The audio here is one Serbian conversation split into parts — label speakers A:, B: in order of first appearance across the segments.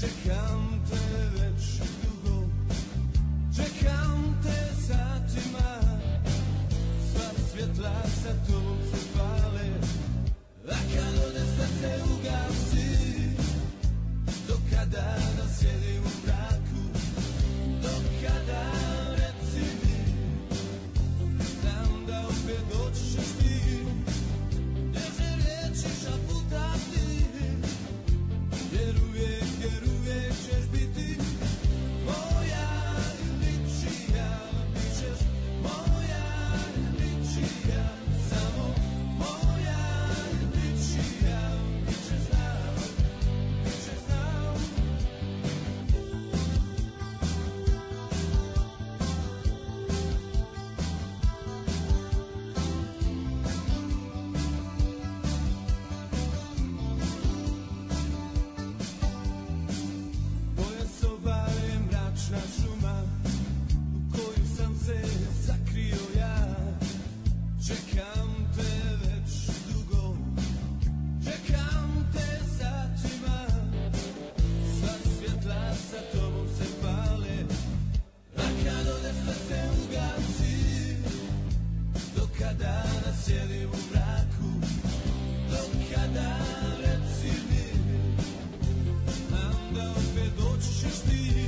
A: Čekam te već dugo Čekam te satima Sva svjetla sa tom se pale A kad ode srce ugasi Do kada nam sjedi u braku Do kada reci mi Znam da opet doćiš ti Teže riječi šaputati jer uvijek, jer uvijek ćeš biti moja ničija, bit ćeš moja ničija, samo moja ničija, bit ćeš znao, bit ćeš znao. Moja soba je mračna šuma U koju sam se zakrio ja Čekam te već dugo Čekam te satima Sva svjetla sa tobom se pale A kad odeš sve se ugasi Do kada nas sjedim u mraku Do kada reci mi Znam da opet doći ćeš ti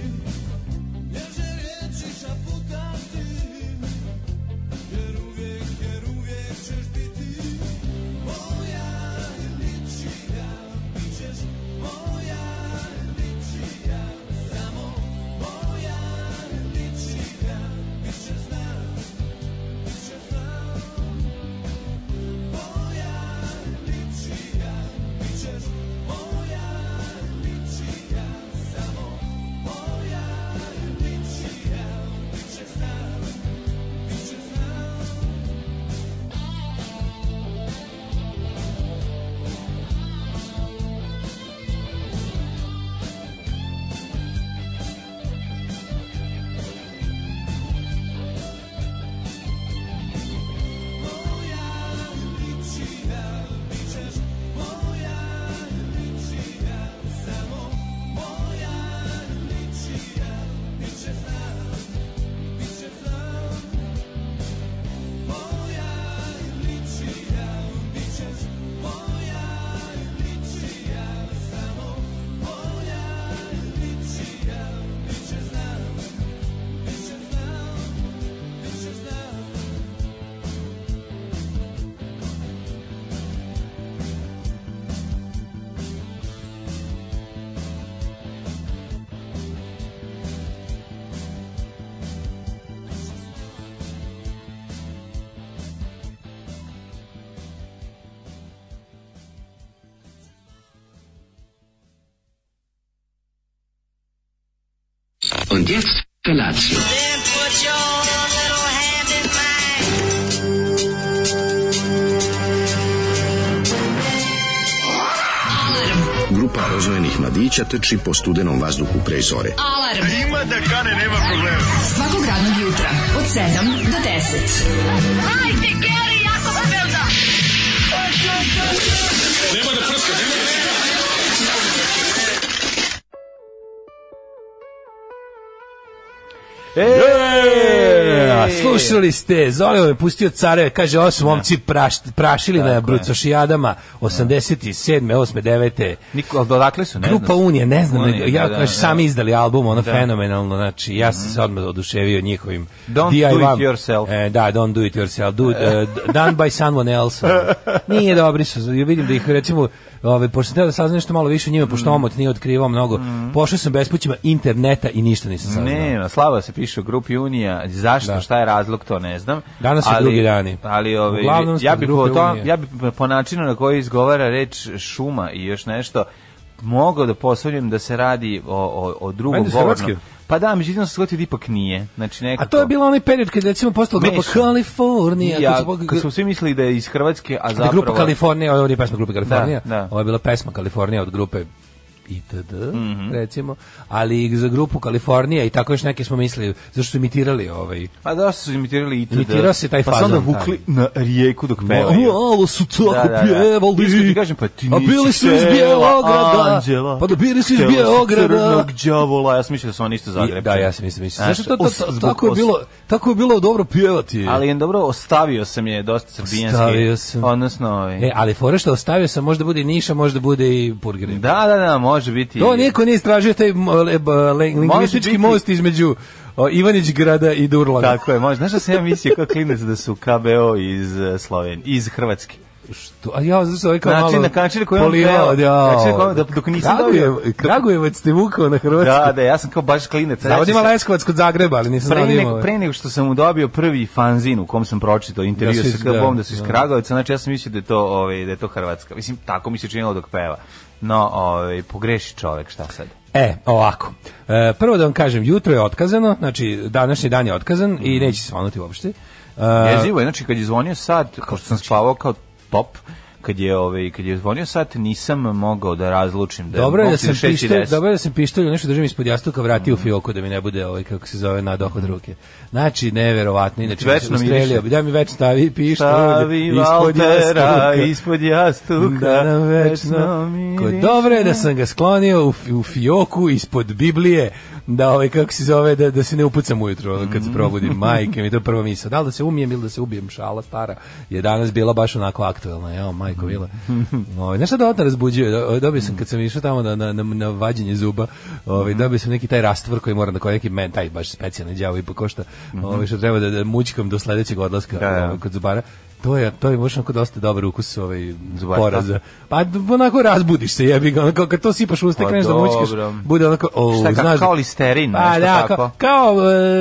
A: Nježe riječi šaputati Jer uvijek, jer uvijek ćeš biti Moja ličija Bit ćeš moja ličija Samo moja ličija Bit ćeš znam, bit ćeš znam Moja ličija, bit ćeš moja ličija, samo moja ličija, bit ćeš znam, bit ćeš znam. Moja ličija, bit ćeš moja ličija, samo moja ličija, bit ćeš znam, bit ćeš znam. Moja ličija, bit ćeš moja ličija, samo moja ličija, bit ćeš znam, bit ćeš znam, bit ćeš znam.
B: Und jetzt Felatio.
C: Then put your little hand in mine.
D: Grupa rozvojenih mladića teči po studenom vazduhu pre zore.
E: Alarm. Ima da kane, nema problema. Svakog radnog jutra, od 7 do 10. Hajde, Geri, jako velda.
F: E, slušali ste, Zoli je pustio careve, kaže, ovo su momci praš, prašili na Brucošijadama 87. 8. 9.
G: Niko, ali dodakle su, ne
F: Grupa
G: znam.
F: Unija, ne znam,
G: Unija,
F: nego, ja,
G: da,
F: kaže,
G: da. Mhm.
F: sami izdali album, ono fenomenalno, znači, ja sam se odmah oduševio njihovim
G: Don't
F: DIY.
G: do it yourself.
F: E, da, don't do it yourself, do it, e, d- done by someone else. Nije dobri su, ja vidim da ih, recimo, ove, pošto sam teo da saznam nešto malo više o njima,
G: Mhm.
F: pošto omot nije otkrivao mnogo, pošao sam bespućima interneta i ništa nisam saznao.
G: Ne, Slava se piše u grupi Unija. Zašto,
F: Da.
G: šta je razlog, to ne znam.
F: Danas su drugi dani.
G: Ali ove,
F: Uglavnom smo
G: ja bi po
F: grupe
G: to,
F: Unije.
G: ja bi po načinu na koji izgovara reč šuma i još nešto mogao da posvaljam da se radi o, o, o drugom
F: Ajde, s
G: govornom.
F: hrvatske.
G: Pa da, međutim sam shvatio da ipak nije. Znači nekako...
F: A to je bilo onaj period kad je, recimo postala grupa
G: Mešano.
F: Kalifornija.
G: Ja,
F: kad su-
G: kad su svi mislili da je iz Hrvatske, a
F: da je
G: zapravo...
F: grupa Kalifornija, ovo nije pesma grupe Kalifornija,
G: Da, da.
F: ovo je bila pesma Kalifornija od grupe itd.
G: Mhm.
F: recimo, ali i za grupu Kalifornija i tako još neke smo mislili, zašto su imitirali ovaj.
G: Pa da su imitirali ITD.
F: Imitirao se taj
G: pa Pa
F: fazon,
G: onda vukli na rijeku dok
F: O,
G: pevaju.
F: Malo su tako
G: Da, da, da.
F: pjevali.
G: Iskreno ti kažem, pa ti
F: A
G: nisi
F: bili su iz
G: htela
F: Bjeograda.
G: anđela.
F: Pa da bili su iz
G: Htela si
F: Bjeograda.
G: crnog đavola, ja sam mislio da su oni isto
F: I-
G: Zagreb.
F: Da, ja sam mislim, mislim. Znaš, to, to,
G: os-
F: to-
G: zbog
F: tako, je
G: os-
F: bilo, tako je bilo dobro pjevati.
G: Ali je dobro, ostavio sam je dosta srbijanski.
F: Ostavio sam.
G: Odnosno, ovaj,
F: E, ali fora što ostavio sam, možda bude i Niša, možda bude i Purgeri.
G: da, da, da, može biti.
F: To niko nije istražio taj m, le- b- le- lingvistički
G: biti.
F: most između o, Ivanić grada i Durlana.
G: Tako je, može. Znaš što sam ja mislio kao klinec da su KBO iz eh, Slovenije, iz Hrvatske.
F: To, a ja zašto ovaj kao
G: Način-
F: malo...
G: na način na koji on
F: polivao,
G: peva,
F: jao.
G: način na koji on- da- dok nisam
F: Kragujev-
G: dobio- dok-
F: Kragujevac te vukao na Hrvatsku.
G: Da, da, ja sam kao baš Znači, klinec.
F: Da,
G: Ja
F: ovdje
G: ću
F: ima
G: se-
F: Leskovac kod Zagreba, ali nisam
G: Pre,
F: znao da ima ovaj.
G: nego, pre nego što sam mu dobio prvi fanzin u kom sam pročitao intervju
F: Da su
G: sa
F: iz-
G: KBOM
F: da,
G: da su iz
F: da.
G: Kragovica, znači ja sam mislio da je to, ovaj, da je to Hrvatska. Mislim, tako mi se činilo dok peva. No, ovaj, pogreši čovek, šta sad?
F: E, ovako. E, prvo da vam kažem, jutro je otkazano, znači današnji dan je otkazan i neće se svanuti uopšte. E,
G: Jezivo je, znači kad je zvonio sat, kao što
F: znači?
G: sam spavao kao top, kad je ovaj kad je zvonio sat nisam mogao da razlučim da
F: Dobro je da
G: moguće
F: sam
G: šest i
F: pištolj,
G: deset. Mhm.
F: dobro je da sam pištolj nešto držim ispod jastuka, vrati u fioku da mi ne bude ovaj kako se zove na dohod ruke. Znači neverovatno, inače
G: Znači, večno
F: strelio
G: miriše.
F: bi. Da mi večno stavi pištolj
G: Stavi Valtera ispod jastuka
F: Da nam večno Ko dobro je da sam ga sklonio u, fi- u fioku ispod Biblije da ovaj kako se zove da da se ne upucam ujutro ono,
G: Mhm.
F: kad se probudim majke mi to prva misao da li da se umijem ili da se ubijem šala stara je danas bila baš onako aktuelna evo majko bila
G: Mhm.
F: ovaj nešto dodatno razbuđuje Do- dobio sam kad sam išao tamo na na na, na vađenje zuba ovaj
G: Mhm.
F: dobio sam neki taj rastvor koji moram da koji neki men taj baš specijalni đavo i pokošta ovaj što treba da, da mućkam do sledećeg odlaska
G: Mhm. Da, da.
F: ovaj, kod zubara to je to je baš onako dosta dobar ukus ovaj
G: Zubarstva.
F: poraza pa d- onako razbudiš se, jebi ga, onako kad to sipaš u usta i
G: Pa
F: kreneš da
G: dobro.
F: mućkaš, bude onako, o,
G: Šta, ka-
F: znaš...
G: kao listerin,
F: pa,
G: nešto
F: da,
G: tako?
F: Kao, kao,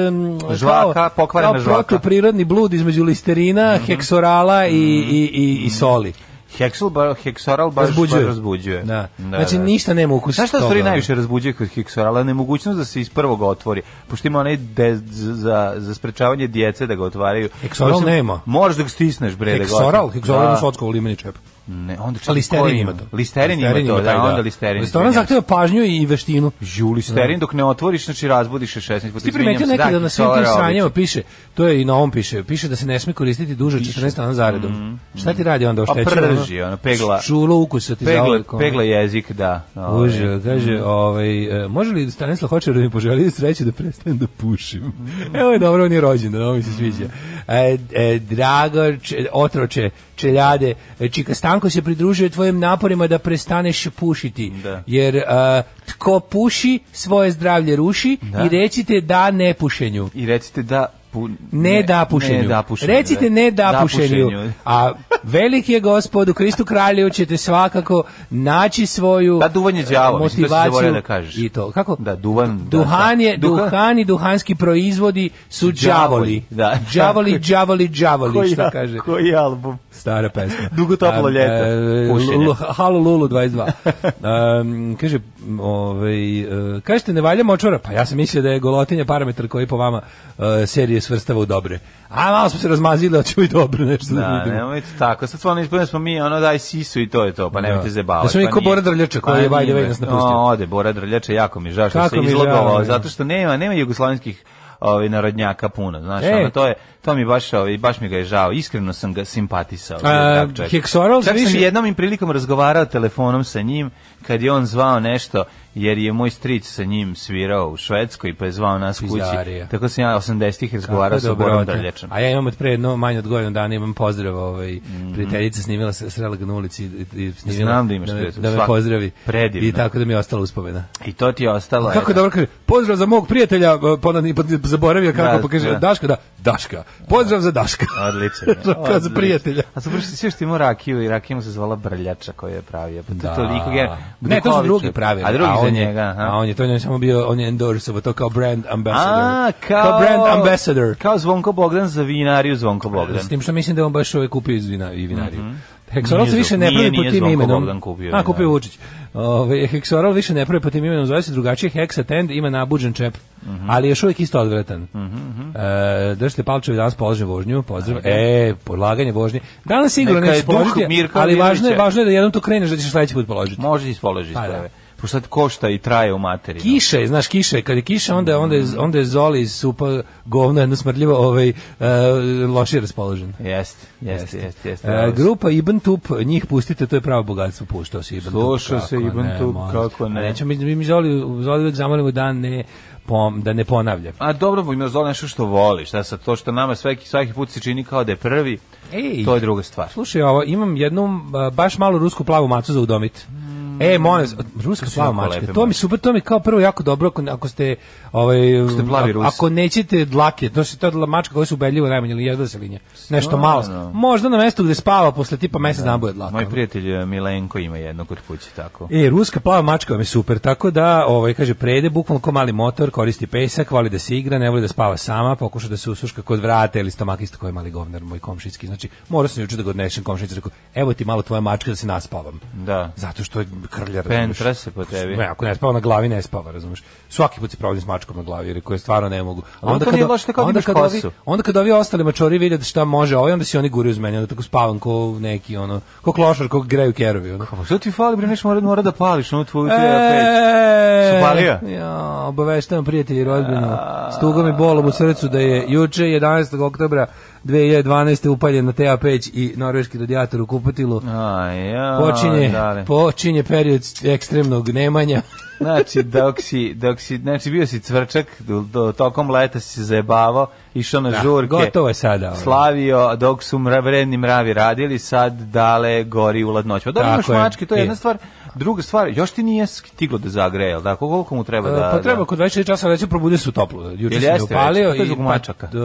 F: em,
G: Žvaka,
F: kao-
G: pokvarena
F: kao
G: žvaka. Mhm.
F: protuprirodni blud između listerina, heksorala i, i, i, i soli.
G: Heksul bar, heksoral Mhm. baš
F: Razbuđuje.
G: baš razbuđuje.
F: Da. znači, ništa nema ukusa.
G: Znaš šta u
F: toga,
G: stvari
F: ono.
G: najviše razbuđuje kod heksorala? Nemogućnost da se iz prvog otvori. Pošto ima onaj de, z- za, za sprečavanje djece da ga otvaraju.
F: Heksoral
G: Pošto-
F: nema.
G: Moraš da ga stisneš, bre. da ga
F: Heksoral,
G: otvori.
F: heksoral
G: Da.
F: ima socko u limeni čep.
G: Ne, onda
F: A
G: čekaj, ko
F: listerin ima to.
G: Listerin ima to,
F: taj,
G: da, onda listerin.
F: Listerin zahteva pažnju i veštinu.
G: Ju, listerin dok ne otvoriš, znači razbudiš se 16 puta.
F: Ti primetio
G: izvinjam se,
F: nekada da na svim tim
G: heksorala
F: sranjama
G: obično.
F: piše, to je i na ovom piše, piše da se ne sme koristiti duže od 14 dana zaredom. Šta ti radi onda oštećeno?
G: Mhm, prži, ono, pegla-
F: Čulo ukusa ti
G: Pegla,
F: zauvek, ono.
G: pegla jezik, da. Ovaj.
F: Uže, kaže, ovaj, e, može li Stanislav Hočer da mi poželi sreće da prestanem da pušim?
G: Mm.
F: Evo je dobro, on je rođen, da ovo mi se sviđa. E, e, drago, če, otroče, čeljade, e, Čika Stanko se pridružuje tvojim naporima da prestaneš pušiti,
G: Da.
F: jer e, tko puši, svoje zdravlje ruši i recite da ne pušenju.
G: I recite da... pu-
F: Ne, da pušenju.
G: Ne da pušenju.
F: Recite ne da, pušenju.
G: pušenju.
F: A veliki je gospod u Kristu kralju ćete svakako naći svoju
G: Da, duvan je đavo,
F: e,
G: mislim, to si zaboravio da kažeš.
F: I to. Kako?
G: Da, duvan, da,
F: Duhan je,
G: da. Duhan-
F: duhan i duhanski proizvodi su
G: Đavoli,
F: đavoli.
G: da.
F: Đavoli, đavoli, đavoli,
G: Koji
F: šta
G: al-
F: kaže?
G: Koji album?
F: Stara pesma.
G: Dugo toplo
F: Am,
G: ljeto,
F: e,
G: pušenje.
F: Lu- Halo Lulu 22. Um, kaže, m, ovaj, e, kažete ne valja močvara, pa ja sam mislio da je golotinja parametar koji po vama e, serije svrstava u dobre. A malo smo se razmazili, hoćemo i dobro nešto da,
G: Da,
F: budemo.
G: nemojte tako. Sad stvarno ispadne smo mi, ono, daj sisu i to je to, pa nemojte
F: Da.
G: zebavati.
F: Da smo mi
G: pa
F: ko
G: nije.
F: Bora Drljača koji
G: Pa
F: je, by the
G: nije.
F: way, nas napustio.
G: No, ode, Bora Drljača, jako mi je žao što
F: Kako
G: se
F: mi je žao,
G: izlogovao,
F: da.
G: zato što nema, nema jugoslavenskih ovaj narodnjaka puno, znaš,
F: E.
G: ono, to je to mi baš ovaj baš mi ga je žao. Iskreno sam ga simpatisao.
F: A,
G: tak čovjek.
F: Heksoral
G: Čak
F: više-
G: sam jednom im prilikom razgovarao telefonom sa njim kad je on zvao nešto jer je moj stric sa njim svirao u Švedskoj pa je zvao nas kući.
F: Pizdarija.
G: Tako sam ja 80-ih razgovarao sa
F: Kako
G: Borom
F: dobrota.
G: Drljačem.
F: A ja imam od pre jedno manje od godinu dana imam pozdrav, ovaj prijateljica snimila se srela ga na ulici i, i snimila
G: Mhm. Znam da imaš
F: me,
G: prijatelju,
F: da me
G: svakako.
F: pozdravi.
G: Predivno.
F: I tako da mi je ostala uspomena.
G: I to ti Pa je ostalo.
F: Kako
G: eto.
F: je dobro kaže, pozdrav za mog prijatelja, e, pa onda ni- pa zaboravio kako,
G: Da,
F: pa kaže,
G: da.
F: Daška, da, Daška, pozdrav za Daška.
G: Odlično.
F: Kao za prijatelja.
G: A super što sve što ima rakiju i rakija mu se zvala brljača koju je pravio. Pa to
F: Da.
G: je toliko gen.
F: Ne, to su
G: Buković
F: drugi
G: je-
F: pravili.
G: A drugi za
F: on je-
G: njega. aha.
F: A on je to njemu samo bio, on je endorsovo, to kao brand ambassador.
G: A, kao,
F: brand ambassador. Pa,
G: Kao Zvonko Bogdan za vinariju Zvonko Bogdan. Mhm.
F: S tim što mislim da je on baš ovaj kupio iz vina, i vinariju. Heksoral
G: Nije
F: se više
G: Zvon-
F: ne
G: nije-
F: pravi pod
G: nije
F: tim
G: Zvonko
F: imenom.
G: Bogdan kupio,
F: A, kupio
G: da.
F: Vučić. Ove, Heksoral više ne pravi pod tim imenom, zove se drugačije Hexatend, ima nabuđen čep.
G: Mhm.
F: ali još uvijek isto odvratan. Mm -hmm. e, Dršte Palčevi danas polaže vožnju, pozdrav. E, polaganje vožnje. Danas sigurno
G: Neka je
F: neće
G: duh
F: položiti,
G: Mirka
F: ali važno je,
G: Mirčića.
F: važno je da jednom to kreneš da ćeš sledeći put položiti.
G: Može ispoloži
F: Pa, da.
G: isprave. Pošto sad košta i traje u materinu.
F: Kiša je, znaš, kiša je. Kad je kiša, onda, onda, je, onda je Zoli iz supa govno, jedno smrdljivo, ovaj, e, lošije raspoložen.
G: Jeste, jeste, jeste. jeste.
F: E, grupa Ibn Tup, njih pustite, to je pravo bogatstvo, puštao se Ibn Tup.
G: Slušao se
F: kako
G: Ibn
F: ne,
G: Tup,
F: molim.
G: kako ne.
F: A nećemo, mi, mi, mi Zoli, Zoli uvek zamolimo da ne, pom, da ne ponavlja.
G: A dobro, ima zove nešto što voliš, da sad to što nama svaki, svaki put se čini kao da je prvi,
F: Ej.
G: to je druga stvar.
F: Slušaj, ovo, imam jednu a, baš malu rusku plavu macu za udomit. E, molim, vas, ruska plava
G: jako
F: mačka.
G: lepe
F: To mi
G: mačke.
F: super, to mi kao prvo jako dobro ako, ako ste ovaj
G: ste plavi
F: a-
G: Rus.
F: ako nećete dlake, to se to mačka koja se ubedljivo najmanje ili jedva se linje. Nešto malo.
G: Stvarno?
F: Možda na mestu gde spava posle tipa mesec dana bude dlaka.
G: Moj prijatelj eh, Milenko ima jedno kod kuće, tako.
F: E, ruska plava mačka vam je super, tako da, ovaj, kaže, prede, bukvalno ko mali motor, koristi pesak, voli da se igra, ne voli da spava sama, pokuša da se usuška kod vrata ili stomak, isto koji mali govnar, moj komšijski. Znači, morao sam juče da ga odnešem komšijicu, rekao, evo ti malo tvoja mačka da se naspavam.
G: Da.
F: Zato što je krlja, razumeš.
G: Pentra se po tebi.
F: Ne, ako ne spava na glavi, ne spava, razumeš. Svaki put se problem s mačkom na glavi, jer koje stvarno ne mogu. A
G: Ali to nije loše, to je kao da
F: onda
G: imaš
F: kad ovi,
G: kosu.
F: onda kad ovi ostali mačori vide da šta može, ovaj onda se oni guraju uz mene, onda tako spavam ko neki ono, ko klošar, ko greju kerovi, ono.
G: Pa što ti fali, bre, nešto mora, mora da pališ, no tvoju terapiju.
F: E,
G: Su palio?
F: Ja, obaveštavam prijatelji i rodbinu. S tugom i bolom u srcu da je juče 11. oktobra 2012. upaljen na TA peć i norveški radijator u kupatilu.
G: A, ja,
F: Počinje,
G: dale.
F: počinje period ekstremnog nemanja.
G: Znači, dok si, dok si, znači, bio si cvrčak, do, do, tokom leta si se zajebavao, išao na žurke.
F: gotovo je sada, ono.
G: Slavio, dok su mra- vredni mravi radili, sad dale gori u ladnoću. Pa Dobro,
F: Tako
G: imaš
F: je.
G: mačke, to je
F: I-
G: jedna stvar. Druga stvar, još ti nije stiglo da zagreje, jel da? Koliko mu treba da...
F: Da, pa treba
G: da-
F: kod 24 časa reći probudio se u toplu. Juče
G: Jel
F: sam je
G: jeste
F: upalio
G: već? To je
F: i
G: zbog
F: pa,
G: mačaka.
F: d-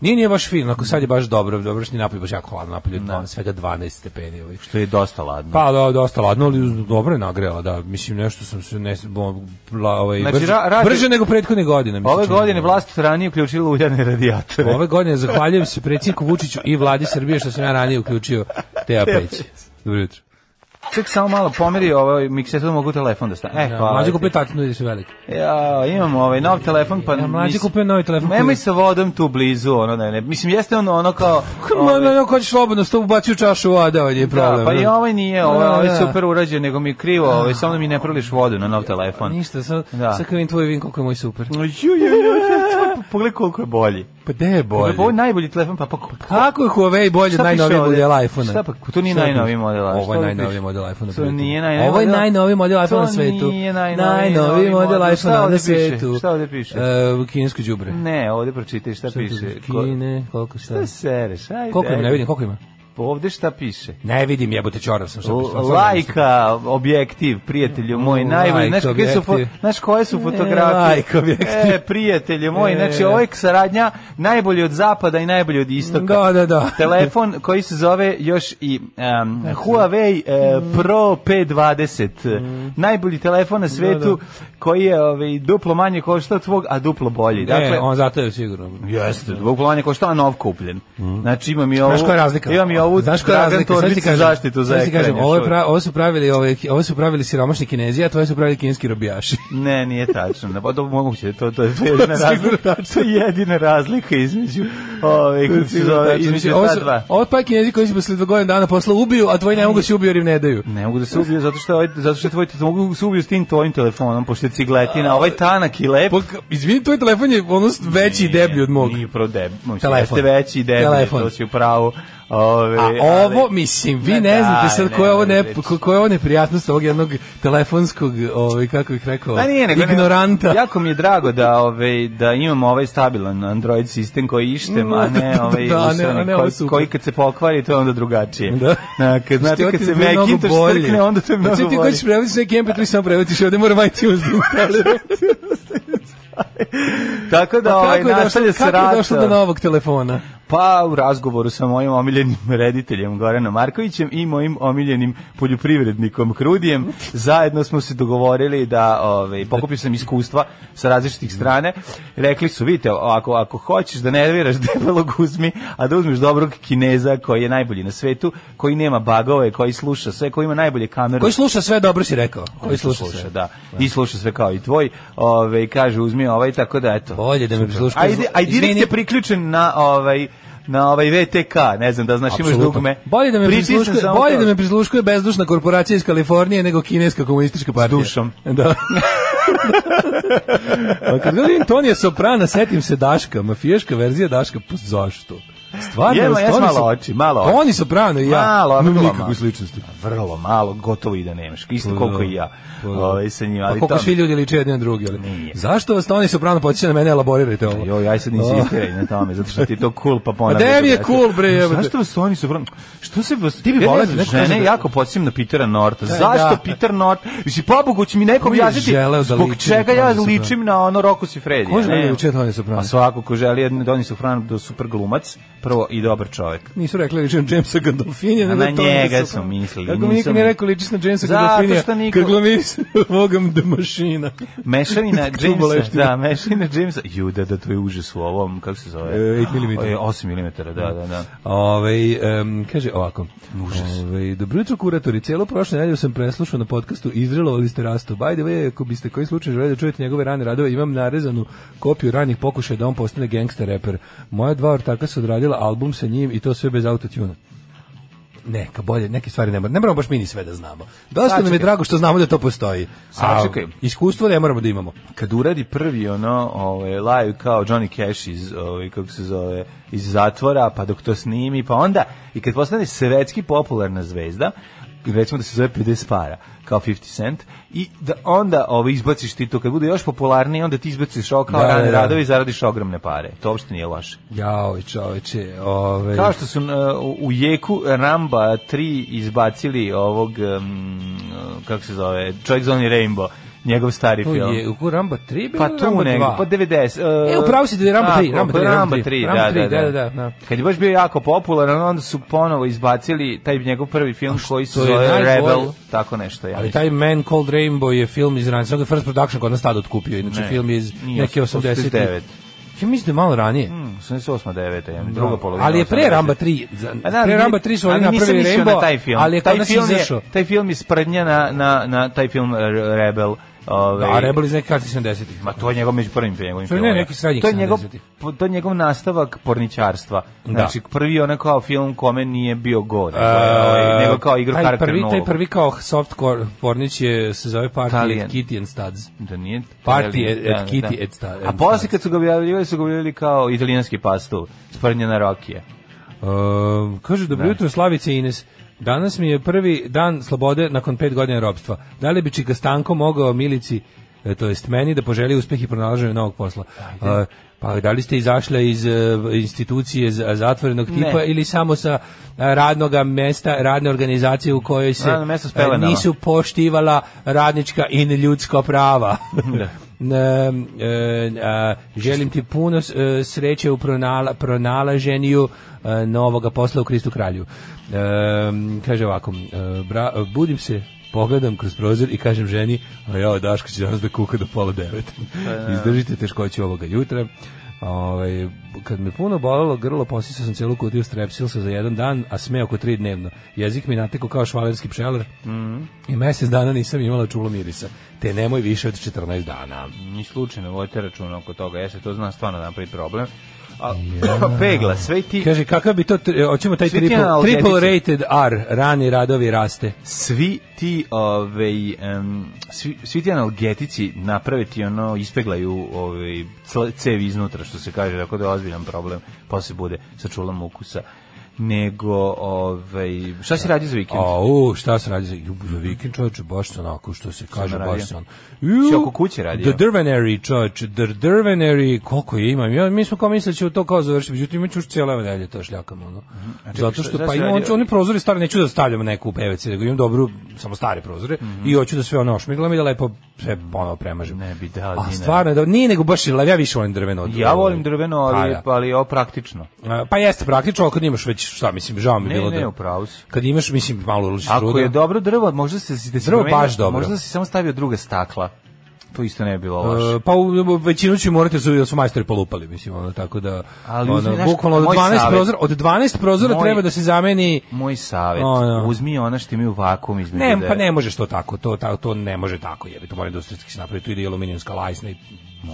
F: nije nije baš fino, ako sad je baš dobro, dobro što je napolje baš jako hladno, napolje je svega 12 stepeni. Ovaj.
G: Što je dosta ladno.
F: Pa da, dosta ladno, ali uz- dobro je nagrela, da. Mislim, nešto sam se ne, bo, la, ovaj,
G: Znači,
F: brže,
G: ra- radi-
F: brže nego prethodne godine. mi se
G: Ove
F: čini.
G: godine vlast ranije uključila uljane radijatore.
F: Ove godine zahvaljujem se predsjedniku Vučiću i vladi Srbije što sam ja ranije uključio Teja Peć. Dobro jutro.
G: Ček samo malo pomeri ovaj mikser, sad mogu telefon da stane. E, hvala.
F: Mlađe
G: ti.
F: kupio tatnu da se veliki.
G: Ja, imam ovaj nov telefon, pa...
F: Ja, mlađe
G: nis-
F: kupio novi telefon.
G: Nemoj sa vodom tu blizu, ono da ne. Mislim, jeste ono, ono kao...
F: Krlo, no, no, ko će slobodno, s tobom baci u čašu voda, on je problem.
G: Da, pa i
F: ono.
G: ovaj nije, ovaj,
F: Da,
G: ovaj
F: da.
G: super urađen, nego mi je krivo, ovaj, samo da mi ne proliš vodu na nov telefon.
F: Ništa, sad,
G: Da.
F: sad kad vidim tvoj vin, koliko je moj super.
G: Ju, ju, ju, ju, pogledaj koliko je bolji.
F: Pa de je
G: Ovo
F: bolje?
G: je najbolji telefon, pa pa...
F: Kako je Huawei bolje od
G: Šta piše
F: najnoviji
G: ovdje?
F: model iPhone-a?
G: Šta pa, to nije
F: Šta piše?
G: najnoviji model iPhone.
F: Ovo je
G: Šta
F: najnoviji
G: piše?
F: model iPhone-a.
G: To
F: prijatelju.
G: nije najnoviji
F: Ovo je
G: model.
F: najnoviji model iPhone-a na
G: To
F: svetu.
G: nije najnoviji
F: Najnoviji model
G: model. Šta
F: iPhone-a na
G: ovdje piše?
F: svetu.
G: Šta ovdje piše?
F: E, kinesko đubre.
G: Ne, ovdje pročitaj šta,
F: Šta
G: piše.
F: tu?
G: Ko-
F: Kine, koliko šta?
G: Šta sereš? Ajde.
F: Koliko ima, ne
G: ajde.
F: vidim, koliko ima?
G: Ovde šta piše?
F: Ne vidim, jebote, čorav sam. Šta
G: L-
F: piše?
G: Lajka, objektiv, prijatelju moj,
F: Mm,
G: najbolji,
F: lajka,
G: znaš kakve su, fo-
F: objektiv.
G: znaš koje su fotografije?
F: E, lajka, objektiv.
G: E, prijatelju moj,
F: E.
G: znači ovo je saradnja najbolji od zapada i najbolji od istoka.
F: Da, da, da. Znači.
G: Telefon koji se zove još i um, Huawei e, Pro P20.
F: Mm.
G: Najbolji telefon na svetu koji je ovaj, duplo manje košta od tvog, a duplo bolji. Dakle,
F: Ne, E, on zato je sigurno.
G: Jeste, duplo manje košta, a nov kupljen. Znači imam i ovu...
F: Mm. Znaš koja je razlika?
G: Imam i ovu
F: Znaš koja je
G: Dragan
F: razlika? Sad ti
G: Torbicu
F: kažem-
G: zaštitu za
F: sad ti
G: ekran.
F: kažem,
G: još
F: ovo, je
G: uvijek.
F: pra- ovo su pravili, ove, ovo su pravili siromašni kinezi, a tvoje su pravili kineski robijaši.
G: Ne, nije tačno. Ne, pa to moguće, to, to, je- to je jedina razlika. To je jedina razlika između ove, kako se zove, između
F: ovo,
G: ta
F: su-
G: dva.
F: ovo je pa kinezi koji su posle dva godina dana posla ubiju, a tvoji ne mogu se ubiju jer im ne daju.
G: Ne mogu da se ubiju zato što ovaj, zato što tvoj to mogu se ubiju s tim tvojim telefonom pošto je cigletina, ovaj tanak i lep.
F: Pa, k- izvini, tvoj telefon je ono s- veći i deblji od mog.
G: Nije pro deblji, mislim,
F: Telefon.
G: jeste veći i deblji,
F: Telefon.
G: to si u pravu. Ove,
F: A
G: ali-
F: ovo, mislim, vi
G: Ne,
F: ne znate
G: daj,
F: sad
G: ne,
F: koja je ovo,
G: ne,
F: ne,
G: reći.
F: koja je ovo neprijatnost ovog jednog telefonskog, ovaj, kako bih rekao,
G: Pa nije, nego,
F: ignoranta.
G: jako mi je drago da ovaj da imamo ovaj stabilan Android sistem koji ištem, a
F: Da,
G: ne
F: da,
G: ovaj
F: da, ne,
G: usrani
F: a ne, ovo je
G: koji,
F: super.
G: koji kad se pokvari to je onda drugačije.
F: Da.
G: Na, kad znate
F: Što
G: kad
F: ti
G: se
F: bude mnogo
G: Macintosh
F: bolje.
G: strkne onda to je mnogo
F: Znači ti
G: bolje.
F: hoćeš prevodiš neki MP3 samo prevodiš, ovde moram iTunes da instalirati.
G: Tako da
F: Pa
G: ovaj
F: kako je došlo,
G: nastavlja se
F: Pa kako je
G: rat.
F: došlo do novog telefona?
G: Pa u razgovoru sa mojim omiljenim rediteljem Goranom Markovićem i mojim omiljenim poljoprivrednikom Krudijem zajedno smo se dogovorili da ovaj pokupio sam iskustva sa različitih strane. Rekli su, vidite, ako ako hoćeš da nerviraš debelog uzmi, a da uzmeš dobrog Kineza koji je najbolji na svetu, koji nema bagove, koji sluša sve, koji ima najbolje kamere.
F: Koji sluša sve, dobro si rekao. Koji sluša, sve.
G: da. I sluša sve kao i tvoj. Ovaj kaže uzmi ovaj tako da eto.
F: Bolje da me prisluškuje.
G: Ajde, aj direkt
F: Izvini.
G: je priključen na ovaj na ovaj VTK, ne znam da znaš imaš
F: Apsolutno.
G: dugme.
F: Bolje da me
G: Pritisni
F: prisluškuje,
G: samo
F: bolje
G: to.
F: da me prisluškuje bezdušna korporacija iz Kalifornije nego kineska komunistička partija.
G: dušom.
F: Da. A kad god vidim Tonija Soprana, setim se Daška, mafijaška verzija Daška, pa zašto? Stvarno,
G: Jema, jes
F: Toni
G: malo
F: Sop-
G: oči, malo oči.
F: Toni Soprano i ja.
G: Malo,
F: nemam
G: vrlo
F: nikakve
G: malo.
F: sličnosti.
G: Vrlo malo, gotovo i da nemaš. Isto
F: Pa
G: koliko
F: da,
G: i ja.
F: pa da.
G: Ovaj sa njim,
F: Pa
G: ali
F: koliko
G: to-
F: svi ljudi liče jedni na drugi, ali
G: Nije.
F: zašto vas Toni Soprano podsjeća na mene, elaborirajte ovo.
G: Joj, aj sad insistiraj na tome, zato što ti je to cool, pa ponavljam.
F: A de Pa. mi je
G: Ja ću-
F: cool, bre, jebote.
G: Zašto vas oni su... Što se vas... Ti bi
F: voleo
G: volao
F: da neko kaže
G: žene
F: da-
G: jako podsjećam na Petera Norta.
F: Da,
G: Zašto
F: da.
G: Peter Nort? Mislim, pobogu će mi neko
F: Ko je
G: objasniti
F: želeo da
G: zbog
F: liči na
G: čega ja
F: Tony Soprano?
G: ličim na ono Roku si Freddy.
F: Ko želi da liči na Tony Soprano?
G: A Pa svako ko želi, jedni Doni Soprano da super glumac, prvo i dobar čovjek.
F: Nisu rekli liči na Jamesa Gandolfinija,
G: A
F: nego
G: na
F: Tony
G: njega
F: Soprano.
G: su mislili,
F: Kako mi
G: nisam-
F: niko nije rekao liči na Jamesa
G: Zato
F: Gandolfinija,
G: što niko-
F: kad glumi se Bogom da mašina.
G: Mešavina
F: Tu
G: Jamesa,
F: boleština.
G: da, mešavina Jamesa. Ju, da, da, to je užas u ovom, kako se zove?
F: E, 8 milimetara.
G: E, 8 milimetara, da, da, da.
F: Ove, um, kaže ovako. Ove, dobro jutro, kuratori. Cijelo prošle nedelje sam preslušao na podcastu Izrelovali ste rastu. By the way, ako biste koji slučaj želeli da čujete njegove rane radove, imam narezanu kopiju ranih pokušaja da on postane gangster reper. Moja dva ortaka su odradila album sa njim i to sve bez autotuna. Neka bolje, neke stvari ne moramo, ne moramo baš mi ni sve da znamo. Dosta nam je
G: Sačekaj.
F: drago što znamo da to postoji. A
G: Sačekaj.
F: iskustvo ne moramo da imamo.
G: Kad uradi prvi ono, ovaj live kao Johnny Cash iz ovaj kako se zove, iz zatvora, pa dok to snimi, pa onda i kad postane svetski popularna zvezda, recimo da se zove 50 para, kao 50 cent, i da onda ovaj, izbaciš ti to, kad bude još popularniji, onda ti izbaciš ovo kao
F: Da,
G: rane
F: da, da.
G: radove i zaradiš ogromne pare. To uopšte nije loše.
F: Jao, čoveče, ovaj. ove...
G: Kao što su uh, u- u jeku Ramba 3 izbacili ovog, um, uh, kako se zove, Čovjek zvani Rainbow, njegov stari
F: To
G: film.
F: je u Ramba 3 bilo
G: Pa
F: ili
G: tu
F: Ramba
G: negdje,
F: 2?
G: pa 90.
F: E, upravo si da je Ramba
G: Tako,
F: tri, Ramba
G: pa
F: tri, Ramba
G: Ramba
F: tri.
G: 3,
F: Ramba tri,
G: da, da, da,
F: da.
G: Kad je baš bio jako popularan, onda su ponovo izbacili taj njegov prvi film koji se
F: je
G: zove
F: najbolje.
G: Rebel, tako nešto. Ja.
F: Ali
G: mislim.
F: taj Man Called Rainbow je film iz ranije. Sada First Production kod nas tada otkupio. Inače,
G: Ne,
F: film je iz
G: nije,
F: neke 80.
G: 89.
F: Ja mislim da je malo ranije.
G: Mm, 88. 9. Ja, druga polovina.
F: Ali je pre
G: 80.
F: Ramba 3. Za,
G: A Pa da,
F: pre
G: ali-
F: Ramba 3 su oni
G: ali nisam
F: napravili
G: mislio
F: Rainbow,
G: na taj film.
F: ali je kod
G: taj
F: nas
G: film
F: izašao.
G: taj film je sprednja na, na, na taj film e, Rebel. Ovaj,
F: A Rebel iz neke kasne 70-ih.
G: Ma to je njegov među prvim njegovim
F: To je ne,
G: filmom.
F: neki srednjih
G: To je njegov
F: 70-ih.
G: po- to je njegov nastavak porničarstva.
F: Da.
G: Znači prvi onaj kao film kome nije bio god, nego,
F: E,
G: ovaj, nego kao igru
F: taj
G: karakternu
F: prvi, taj
G: ulogu.
F: prvi kao softcore pornić je, se zove Party
G: Italijan.
F: at Kitty and Studs.
G: da nije
F: Party
G: Italijan,
F: at- at Kitty at Star-
G: A
F: at
G: posle
F: Stars.
G: kad su ga objavljivali su ga objavljivali kao italijanski pastul, sprnja na Rokije.
F: Um, kaže, dobro jutro Slavice i Ines. Danas mi je prvi dan slobode nakon pet godina robstva. Da li bi Čika Stanko mogao Milici, e, to jest meni, da poželi uspeh i pronalaženje novog posla? E, pa da li ste izašla iz e, institucije za- zatvorenog tipa ili samo sa radnog mesta, radne organizacije u kojoj se
G: Radno mesto s
F: e,
G: pelenama.
F: nisu poštivala radnička i ljudska prava? Ne, e, a, želim ti puno s- e, sreće u pronala, pronalaženju e, novoga posla u Kristu kralju. E, kaže ovako, e, bra- budim se, pogledam kroz prozor i kažem ženi, a ja Daško će danas da kuka do pola devet. Izdržite teškoću ovoga jutra. Ovaj, kad me puno bolelo grlo, posisao sam celu kutiju strepsilsa za jedan dan, a sme oko tri dnevno. Jezik mi nateko kao švalerski pčelar i mesec dana nisam imala čulo mirisa. Te nemoj više od 14 dana.
G: Ni slučajno vodite računa oko toga, ja se to znam stvarno da napravi problem. A, pegla, sve ti
F: Kaže, kakav bi to, tri- e, hoćemo taj
G: Svi ti
F: triple,
G: analgetici.
F: triple rated R, rani radovi raste.
G: svi ti ovaj em, svi, svi ti analgetici naprave ti ono ispeglaju ovaj cle- cevi iznutra što se kaže tako da je ozbiljan problem posle bude sa čulom ukusa nego ovaj šta si radi za vikend
F: A, u, šta se radi za, ju, za vikend, čovječe, baš se onako, što se kaže,
G: naradio?
F: baš se on. Ju,
G: Si oko kuće radio?
F: The Dervenary, čovječe, The Dervenary, koliko je imam, ja, mi smo kao mislili da ćemo to kao završiti, međutim, imaću još cijela nedelje to šljakam, ono. Zato
G: Mhm. šta-
F: što,
G: šta
F: pa
G: si
F: imam,
G: radio?
F: oni prozori stari, neću da stavljam neku u PVC, nego imam dobru, samo stare prozore, i hoću da sve ono ošmiglam i da lepo sve ponovo premažem.
G: Mhm. Ne bi dao
F: A
G: dinar.
F: stvarno, da, nije nego baš, ali ja više volim drveno. od-
G: Ja volim drveno, ali,
F: Pa,
G: pa, ali ovo praktično.
F: da. E, pa jeste praktično, ali kad imaš već, šta mislim, žao mi je
G: Ne,
F: bilo
G: ne,
F: da...
G: u pravu si.
F: Kad imaš, mislim, malo uliš truda.
G: Ako je dobro drvo, možda se da si
F: Drvo
G: promenio-
F: baš dobro.
G: Možda si samo stavio druga stakla. To isto ne bi bilo loše.
F: E, pa u, u- većinu ću morate su, su majstori polupali, mislim, ono, tako da...
G: Ali uzmi,
F: ono,
G: znaš,
F: bukvalno od
G: moj
F: 12
G: savjet-
F: prozora, od 12 prozora
G: Moj-
F: treba da se zameni...
G: Moj savjet,
F: Ono.
G: uzmi ono što imaju vakum između.
F: Ne,
G: dve.
F: pa ne možeš to tako, to, ta- to ne može tako, jebi, to mora industrijski se napraviti, tu ide i aluminijumska lajsna i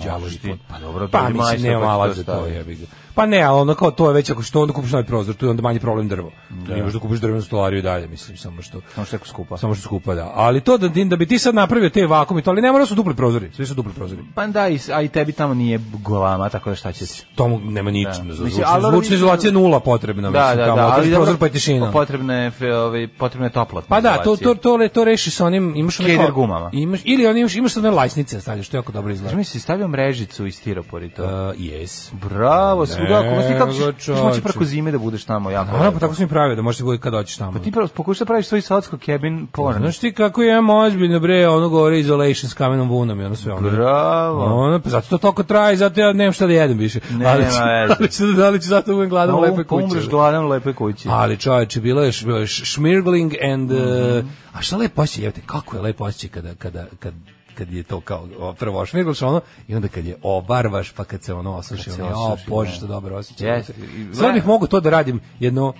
F: đavolji
G: ti,
F: pot.
G: pa dobro,
F: pa
G: dođi
F: mislim,
G: majstor,
F: nema
G: pa će
F: alat
G: to
F: za to,
G: staviti.
F: jebi ga. Pa ne, ali ono kao to je već, ako što onda kupiš novi prozor, tu je onda manji problem drvo. Tu ne možeš da kupiš drvenu stolariju i dalje, mislim, samo što...
G: Samo što je jako skupa.
F: Samo što skupa, da. Ali to da, da bi ti sad napravio te vakuum i to, ali ne mora su dupli prozori, svi su dupli prozori.
G: Pa da, i, s- a i tebi tamo nije golama, tako da šta će se...
F: tomu nema ničega
G: Da.
F: za
G: Mislim,
F: zvučnu,
G: ali- ono
F: zvučna izolacija je nula potrebna,
G: Da,
F: mislim,
G: da,
F: tamo,
G: da,
F: otvoriš
G: dobro,
F: prozor pa je tišina.
G: Potrebna je, fe- ovaj, potrebna je toplotna
F: Pa da, to, to,
G: izolacija.
F: to, le- to reši sa onim, imaš one
G: Keder
F: kao-
G: gumama.
F: Imaš, ili oni imaš, imaš one lajsnice stavljaš, što jako dobro izgleda.
G: Znaš mi si stavio mrežicu i stiropor i to.
F: Uh, yes.
G: Bravo, svuda, ako misli kako
F: Nego,
G: ćeš, ćeš moći
F: čoveče.
G: preko zime da budeš tamo jako.
F: Naravno,
G: lepo.
F: pa tako sam i pravio da možeš da bude kad dođeš tamo.
G: Ti prvo pokušaj da praviš svoj socko cabin porn.
F: Pa Znaš ti kako je imam ozbiljno bre, ono govori isolation s kamenom vunom i ono sve ono.
G: Bravo.
F: Ono, pa zato to toliko traje, zato ja nemam šta da jedem više.
G: Ne,
F: ali,
G: nema
F: ću-
G: veze.
F: ali ću, da li ću zato uvijek gladan u lepoj kući.
G: Umreš gladan u lepoj kući.
F: Ali čoveče, bilo je š- š- šmirgling and... uh,
G: Mhm.
F: a šta lepo osjećaj, jevite, kako je lepo osjećaj kada, kada, kad, kad je to kao o, prvo ošmirgliš ono i onda kad je obarvaš pa kad se ono osuši,
G: Kad se
F: ono, o
G: osuši,
F: bože
G: da.
F: što dobro osjećaj.
G: Jeste.
F: Jeste. Sve bih mogu to da radim jedno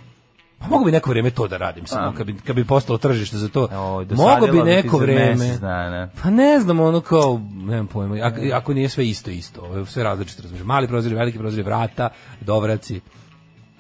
F: Pa mogu bi neko vrijeme to da radim, samo kad bi, kad bi postalo tržište za to.
G: Oj, dosadilo
F: mogu bi
G: ti
F: neko
G: za
F: vrijeme.
G: mesec dana.
F: Pa ne znam, ono kao, nemam pojma, ako, ako nije sve isto, isto, ovo, sve različito, razumiješ, mali prozori, veliki prozori, vrata, dovraci,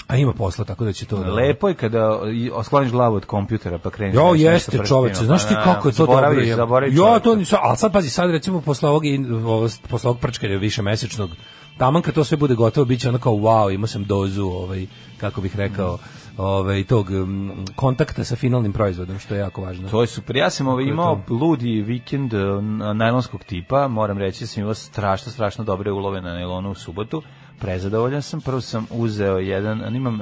F: a ima posla, tako da će to... da-
G: Lepo je kada i- oskloniš glavu od kompjutera pa kreneš.
F: Jo,
G: nešto sa
F: jeste
G: prstima.
F: čoveče, znaš ti
G: Pa,
F: kako je to
G: zaboraviš,
F: dobro. je.
G: Zaboraviš,
F: Jo,
G: čoveče.
F: to nisam, ali sad pazi, sad recimo posle ovog, in- ovo- posle ovog prčkanja više mesečnog, taman kad to sve bude gotovo, bit će ono kao wow, imao sam dozu, ovaj, kako bih rekao, ovaj, tog mm, kontakta sa finalnim proizvodom, što je jako važno.
G: To je super. Ja sam ovaj, imao ludi vikend e, na- najlonskog tipa. Moram reći da sam imao strašno, strašno dobre ulove na najlonu u subotu. Prezadovoljan sam. Prvo sam uzeo jedan, imam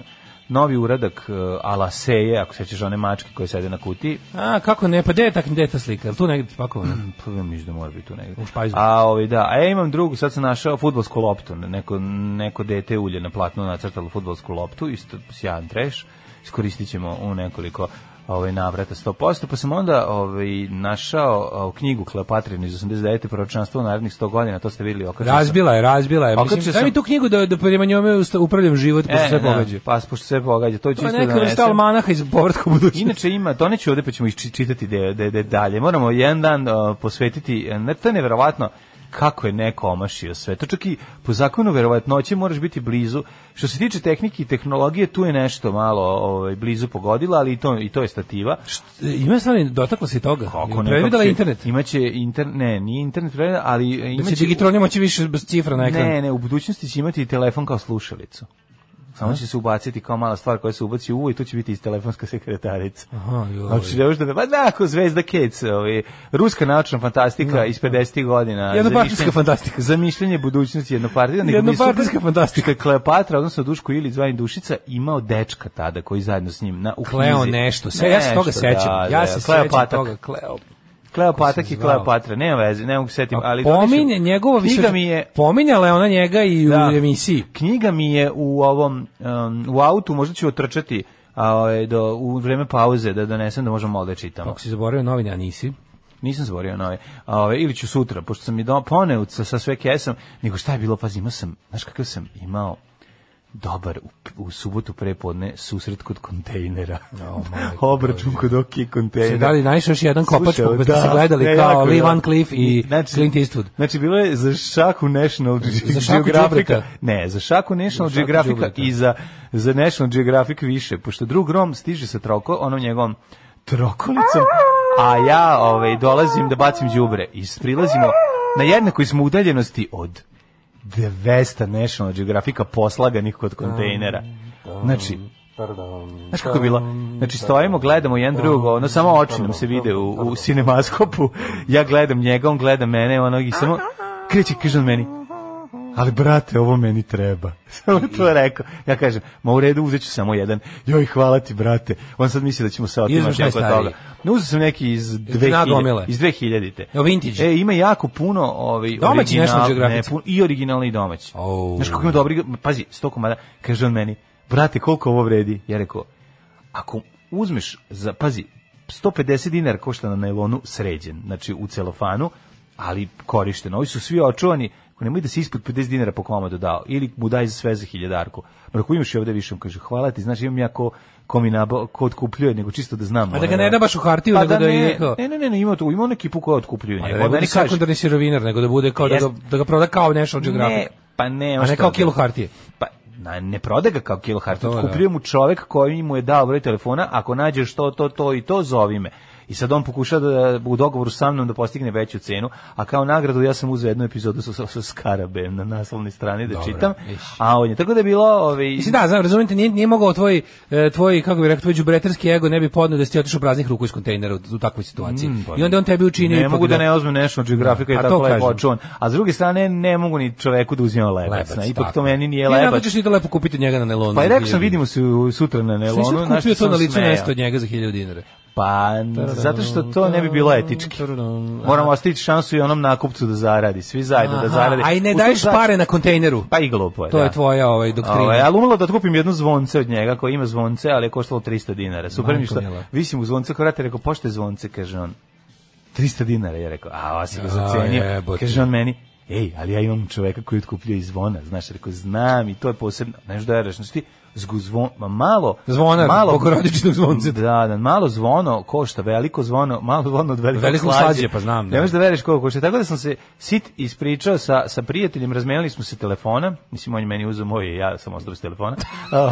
G: novi uradak e, ala seje, ako sećaš one mačke koje sede na kutiji,
F: A, kako ne, pa gde je tak, gde je ta slika? Jel tu negdje spakovana?
G: Pa ja mislim da mora biti tu negde.
F: U špajzu.
G: A ovaj da, a ja imam drugu, sad sam našao fudbalsku loptu, neko neko dete ulje na platnu nacrtalo fudbalsku loptu, isto sjajan treš. Iskoristit ćemo u nekoliko ovaj navrata 100%, pa sam onda ovaj našao a, knjigu Kleopatrin iz 89. proročanstvo narednih 100 godina, to ste videli okačio sam.
F: Razbila je, razbila je.
G: Okačio
F: Mislim, daj
G: sam-
F: mi tu knjigu da, da prema njome usta- upravljam život, pa se
G: E,
F: sve
G: da,
F: pogađa.
G: Pa pošto sve pogađa, to,
F: To
G: čisto
F: je
G: da
F: neka vrsta
G: donesem.
F: almanaha iz povratka u budućnost.
G: Inače ima, doneću ovde pa ćemo ih či- čitati de, de, de dalje. Moramo jedan dan uh, posvetiti, e, ne, to je neverovatno kako je neko omašio sve. To čak i po zakonu verovatnoće moraš biti blizu. Što se tiče tehnike i tehnologije, tu je nešto malo ovaj, blizu pogodila, ali i to, i to je stativa.
F: Ima stvari, dotakla se i toga.
G: Kako ne?
F: Previdela
G: kako će-
F: internet.
G: Imaće internet, ne, nije internet, previdela, ali e,
F: Da će
G: imaće...
F: Digitron moći više bez cifra na ekran.
G: Ne, ne, u budućnosti će imati i telefon kao slušalicu. Samo će se ubaciti kao mala stvar koja se ubaci u uvo i tu će biti iz telefonska sekretarica.
F: Aha, joj.
G: Znači, ne možda da... Pa da, ako Zvezda Kec, ovaj, ruska naučna fantastika iz 50. godina.
F: Jednopartijska
G: Zamišljanje-
F: fantastika.
G: Zamišljanje budućnosti jednopartija. nego
F: Jednopartijska
G: nisu-
F: fantastika.
G: što je Kleopatra, odnosno Duško Ilić, zvani Dušica, imao dečka tada koji zajedno s njim na, u
F: Kleo
G: knjizi.
F: nešto. Se, ja se toga
G: Nešto,
F: sećam.
G: da,
F: ja
G: da,
F: se sećam
G: Kleopatak.
F: toga. Kleo.
G: Kleopatak i
F: zvao?
G: Kleopatra, nema veze, ne mogu se setim. Ali
F: Pominje
G: donešu-
F: njegova
G: knjiga mi je
F: Pominjala je ona njega i
G: Da.
F: u emisiji.
G: Knjiga mi je u ovom um, u autu, možda ću otrčati a, ovaj, do, u vreme pauze da donesem da možemo malo da čitamo.
F: Ako si zaboravio novine, a nisi.
G: Nisam zborio nove. A, ovaj, ili ću sutra, pošto sam mi do, poneo sa, sa sve kesom, nego šta je bilo, pazi, imao sam, znaš kakav sam imao dobar u, u subotu prepodne susret kod kontejnera.
F: majko
G: Obračun kod OK
F: Se
G: kontejnera.
F: dali najviše još jedan kopač,
G: E, Slušaj,
F: pa ste se gledali
G: ne,
F: kao
G: jako,
F: Lee
G: jako.
F: Van Cleef i Clint Eastwood.
G: Znači, bilo je za šaku National
F: Za
G: Ge-
F: šaku
G: Geographic.
F: đubreta.
G: Ne, za šaku National
F: Za šaku
G: Geographic
F: đubreta.
G: i za, za National Geographic više, pošto drug Rom stiže sa troko, onom njegovom trokolicom, a ja ovaj, dolazim da bacim đubre i prilazimo na jednakoj smo udaljenosti od 200 National Geographica poslaganih kod kontejnera. Znači, Znaš kako je bilo? Znači, stojimo, gledamo jedan drugog, ono, samo oči nam se vide u, u ono, sinemaskopu. Ja gledam njega, on gleda mene, onog i samo kreće, kaže on meni, ali brate, ovo meni treba. Samo to je rekao. Ja kažem, ma u redu, uzet ću samo jedan. Joj, hvala ti, brate. On sad misli da ćemo se
F: Izuzmeš
G: otimati neko od
F: najstariji.
G: toga. No, uzeo sam neki iz
F: nagomile.
G: 2000. Iz 2000-te.
F: Evo, vintage.
G: E, ima jako puno ovaj,
F: Domaći
G: original-
F: National Geographic.
G: ne, pu- I originalni i domaći.
F: Au.
G: Znaš kako ima dobri... Pazi, sto komada. Kaže on meni, brate, koliko ovo vredi? Ja rekao, ako uzmeš, za, pazi, 150 dinara košta na najlonu sređen, znači u celofanu, ali korišteno. Ovi su svi očuvani, ako nemoj da si ispod 50 dinara po komadu dao, ili mu daj za sve za hiljadarku. Ma Ako imaš i ovde više, on kaže, hvala ti, znaš, imam ja ko, ko mi nabo, ko otkupljuje, nego čisto da znam.
F: A da
G: ono,
F: ga ne da baš u hartiju, nego da je
G: ne,
F: to.
G: ne, ne, ne, ne, ima tu, ima on ekipu koja otkupljuje.
F: Pa
G: nego on
F: da ne bude
G: meni kaže,
F: sekundarni sirovinar, nego da bude kao da ga,
G: Jest.
F: da ga proda kao National Geographic.
G: Ne, pa ne,
F: A ne
G: šta
F: kao
G: da-
F: kilo hartije.
G: Pa na, ne proda ga kao kilo hartu,
F: To je, da.
G: kupljuje mu čovek koji mu je dao broj telefona, ako nađeš to, to, to i to, zovi me. I sad on pokuša da, u dogovoru sa mnom da postigne veću cenu, a kao nagradu ja sam uzeo jednu epizodu sa, sa, sa Skarabejem na naslovnoj strani da
F: Dobro,
G: čitam,
F: iš.
G: a on je, tako da je bilo... Ovaj,
F: Mislim, da, znam, razumite, nije, nije mogao tvoj, e, tvoj, kako bih rekao, tvoj džubretarski ego ne bi podneo da si ti otišao praznih ruku iz kontejnera u, u takvoj situaciji.
G: pa
F: I onda je on tebi učinio
G: ne
F: ipak
G: mogu da ne uzmem National Geographic
F: Da,
G: je
F: a
G: tako
F: to
G: lepo
F: kažem.
G: očuvan. A s druge strane, ne mogu ni čoveku da uzimam lebac.
F: lebac,
G: na, ipak
F: tako.
G: to meni nije
F: I onako
G: lebac.
F: ćeš ti to lepo kupiti od njega na nelonu.
G: Pa i
F: za
G: rekao sam,
F: 1000
G: vidimo se u- sutra na
F: Šta si
G: Nelonu.
F: sad
G: na
F: kupio
G: što
F: to na
G: sam
F: licu
G: smejao.
F: mjesto od njega za 1000 dinara?
G: Pa, n- zato što to ne bi bilo etički. Moramo ostaviti šansu i onom nakupcu da zaradi, svi zajedno da
F: Aha,
G: zaradi.
F: A i ne
G: U
F: daješ
G: tu za-
F: pare na kontejneru.
G: Pa i glupo je,
F: To
G: da.
F: je tvoja ovaj, doktrina.
G: Ovaj, ali umalo da otkupim jedno zvonce od njega koje ima zvonce, ali je koštalo 300 dinara. Super mi
F: Majko
G: što
F: mila.
G: visim u zvonce, kao vrate, rekao, pošte zvonce, kaže on. 300 dinara, ja rekao, a ova si ga
F: A,
G: zacenio.
F: jebote.
G: Kaže on meni, ej, ali ja imam čoveka koji otkupljuje iz zvona, znaš, rekao, znam i to je posebno, znaš da je rešno, ti zgu zvon, ma malo,
F: Zvonar,
G: malo,
F: bogorodičnog zvonca.
G: Da, da, malo zvono košta, veliko zvono, malo zvono od velikog
F: Veliko
G: slađe.
F: slađe, pa znam, da.
G: Ne možeš da veriš koliko košta. Tako da sam se sit ispričao sa, sa prijateljem, razmenili smo se telefona, mislim on je meni uzeo moj, ja sam ostao bez telefona.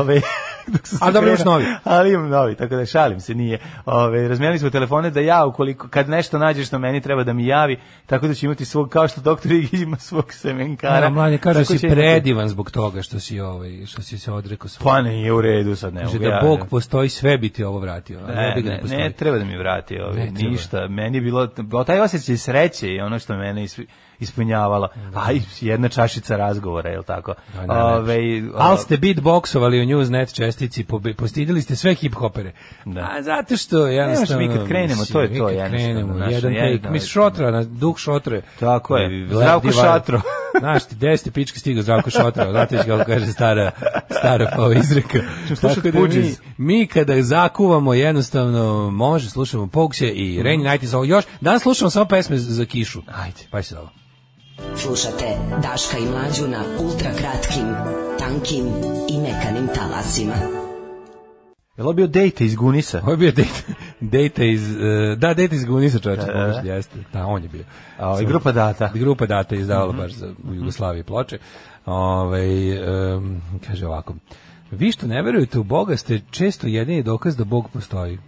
G: Ove, dok sam se
F: A dobro, imaš
G: krenuo.
F: novi.
G: Ali imam novi, tako da šalim se, nije. Ove, razmenili smo telefone da ja, ukoliko, kad nešto nađeš na meni, treba da mi javi, tako da ću imati svog, kao što doktor Igić ima svog semenkara.
F: Ara, mlađe, kaže
G: Tako
F: si
G: će imati-
F: predivan zbog toga što si, ovaj, što si se odrekao svoj.
G: Pa nije u redu sad, ne
F: Kaže
G: mogu ja,
F: da Bog
G: ne.
F: postoji, sve bi ti ovo vratio. a
G: Ne,
F: jebi Pa ga,
G: ne,
F: postoji.
G: ne, treba da mi vrati ovaj,
F: Ne treba.
G: ništa. Meni je bilo, bilo taj osjećaj sreće i ono što mene isp- ispunjavala. A i jedna čašica razgovora, je li tako?
F: Da, najlepše.
G: Ovaj, o-
F: Ali ste beatboxovali u Newsnet čestici, pobe- postidili ste sve hip-hopere.
G: Da.
F: A zato što jednostavno...
G: mi kad krenemo,
F: mislim,
G: to je
F: mi
G: to
F: kad
G: jednostavno,
F: krenemo,
G: znaš,
F: jedan
G: jedno,
F: take. Mis šotra, na, duh šotre.
G: Tako je,
F: Black
G: Zdravko
F: Divide.
G: Šatro.
F: Znaš ti, gde ste pička stigao Zdravko Šotra, znate već kako kaže stara, stara kao izreka.
G: slušao
F: Tako da mi,
G: Pudžis.
F: mi kada zakuvamo jednostavno može, slušamo Pogse i Rainy Night is All još. Danas slušamo samo pesme za kišu.
G: Ajde.
F: Pa se ovo.
B: Slušate Daška i Mlađu na ultra kratkim, tankim i mekanim talasima.
G: Je li ovo bio dejte iz Gunisa?
F: Ovo je bio Data, data iz... eh, da, Data iz Gunisa čovječe, da, jeste. Da, on je bio.
G: A, ovaj, grupa Data. Mhm.
F: Grupa Data je izdavala baš za, u Jugoslaviji ploče. Ovaj em, kaže ovako. Vi što ne verujete u Boga ste često jedini dokaz da Bog postoji.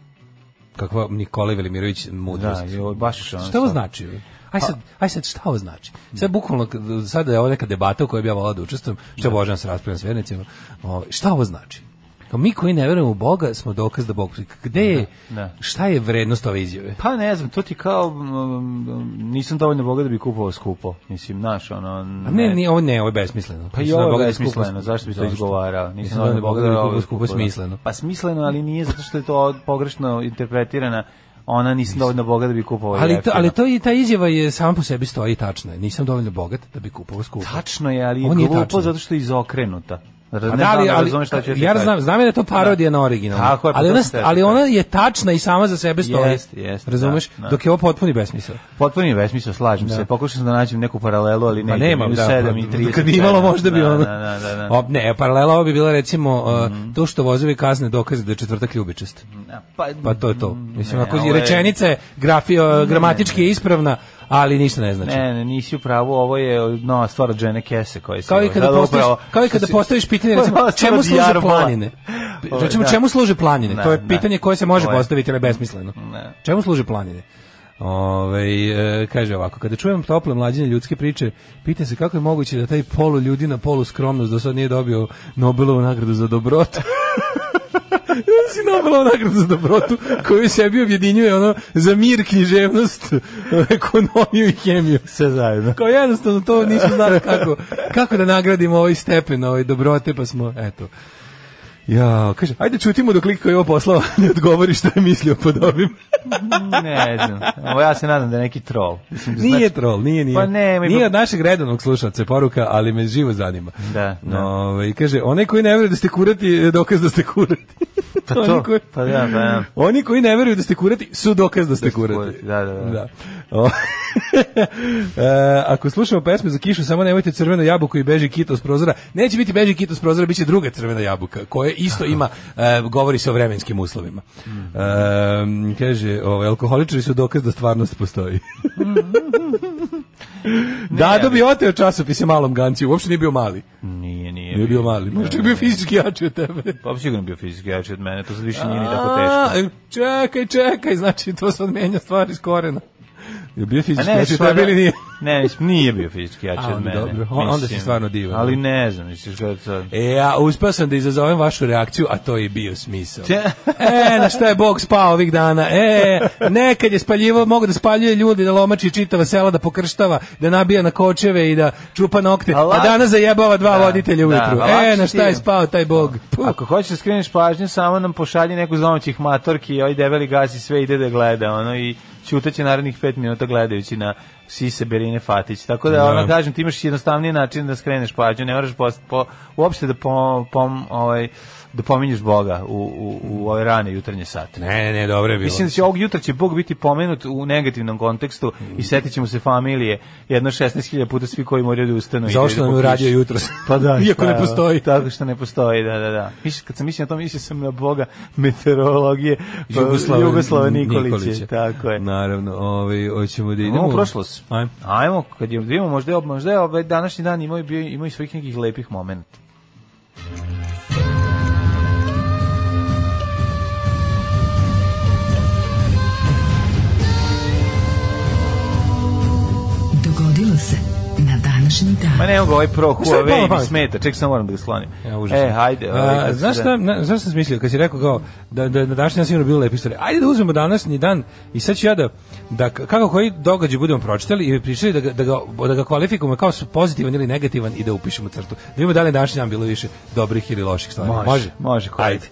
F: Kakva Nikola Velimirović mudrost.
G: Da, Pa- joj, baš je ono
F: Šta ovo
G: sad.
F: znači? Aj sad, aj sad, šta ovo znači? Sad bukvalno, kad- sada je ovo neka debata u kojoj bi ja volao da učestvujem, što je Božan se raspravljam s vernicima. Ovaj, šta ovo znači? Kao mi koji ne verujemo u Boga smo dokaz da Bog postoji. Gde je,
G: da.
F: šta je vrednost ove izjave?
G: Pa ne znam, to ti kao, um, nisam dovoljno boga da bi kupovao skupo. Mislim, naš, ono...
F: A ne, ne, ovo ne, ovo je besmisleno.
G: Pa i
F: Nisam dao
G: ovo
F: Boga
G: je
F: da skupo-
G: besmisleno, zašto bi to izgovarao?
F: Nisam da Boga da
G: ovo
F: ovo skupo
G: izgovarao.
F: smisleno.
G: Pa smisleno, ali nije zato što je to pogrešno interpretirana. Ona nisam dovoljno boga da bi kupovao
F: Ali to,
G: jeftino.
F: ali to i ta izjava je sama po sebi stoji i tačna. je. Nisam dovoljno bogat da bi kupovao skupo.
G: Tačno je, ali je
F: Ovo nije
G: glupo
F: tačno.
G: zato što je izokrenuta. Raz- Ne
F: Pa da, ali,
G: znam,
F: ali,
G: razumeš šta ću ti
F: ja
G: kažem.
F: znam, znam je da je to parodija na original.
G: Tako je, pa
F: ali,
G: to
F: ona,
G: sam teo
F: ali
G: da
F: ona
G: kažem.
F: je tačna i sama za sebe stoji.
G: Jeste, jeste,
F: Razumeš?
G: da, da.
F: Dok je ovo potpuni besmisao.
G: Potpuno je besmisao, slažem se. Pokušao sam da nađem neku paralelu, ali ne.
F: Pa nema, da,
G: 7
F: pa,
G: i 30.
F: kad bi imalo možda bi
G: da,
F: ono.
G: Da, da, da. Mhm. da.
F: O, ne, paralela ovo bi bila recimo uh, to što vozovi kasne dokaze da je četvrtak ljubičast.
G: pa,
F: Pa to je to. Mislim,
G: Ne,
F: ako
G: ovo
F: je
G: je-
F: rečenica je grafi, uh, gramatički je ispravna, ali ništa ne znači.
G: Ne, ne, nisi u pravu, ovo je nova stvar od žene Kese koja je
F: Kao i
G: sigurno-
F: kada
G: da, da,
F: postaviš,
G: upravo.
F: kao i kada
G: Što si-
F: postaviš pitanje,
G: To je
F: recimo,
G: nova stvar
F: čemu
G: od
F: služe
G: Jarbola.
F: planine?
G: Ovo,
F: Recimo,
G: da.
F: čemu služe planine?
G: Da,
F: to je
G: da.
F: pitanje koje se može
G: Ovo je-
F: postaviti, ali je besmisleno.
G: Ne.
F: Čemu služe planine? Ove, e, kaže ovako, kada čujem tople mlađine ljudske priče, pitam se kako je moguće da taj polu ljudi na polu skromnost do sad nije dobio Nobelovu nagradu za dobrotu. si Nobelovu nagradu za dobrotu koju sebi objedinjuje ono za mir, književnost, ekonomiju i hemiju.
G: Sve zajedno.
F: Kao jednostavno to nismo znali kako, kako da nagradimo ovaj stepen ovaj dobrote, pa smo, eto. Ja, kaže, ajde čutimo dok lik koji je ovo poslao ne odgovori što je mislio pod ovim.
G: Ne znam. Ovo ja se nadam da je neki troll. Mislim, da
F: Nije
G: znači-
F: troll, nije, nije.
G: Pa ne, mi-
F: nije od našeg redovnog slušalca je poruka, ali me živo zanima.
G: Da, da.
F: Ovaj, I kaže, onaj koji ne veruje da ste kurati, je dokaz da ste kurati.
G: Pa to,
F: Oni koji-
G: pa da, pa da.
F: Oni koji ne veruju da ste kurati su dokaz da ste kurati.
G: kurati, da, da, da.
F: O, e, ako slušamo pesme za kišu, samo nemojte crveno jabuko i beži kito s prozora. Neće biti beži kito s prozora, bit će druga crvena jabuka, koja isto ima, e, govori se o vremenskim uslovima. E, kaže, ovaj, alkoholičari su dokaz da stvarnost postoji. Dado bi oteo časopise malom Ganciju, uopšte nije bio mali.
G: Nije, nije.
F: Nije bio mali, možda je bio fizički jači od tebe.
G: Pa bi sigurno bio fizički jači od mene, to sad više nije ni tako
F: A,
G: teško.
F: Čekaj, čekaj, znači to sad menja stvar iz korena. Je bio
G: A
F: fizički
G: Pa ne,
F: jači od tebe
G: stvarno-
F: ili nije?
G: Ne, mislim, nije bio fizički jači
F: A,
G: od
F: onda
G: mene.
F: dobro, on- onda si
G: mislim.
F: stvarno divan.
G: Ali ne znam, misliš kad sad...
F: E, ja uspeo sam da izazovem vašu reakciju, a to je i bio smisao.
G: Če-
F: e, na šta je Bog spao ovih dana? E, nekad je spaljivao, mogu da spaljuje ljudi, da lomači čitava sela, da pokrštava, da nabija na kočeve i da čupa nokte,
G: A
F: a,
G: lak-
F: danas zajebava dva
G: Da, da,
F: voditelja ujutru.
G: a
F: e,
G: lakše
F: na šta
G: ti
F: je
G: je. Pa,
F: spao taj Bog? Puh.
G: Ako hoćeš da skreneš pažnju, samo nam pošalji neku zvonoćih matorki i ovaj debeli gasi sve ide da gleda, ono, i ćutaće narednih pet minuta gledajući na sise Berine Fatić. Tako da, ono, kažem, ti imaš jednostavniji način da skreneš pažnju, ne moraš post, po, uopšte da, pom, pom, ovaj, da pominješ Boga u, u, u ove rane jutarnje sate.
F: Ne, ne, ne, dobro je bilo.
G: Mislim da će ovog jutra će Bog biti pomenut u negativnom kontekstu
F: Mm.
G: i setit ćemo se familije jedno 16.000 puta svi koji moraju da ustanu. i da idu
F: Zašto nam
G: po
F: je uradio
G: kiši.
F: jutros?
G: Pa da,
F: Iako
G: šta
F: ne
G: je ovo?
F: postoji.
G: Tako što ne postoji, da, da, da. Miš, kad sam mislio na to, mislio sam na Boga meteorologije pa,
F: Jugoslava,
G: Jugoslava Nikolića. Tako je.
F: Naravno, ovaj, hoćemo da idemo.
G: Idemo u prošlost.
F: Ajmo.
G: Ajmo, kad je, da vidimo, možda je, možda je ovaj današnji dan imao, i bio, imao i svojih nekih lepih momenta.
E: Dogodilo se na današnji
G: Ma
E: dan.
G: ne mogu ovaj pro
F: Šta je palo na
G: Huawei mi
F: pamet?
G: smeta, ček sam moram da ga slonim.
F: Ja, užasno.
G: e, hajde. ovaj,
F: A,
G: kako se
F: znaš
G: zove?
F: šta, na, znaš šta sam mislio, kad si rekao kao, da, da na današnji dan sigurno bilo lepe istorije. Ajde da uzmemo današnji dan i sad ću ja da, da k- kako koji događaj budemo pročitali i pričali da ga, da ga, da ga kvalifikujemo kao su pozitivan ili negativan i da upišemo crtu. Da vidimo da li je današnji dan bilo više dobrih ili loših stvari.
G: Može, može, koji?
F: Ajde.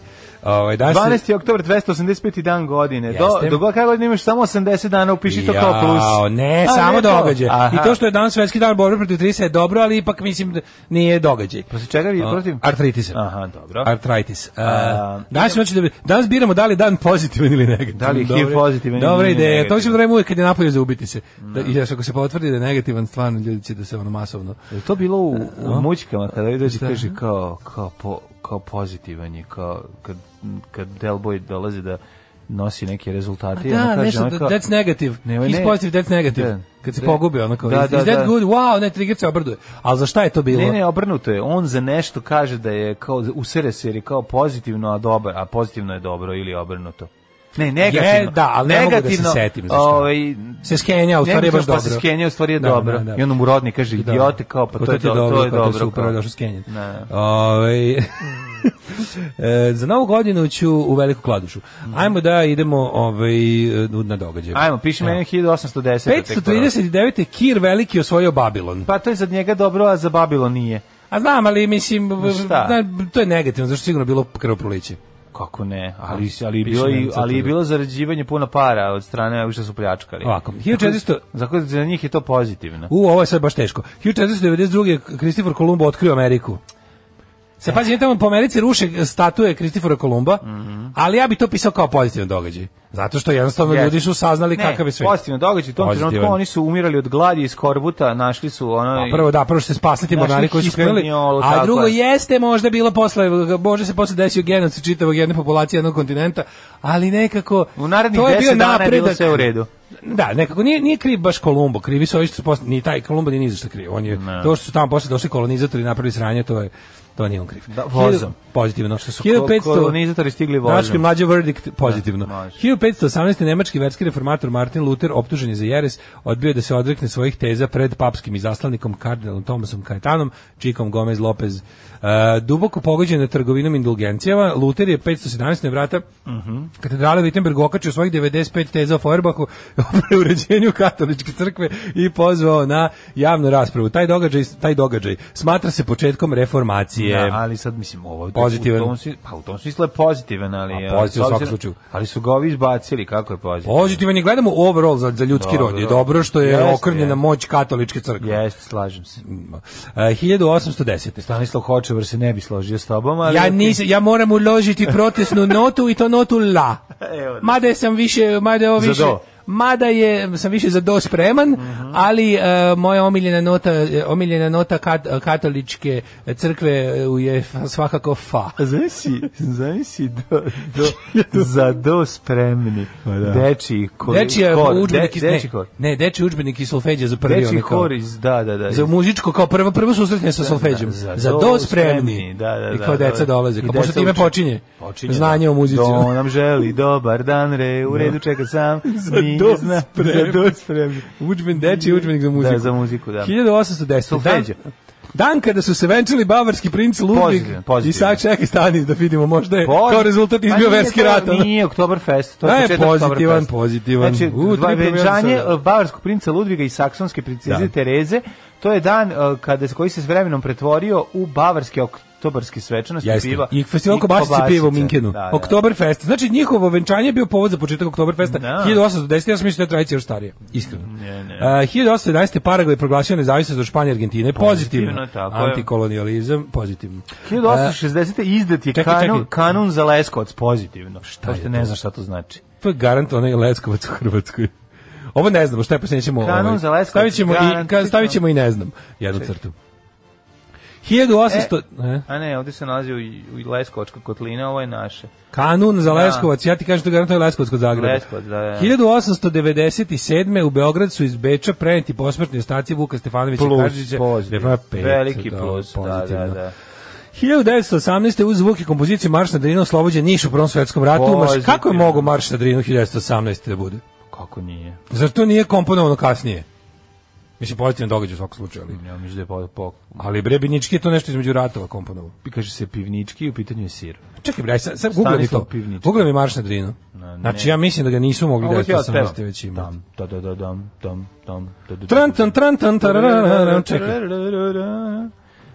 F: Ovaj, danas
G: 12.
F: je-
G: oktober, 285. dan godine. Do,
F: Jeste.
G: do god- kada godine imaš samo 80 dana, upiši to kao
F: Jao,
G: plus.
F: Ne,
G: A,
F: samo
G: ne to.
F: događaj.
G: Aha.
F: I to što je danas svetski dan borbe protiv artritisa je dobro, ali ipak mislim da nije događaj.
G: Protiv čega vi
F: A,
G: Pa protiv?
F: Artritisa.
G: Aha, dobro.
F: Artritis. E,
G: A,
F: danas, ćemo da, bi- danas biramo da li je dan pozitivan ili negativan.
G: Da li je
F: Dobro-
G: HIV pozitivan ili
F: Dobra
G: nije
F: ideja. To
G: negativan.
F: ćemo da radimo uvijek kad je napolje za ubiti se. Da, I još ako se potvrdi da je negativan, stvarno ljudi će da se ono masovno...
G: Jel to bilo u, u mućkama kada vi dođe
F: Šta?
G: kaže kao, kao, po, kao pozitivan je, kao kad, kad Delboy dolazi da nosi neke rezultate. i ona
F: Da,
G: kaže,
F: nešto,
G: ona ono kao-
F: that's negative.
G: Ne, ne.
F: He's positive, that's negative.
G: Da.
F: Kad se
G: Ne.
F: pogube, onako,
G: Da,
F: is,
G: da,
F: is that
G: da.
F: good? Wow, ne, trigger se obrduje. Ali za šta je to bilo?
G: Ne, ne, obrnuto je. On za nešto kaže da je kao usere se jer je kao pozitivno, a dobar, a pozitivno je dobro ili obrnuto. Ne, negativno.
F: Je, da, ali ne mogu da se setim za šta.
G: Ovaj,
F: Se skenja, u stvari je baš
G: negativno,
F: dobro.
G: pa se skenja, u stvari je
F: Da,
G: dobro.
F: da, da.
G: I onda mu rodni kaže,
F: Da.
G: idiote, kao, pa
F: Kao,
G: to je,
F: ti
G: do, to je
F: kao,
G: dobro.
F: To je super,
G: kao.
F: došao s Kenije.
G: Ne, ne.
F: Ovaj, e, za novu godinu ću u Veliku Kladušu.
G: Mhm.
F: Ajmo da idemo ovaj, na događaj.
G: Ajmo, piši meni 1810. tek prvo.
F: 539. je Kir Veliki osvojio Babilon.
G: Pa to je za njega dobro, a za Babilon nije.
F: A znam, ali mislim, b-
G: Šta?
F: da, to je negativno, zašto je sigurno bilo krvoproliće.
G: Kako ne? Ali ali je
F: Piši
G: bilo i
F: Nemca
G: ali je
F: tu.
G: bilo zarađivanje puno para od strane ovih što su pljačkali.
F: Ovako, 1400
G: Zato za njih je to pozitivno.
F: U, ovo je sad baš teško. 1492. je Kristifor Kolumbo otkrio Ameriku. Se pazi, tamo po Americi ruše statue Kristifora Kolumba, ali ja bi to pisao kao pozitivan događaj. Zato što jednostavno
G: Mhm. Jeste.
F: ljudi su saznali
G: Ne,
F: Ovaj kakav je svet.
G: Pozitivno događaj u tom
F: Pozitivan.
G: trenutku oni su umirali od gladi iz korbuta, našli su ono
F: A prvo da, prvo što se spasli ti mornari koji su krenuli,
G: Hispanijolu,
F: a
G: tako
F: drugo
G: je.
F: jeste možda bilo posle, može se posle desio genocid čitavog jedne populacije jednog kontinenta, ali nekako
G: u narednih
F: to je
G: 10
F: bio
G: dana je bilo
F: napredak.
G: sve u redu.
F: Da, nekako nije nije kriv baš Kolumbo, krivi su ovi što su posle, ni taj Kolumbo nije ni za šta kriv. On je to što su tamo posle došli kolonizatori i napravili sranje, to je to nije on kriv.
G: Da, vozom.
F: Hiljadu- Pozitivno što su
G: Kolonizatori stigli vozom.
F: Dački mlađe verdict pozitivno.
G: Da, može.
F: 1500 1518. nemački verski reformator Martin Luther, optužen je za jeres, odbio je da se odrekne svojih teza pred papskim izaslanikom kardinalom Tomasom Kajetanom, Čikom Gomez Lopez. E, duboko pogođen je trgovinom indulgencijama, Luther je 517. na vrata
G: Mhm.
F: katedrale Wittenberg okačio svojih 95 teza o Feuerbachu o preuređenju katoličke crkve i pozvao na javnu raspravu. Taj događaj, taj događaj smatra se početkom reformacije.
G: Da, ali sad mislim ovo u
F: Pozitivan.
G: tom svi- pa u tom smislu je pozitivan, ali
F: A,
G: ja,
F: pozitivan u
G: s obzirom-
F: svakom slučaju.
G: Ali su ga ovi izbacili, kako je pozitivan?
F: Pozitivan je, gledamo overall za, za ljudski
G: Dobro.
F: rod. Je dobro što je
G: Jeste,
F: okrnjena
G: jeste.
F: moć katoličke crkve.
G: Jeste, slažem se.
F: E, 1810.
G: Stanislav Hočevar se ne bi složio s tobom, ali
F: Ja, nisam, ja moram uložiti protestnu notu i to notu la.
G: Evo da.
F: Mada je sam više, mada je ovo
G: Za
F: više,
G: do. Mhm.
F: mada je, sam više za do spreman, ali e, moja omiljena nota, e, omiljena nota kat- katoličke crkve e, je f- svakako fa.
G: Zavisi, zavisi do, do, za do spremni.
F: Pa da.
G: Deči kor.
F: Deči je
G: kor,
F: udžbenik iz,
G: de- deči
F: ne,
G: kor.
F: ne, deči udžbenik iz solfeđa za prvi.
G: Deči
F: ono kao-
G: kor iz, da, da, da.
F: za
G: iz-
F: muzičko kao prvo prvo susretanje sa solfeđem.
G: za
F: Za
G: do
F: do
G: spremni,
F: spremni.
G: da, da,
F: I
G: da,
F: kao
G: da.
F: deca dolaze.
G: I
F: Kao
G: deca
F: pošto time
G: uče.
F: počinje.
G: Počinje,
F: Znanje
G: da.
F: o muzici.
G: Do nam želi, dobar dan, re, u redu čeka sam. za
F: do
G: Za
F: spremni.
G: do spremni.
F: Udžben deči, udžbenik za muziku.
G: Da, za muziku, da.
F: 1810. Dan,
G: Solfeđe.
F: dan kada su se venčali bavarski princ Ludvig
G: Pozitivno, pozitivno.
F: i sad čekaj stani da vidimo možda je
G: Poz-
F: kao rezultat
G: Pa
F: izbio
G: nije
F: verski
G: to-
F: rat. ono.
G: Nije Oktoberfest, to
F: Da,
G: je
F: je
G: početak
F: pozitivan,
G: Oktoberfesta.
F: pozitivan.
G: Znači,
F: U,
G: dva
F: tri promjena
G: venčanje
F: sada.
G: e, bavarskog princa Ludviga i saksonske princeze Tereze, to je dan e, kada se koji se s vremenom pretvorio u bavarske oktobarske svečanosti
F: Jeste.
G: piva.
F: I festival kobasice i piva u Minkenu.
G: Da, da.
F: Oktoberfest. Znači njihovo venčanje je bio povod za početak Oktoberfesta
G: Da.
F: 1810. Ja sam mislio da je tradicija još starija. Iskreno.
G: Ne, ne.
F: Uh, 1811. Paragvaj proglasio nezavisnost od Španije i Argentine. Pozitivno.
G: Pozitivno, tako je.
F: Antikolonijalizam. Pozitivno.
G: 1860. izdat je
F: čekaj,
G: kanun,
F: čekaj.
G: kanun za Leskovac pozitivno. Šta
F: je
G: je
F: to?
G: ne znam šta to znači.
F: To je garant onaj Leskovac u Hrvatskoj. Ovo ne znamo, šta je pa se nećemo...
G: Kanon
F: ovaj,
G: za Leskovac,
F: Stavit ćemo, i,
G: garantično.
F: ka, stavit ćemo i ne znam. Jednu crtu. 1800... E,
G: A ne, ovdje se nalazi u, u Leskovačka kotlina, ovo je naše.
F: kanun za Leskovac, ja ti kažem to garant to je Leskovac kod Zagreba.
G: Leskovac, da, da.
F: 1897. u Beograd su iz Beča preneti posmrtni ostaci Vuka Stefanovića
G: Plus,
F: Karadžića.
G: pozitiv.
F: Defa pet,
G: Veliki
F: da,
G: plus, da, da,
F: pozitivno.
G: da.
F: 1918. uz zvuk i kompoziciju Marš na Drinu oslobođen Niš u Prvom svetskom ratu. Marš,
G: Pozitivno.
F: kako je mogo Marš na Drinu 1918. da bude?
G: Kako nije?
F: Zar to nije komponovano kasnije? Mislim, pozitivan događaj u svakom slučaju, ali...
G: Ja mislim da je po, po,
F: Ali bre, Binički je to nešto između ratova komponovao.
G: kaže se pivnički, u pitanju je sir.
F: Čekaj bre, aj sad, sad googlaj mi to.
G: Stanislav Pivnički.
F: Googlaj mi Marš na Drinu.
G: Ne, ne.
F: Znači, ja mislim da ga nisu mogli
G: Ovo ti ja otpevam.
F: 1918. već imati.
G: Dam, da, da, da, dam, dam, dam, da, da, da.
F: Tran, tan, tran, tan, tararararam, čekaj.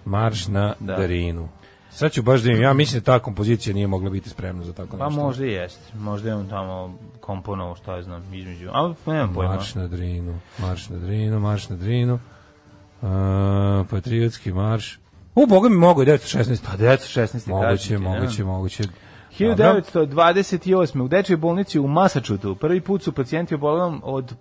F: Marš na
G: Da.
F: Drinu. Sad ću baš da im, ja mislim da ta kompozicija nije mogla biti spremna za tako
G: Pa
F: nešto.
G: možda i jest, možda je on tamo komponovao, šta ja znam, između, ali nemam pojma.
F: Marš na Drinu, marš na Drinu, marš na Drinu. Uh, patriotski marš. U, boga mi mogu, 1916.
G: Pa 1916.
F: Moguće,
G: kažem ti, ne?
F: moguće, moguće. Dobro.
G: 1928. u dečjoj bolnici u Masačutu prvi put su pacijenti obolelom od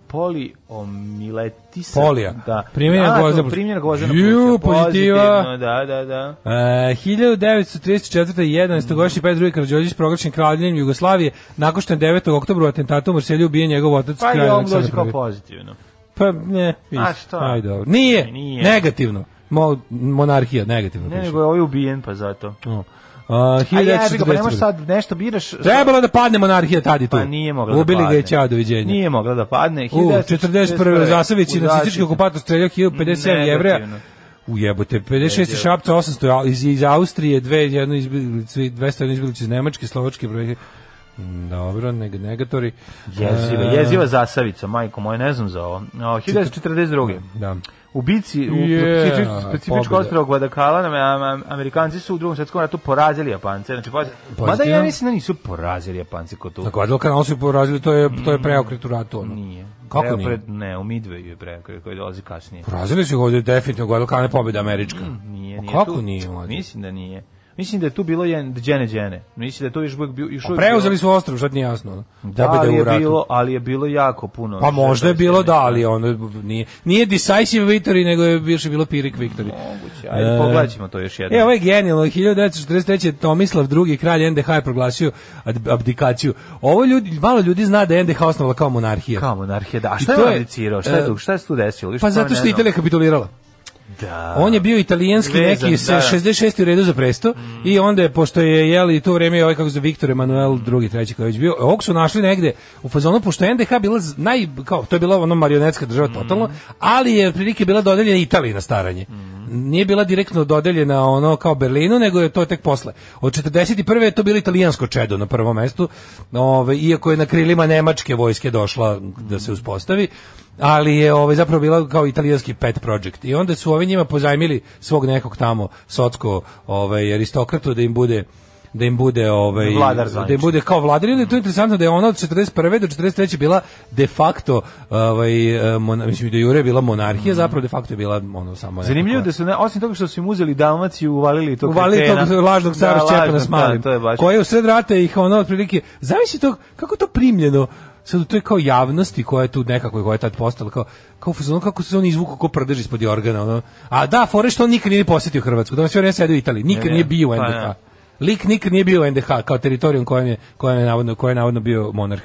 G: poliomiletisa.
F: Polija.
G: Da.
F: Primljena
G: da,
F: gvozdena
G: to,
F: pluća.
G: Primljena gvozdena
F: Ju,
G: pluća.
F: pozitiva.
G: Pozitivno, Da, da, da.
F: E, 1934. i 11. godišnji Petar II. Karadžođić proglašen kraljem Jugoslavije nakon što je 9. oktobra u atentatu u Marselju ubije njegov otac
G: Pa
F: kralj
G: i on
F: Aleksandar
G: dođe kao
F: I.
G: pozitivno.
F: Pa ne, isto.
G: A šta?
F: Aj, dobro. Nije,
G: Nije.
F: negativno. Mo, monarhija, negativno
G: Ne,
F: piše.
G: nego je ovaj ubijen, pa zato.
F: No. Uh,
G: A jebi ga, pa ne možeš
F: 1940.
G: sad nešto biraš. sa-
F: Trebalo da padne monarhija tad i tu.
G: Pa nije mogla
F: Ubili
G: da padne.
F: ga i ćao, doviđenja.
G: Nije mogla da padne.
F: U, 41. Zasavić i nacistički okupator streljao 1057 jevreja.
G: Negativno.
F: U jebote, 56 šapca, 800 al- iz, iz Austrije, dve, jedno izbilice, 201 izbilice iz Nemačke, Slovačke, broj... Mm, Dobro, neg negatori.
G: Jeziva,
F: E,
G: jeziva Zasavica, majko moja, ne znam za ovo. No, 1942.
F: Da.
G: U bici, u
F: Je,
G: yeah, specifičko
F: pobjeda.
G: ostrovo Guadalcanal, am- am- Amerikanci su u drugom svjetskom ratu porazili Japance. Znači, pa, mada
F: Pozitivno.
G: ja mislim da nisu porazili Japanci kod tu.
F: Na Guadalcanal su porazili, to je, to je preokret u ratu. Ono.
G: Mm. Nije.
F: Kako
G: Evo
F: nije? Pa
G: Pred, ne, u Midwayu je preko koji dolazi kasnije.
F: Porazili su ga ovdje definitivno, Guadalcanal je pobjeda američka.
G: Nije,
F: Pa
G: nije
F: Kako
G: tu.
F: nije? mlađe?
G: Mislim da nije. Mislim da je tu bilo jedan džene džene. Mislim da je to još uvijek bio... Još
F: Pa
G: uvijek
F: Preuzeli
G: bilo-
F: su ostrov, sad nije jasno. ono.
G: Da,
F: Pobjeda
G: ali
F: u
G: je,
F: ratu.
G: bilo, ali je bilo jako puno.
F: Pa možda je bilo da,
G: ali
F: ali ono nije, nije decisive victory, nego je više bilo Pyrrhic victory.
G: Moguće. Ajde, pogledat ćemo to još jednom.
F: E, ovo je genijalno. 1943. Tomislav II. kralj NDH je proglasio ad- abdikaciju. Ovo ljudi, malo ljudi zna da je NDH osnovala kao monarhija.
G: Kao monarhije, da. A
F: I
G: šta
F: to
G: je
F: je,
G: abdicirao? Šta je
F: e,
G: tu? Šta je tu desilo? Više
F: Pa
G: stvarno
F: zato što
G: ne
F: je
G: znam.
F: Italija kapitulirala.
G: Da.
F: On je bio italijanski
G: Vezan,
F: neki sa
G: da, da.
F: 66. u redu za presto i onda je, pošto je jeli to vreme ovaj kako se zove, Viktor Emanuel drugi, treći koji je već bio, ovog su našli negde u fazonu, pošto je NDH bila z- naj, kao, to je bila ono marionetska država totalno, ali je prilike bila dodeljena Italiji na staranje. Nije bila direktno dodeljena ono kao Berlinu, nego je to tek posle. Od 41. je to bilo italijansko čedo na prvom mestu, ove, iako je na krilima nemačke vojske došla da se uspostavi ali je ovaj zapravo bila kao italijanski pet project i onda su ovi njima pozajmili svog nekog tamo socko ovaj aristokratu da im bude da im bude ovaj
G: Vladar
F: da im
G: zvanični.
F: bude kao vladar ili to je interesantno da je ona od 41. do 43. bila de facto ovaj eh, mona, mislim da jure je bila monarhija zapravo de facto je bila ono samo nekako-
G: Zanimljivo da su, ne, osim toga što su im uzeli Dalmaciju, uvalili to
F: Uvali
G: kretena.
F: tog lažnog cara
G: Da,
F: Šćepana
G: lažnog,
F: s malim,
G: da, to je baš.
F: koji je u sred rata ih ono otprilike, zamisli to, kako je to primljeno, sad u toj kao javnosti koja je tu nekako, koja je tad postala, kao, kao u fazonu, kako se on izvuku ko prdež ispod jorgana, ono. A da, fore što on nikad nije ni posjetio Hrvatsku, da on sve vreme sedi u Italiji, nikad
G: Ne, ne,
F: nije bio u
G: pa
F: NDH.
G: ne.
F: Lik nikad nije bio u NDH kao teritorijom kojem je, kojem je navodno, kojem je navodno bio monarh.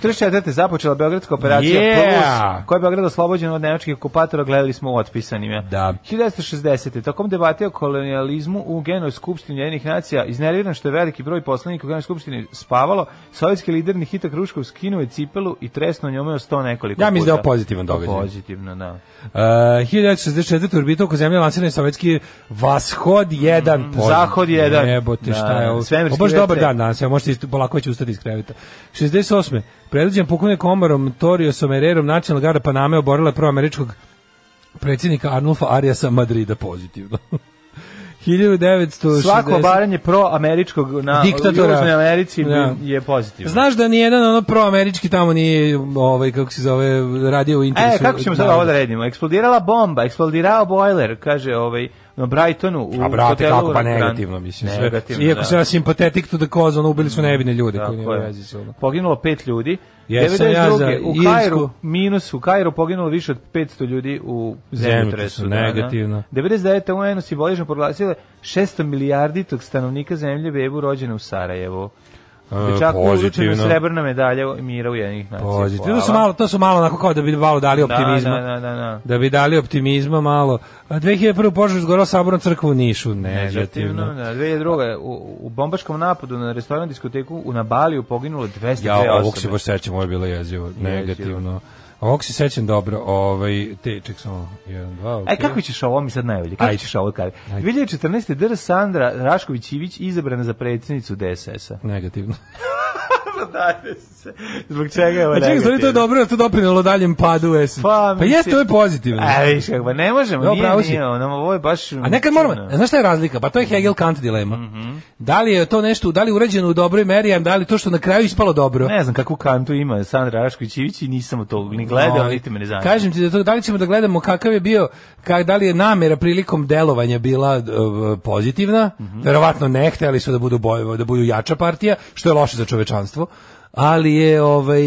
G: 44. je započela Beogradska operacija
F: Yeah!
G: Plus, koja je Beograd oslobođena od nemačkih okupatora, gledali smo u otpisanima.
F: Da.
G: 1960. Tokom debate o kolonializmu u Genoj skupštini jednih nacija, iznerviran što je veliki broj poslanika u Genoj skupštini spavalo, sovjetski lider Nikita Kruškov skinuo je cipelu i tresno njome o sto nekoliko
F: Ja mislim da je
G: puta.
F: ovo pozitivan događaj.
G: Pozitivno, da.
F: Uh, 1964. u orbitu oko zemlje lansiran je sovjetski Vashod 1.
G: Mm, Zahod 1.
F: Jebote, šta
G: Da,
F: je ovo?
G: svemirski
F: Ovo baš dobar
G: WC.
F: dan danas, evo možete isto, polako već ustati iz kreveta. 68. Predviđen pukovnik Omarom Toriosom Ererom nacionalnog garda Paname oborila proameričkog predsjednika Arnulfa Ariasa Madrida pozitivno. 1960.
G: Svako obaranje pro-američkog na
F: Diktatora.
G: Diktatora. Južnoj Americi bi-
F: Da.
G: je pozitivno.
F: Znaš da ni jedan ono proamerički tamo nije ovaj kako se zove radio u interesu.
G: E, kako ćemo sad
F: naroda.
G: ovo da redimo? Eksplodirala bomba, eksplodirao bojler, kaže ovaj, na Brightonu. U
F: A brate,
G: hotelu
F: kako pa
G: Grand-
F: negativno, mislim. Sve.
G: Negativno,
F: Iako
G: da.
F: se ja simpatetik to da cause, ono, ubili su nevine ljude
G: Tako
F: koji nema
G: je.
F: veze s ono.
G: Poginulo pet ljudi.
F: Jesam ja za
G: 92. u
F: Irsku.
G: Kairu, minus, u Kairu poginulo više od 500 ljudi u zemljotresu.
F: Zemljotresu,
G: da, da.
F: negativno.
G: 99. UN simbolično proglasila 600 milijarditog stanovnika zemlje bebu rođena u Sarajevu. Dečaku je uručena srebrna medalja mira u jednih nacija.
F: Pozitivno. To su
G: Hvala.
F: malo, to su malo onako kao da bi malo dali optimizma.
G: Da, da, da, da.
F: Da bi dali optimizma malo. A 2001. požar zgorao saborom crkvu u Nišu. Negativno.
G: Negativno. Da, 2002. U, u bombaškom napadu na restoran diskoteku u Nabaliju poginulo 202
F: Ja,
G: osobe.
F: ovog se baš sećam, ovo je bilo jezivo. Negativno. Ovog se sećam dobro. Ovaj, te, ček samo, jedan, dva, okej.
G: E, kako ćeš ovo mi sad najbolje? Kako
F: Ajde.
G: ćeš ovo kada?
F: Ajde.
G: 2014. Dr. Sandra Rašković-Ivić izabrana za predsjednicu DSS-a.
F: Negativno.
G: Zbog čega Znači, je ovo
F: A čekaj, stvari, to je dobro, to je doprinjelo daljem padu S.
G: Pa,
F: pa jeste,
G: mislim-
F: ovo je pozitivno.
G: E, vidiš kako, pa ne možemo,
F: Dobro,
G: nije,
F: pravo si.
G: nije, ono, ovo je baš...
F: A nekad
G: Znači,
F: moramo, znaš šta je razlika? Pa to je
G: Mhm.
F: Hegel Kant dilema. Da li je to nešto, da li je urađeno u dobroj meri, a da li to što na kraju ispalo dobro?
G: Ne znam kakvu kantu ima Sandra Rašković-Ivić i nisam to ni gledao,
F: Ali,
G: niti me ne zanima.
F: Kažem ti da to, da li ćemo da gledamo kakav je bio, kak, da li je namjera prilikom delovanja bila e, pozitivna,
G: Mhm.
F: verovatno ne, hteli su da budu, boj- da budu jača partija, što je loše za čovečanstvo, ali je ovaj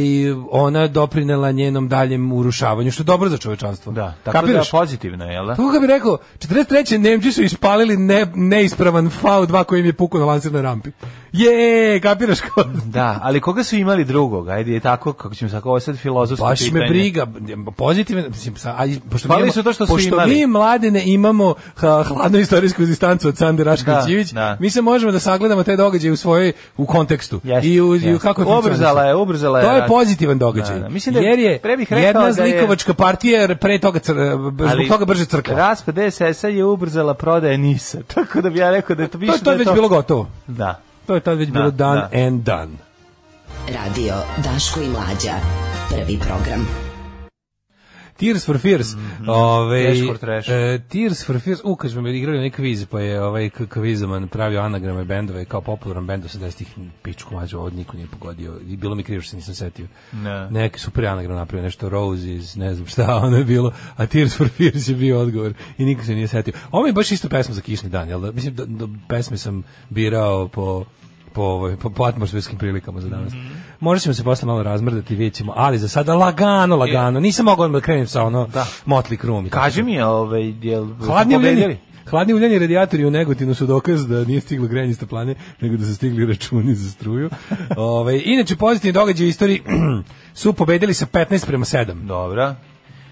F: ona doprinela njenom daljem urušavanju, što je dobro za čovečanstvo.
G: Da, tako
F: Kapiraš?
G: da pozitivno je, jel da?
F: Kako ga bi rekao, 43. Nemci su ispalili ne, neispravan V2 koji im je pukao na lansirnoj rampi. Je, kapiraš ko?
G: Da, ali koga su imali drugog? Ajde, je tako, kako ćemo sad, ovo je sad filozofsko
F: Baš
G: pitanje.
F: me briga, pozitivno, mislim, sa- a, i- pošto, mi,
G: Spalili
F: imamo-
G: su to što su
F: pošto
G: imali.
F: mi mladine imamo ha, hladnu istorijsku distancu od Sande Raškovićević,
G: Da, da.
F: mi se možemo da sagledamo te događaje u svojoj, u kontekstu.
G: Jeste,
F: I u, i u
G: jeste.
F: kako
G: Ubrzala je, ubrzala je
F: To je
G: rat.
F: pozitivan događaj.
G: Da, da. Mislim da je-
F: jer je
G: pre bih rekao da
F: jedna
G: je-
F: zlikovačka partija jer pre toga, cr, zbog toga brže crkla.
G: Raspad DSS-a je ubrzala prodaje Nisa, tako da bi ja rekao da je to
F: to
G: više...
F: je
G: da
F: tad već bilo gotovo.
G: Da.
F: To je tad već
G: Da,
F: bilo dan
G: da.
F: and done.
B: Radio Daško i Mlađa. Prvi program.
F: Tears for Fears. Ove,
G: Trash Mhm. for trash.
F: e, Tears for Fears. U, kad smo igrali onaj kviz, pa je ovaj k- kvizoman pravio anagrame bendove kao popularan bend 80-ih pičku mađu, ovo niko nije pogodio. I bilo mi krivo što se nisam setio.
G: Ne.
F: Neki super anagram napravio, nešto Roses, ne znam šta, ono je bilo. A Tears for Fears je bio odgovor i niko se nije setio. Ovo mi je baš isto pesma za kišni dan, jel da? Mislim, da, da pesme sam birao po po, ovoj- po, po atmosferskim prilikama za danas.
G: Mhm.
F: Možda ćemo se posle malo razmrdati i vidjet ćemo, ali za sada lagano, lagano. Nisam mogao odmah da krenem sa ono da. Motley Crue. mi tako
G: E. Kaži mi, ovaj, jel...
F: Hladni uljeni,
G: pobedili?
F: hladni uljeni radijatori u Negotinu su dokaz da nije stiglo grejanje staplane, nego da su stigli računi za struju. Ovaj, Ove, inače, pozitivni događaj u istoriji su pobedili sa 15 prema 7.
G: Dobra.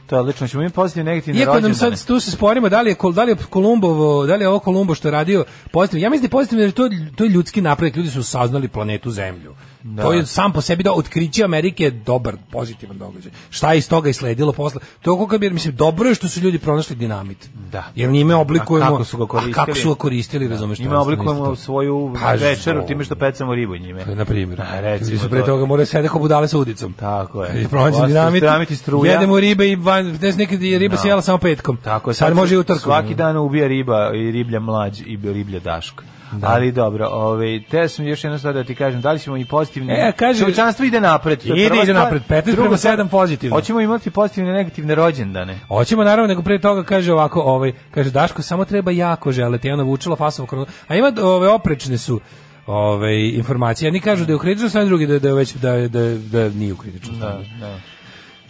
G: To je odlično. Ćemo mi pozitivno negativno
F: Iako nam
G: rođendane.
F: sad tu se sporimo da li je Kol- da li je Kolumbovo, da li je ovo Kolumbo što je radio pozitivno. Ja mislim da je pozitivno jer to je- to je ljudski napredak, ljudi su saznali planetu Zemlju. To je sam po sebi da otkriće Amerike je dobar, pozitivan događaj. Šta je iz toga isledilo posle? To kako bi mislim dobro je što su ljudi pronašli dinamit.
G: Da.
F: Jer njime oblikujemo
G: A kako su ga koristili?
F: a kako su ga koristili, razumeš to je
G: Njime oblikujemo
F: isto.
G: svoju
F: Pa,
G: večeru
F: što-
G: time što pecamo ribu njime.
F: na primjer.
G: A, recimo
F: Ljudi su pre
G: to.
F: toga morali sede kao budale sa udicom.
G: Tako je.
F: I pronađen
G: Ostali
F: dinamit,
G: dinamit i struja.
F: Jedemo ribe i van, ne znam, nekad je riba se jela samo petkom.
G: Tako je,
F: sad, može i utorkom.
G: Svaki dan ubija riba i riblja mlađ i riblja daško. Ali dobro, ovaj te sam još jedno stvar da ti kažem, da li ćemo i pozitivne.
F: E, kaže-
G: čovečanstvo ide napred. to je
F: Ide,
G: prva
F: ide
G: stvar.
F: napred, 15
G: Druga
F: prema
G: stvar,
F: 7 pozitivno.
G: Hoćemo imati pozitivne i negativne rođendane.
F: Pa Hoćemo naravno, nego pre toga kaže ovako, ovaj, kaže Daško samo treba jako želeti, i ona vučela fasovo kronu. A ima ove oprečne su ove informacije. Jedni kažu da je u kritičnom stanju, drugi da je, da je već da je, da je, da je nije u kritičnom stanju.
G: da.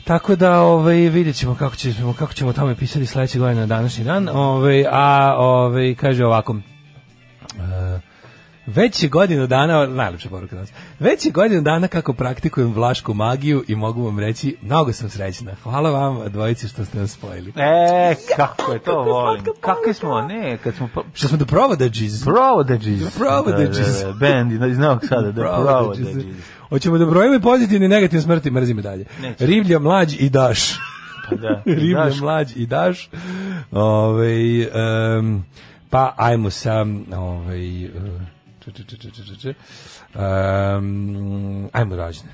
F: Tako da ovaj vidjet ćemo kako ćemo kako ćemo o tome pisati sledeće godine na današnji dan. Ovaj a ovaj kaže ovako e, Već je godinu dana, najlepša poruka danas, već je godinu dana kako praktikujem vlašku magiju i mogu vam reći, mnogo sam srećna. Hvala vam, dvojici, što ste nas spojili.
G: E, kako je to volim. Kakvi smo, ne, kad smo po-
F: Što smo do provodađiz?
G: Provodages.
F: Provodages.
G: Da, da, da, Band iz Novog Sada, da, Provodages.
F: Hoćemo da brojimo i pozitivne i negativne smrti, mrzim me dalje.
G: Neće.
F: Riblja, mlađ i daš.
G: Pa da.
F: Riblja,
G: Daš-
F: mlađ i daš. Ovaj em, pa ajmo sa... ovaj eh, če, če, če, če, če, če, če. Em, ajmo rođene.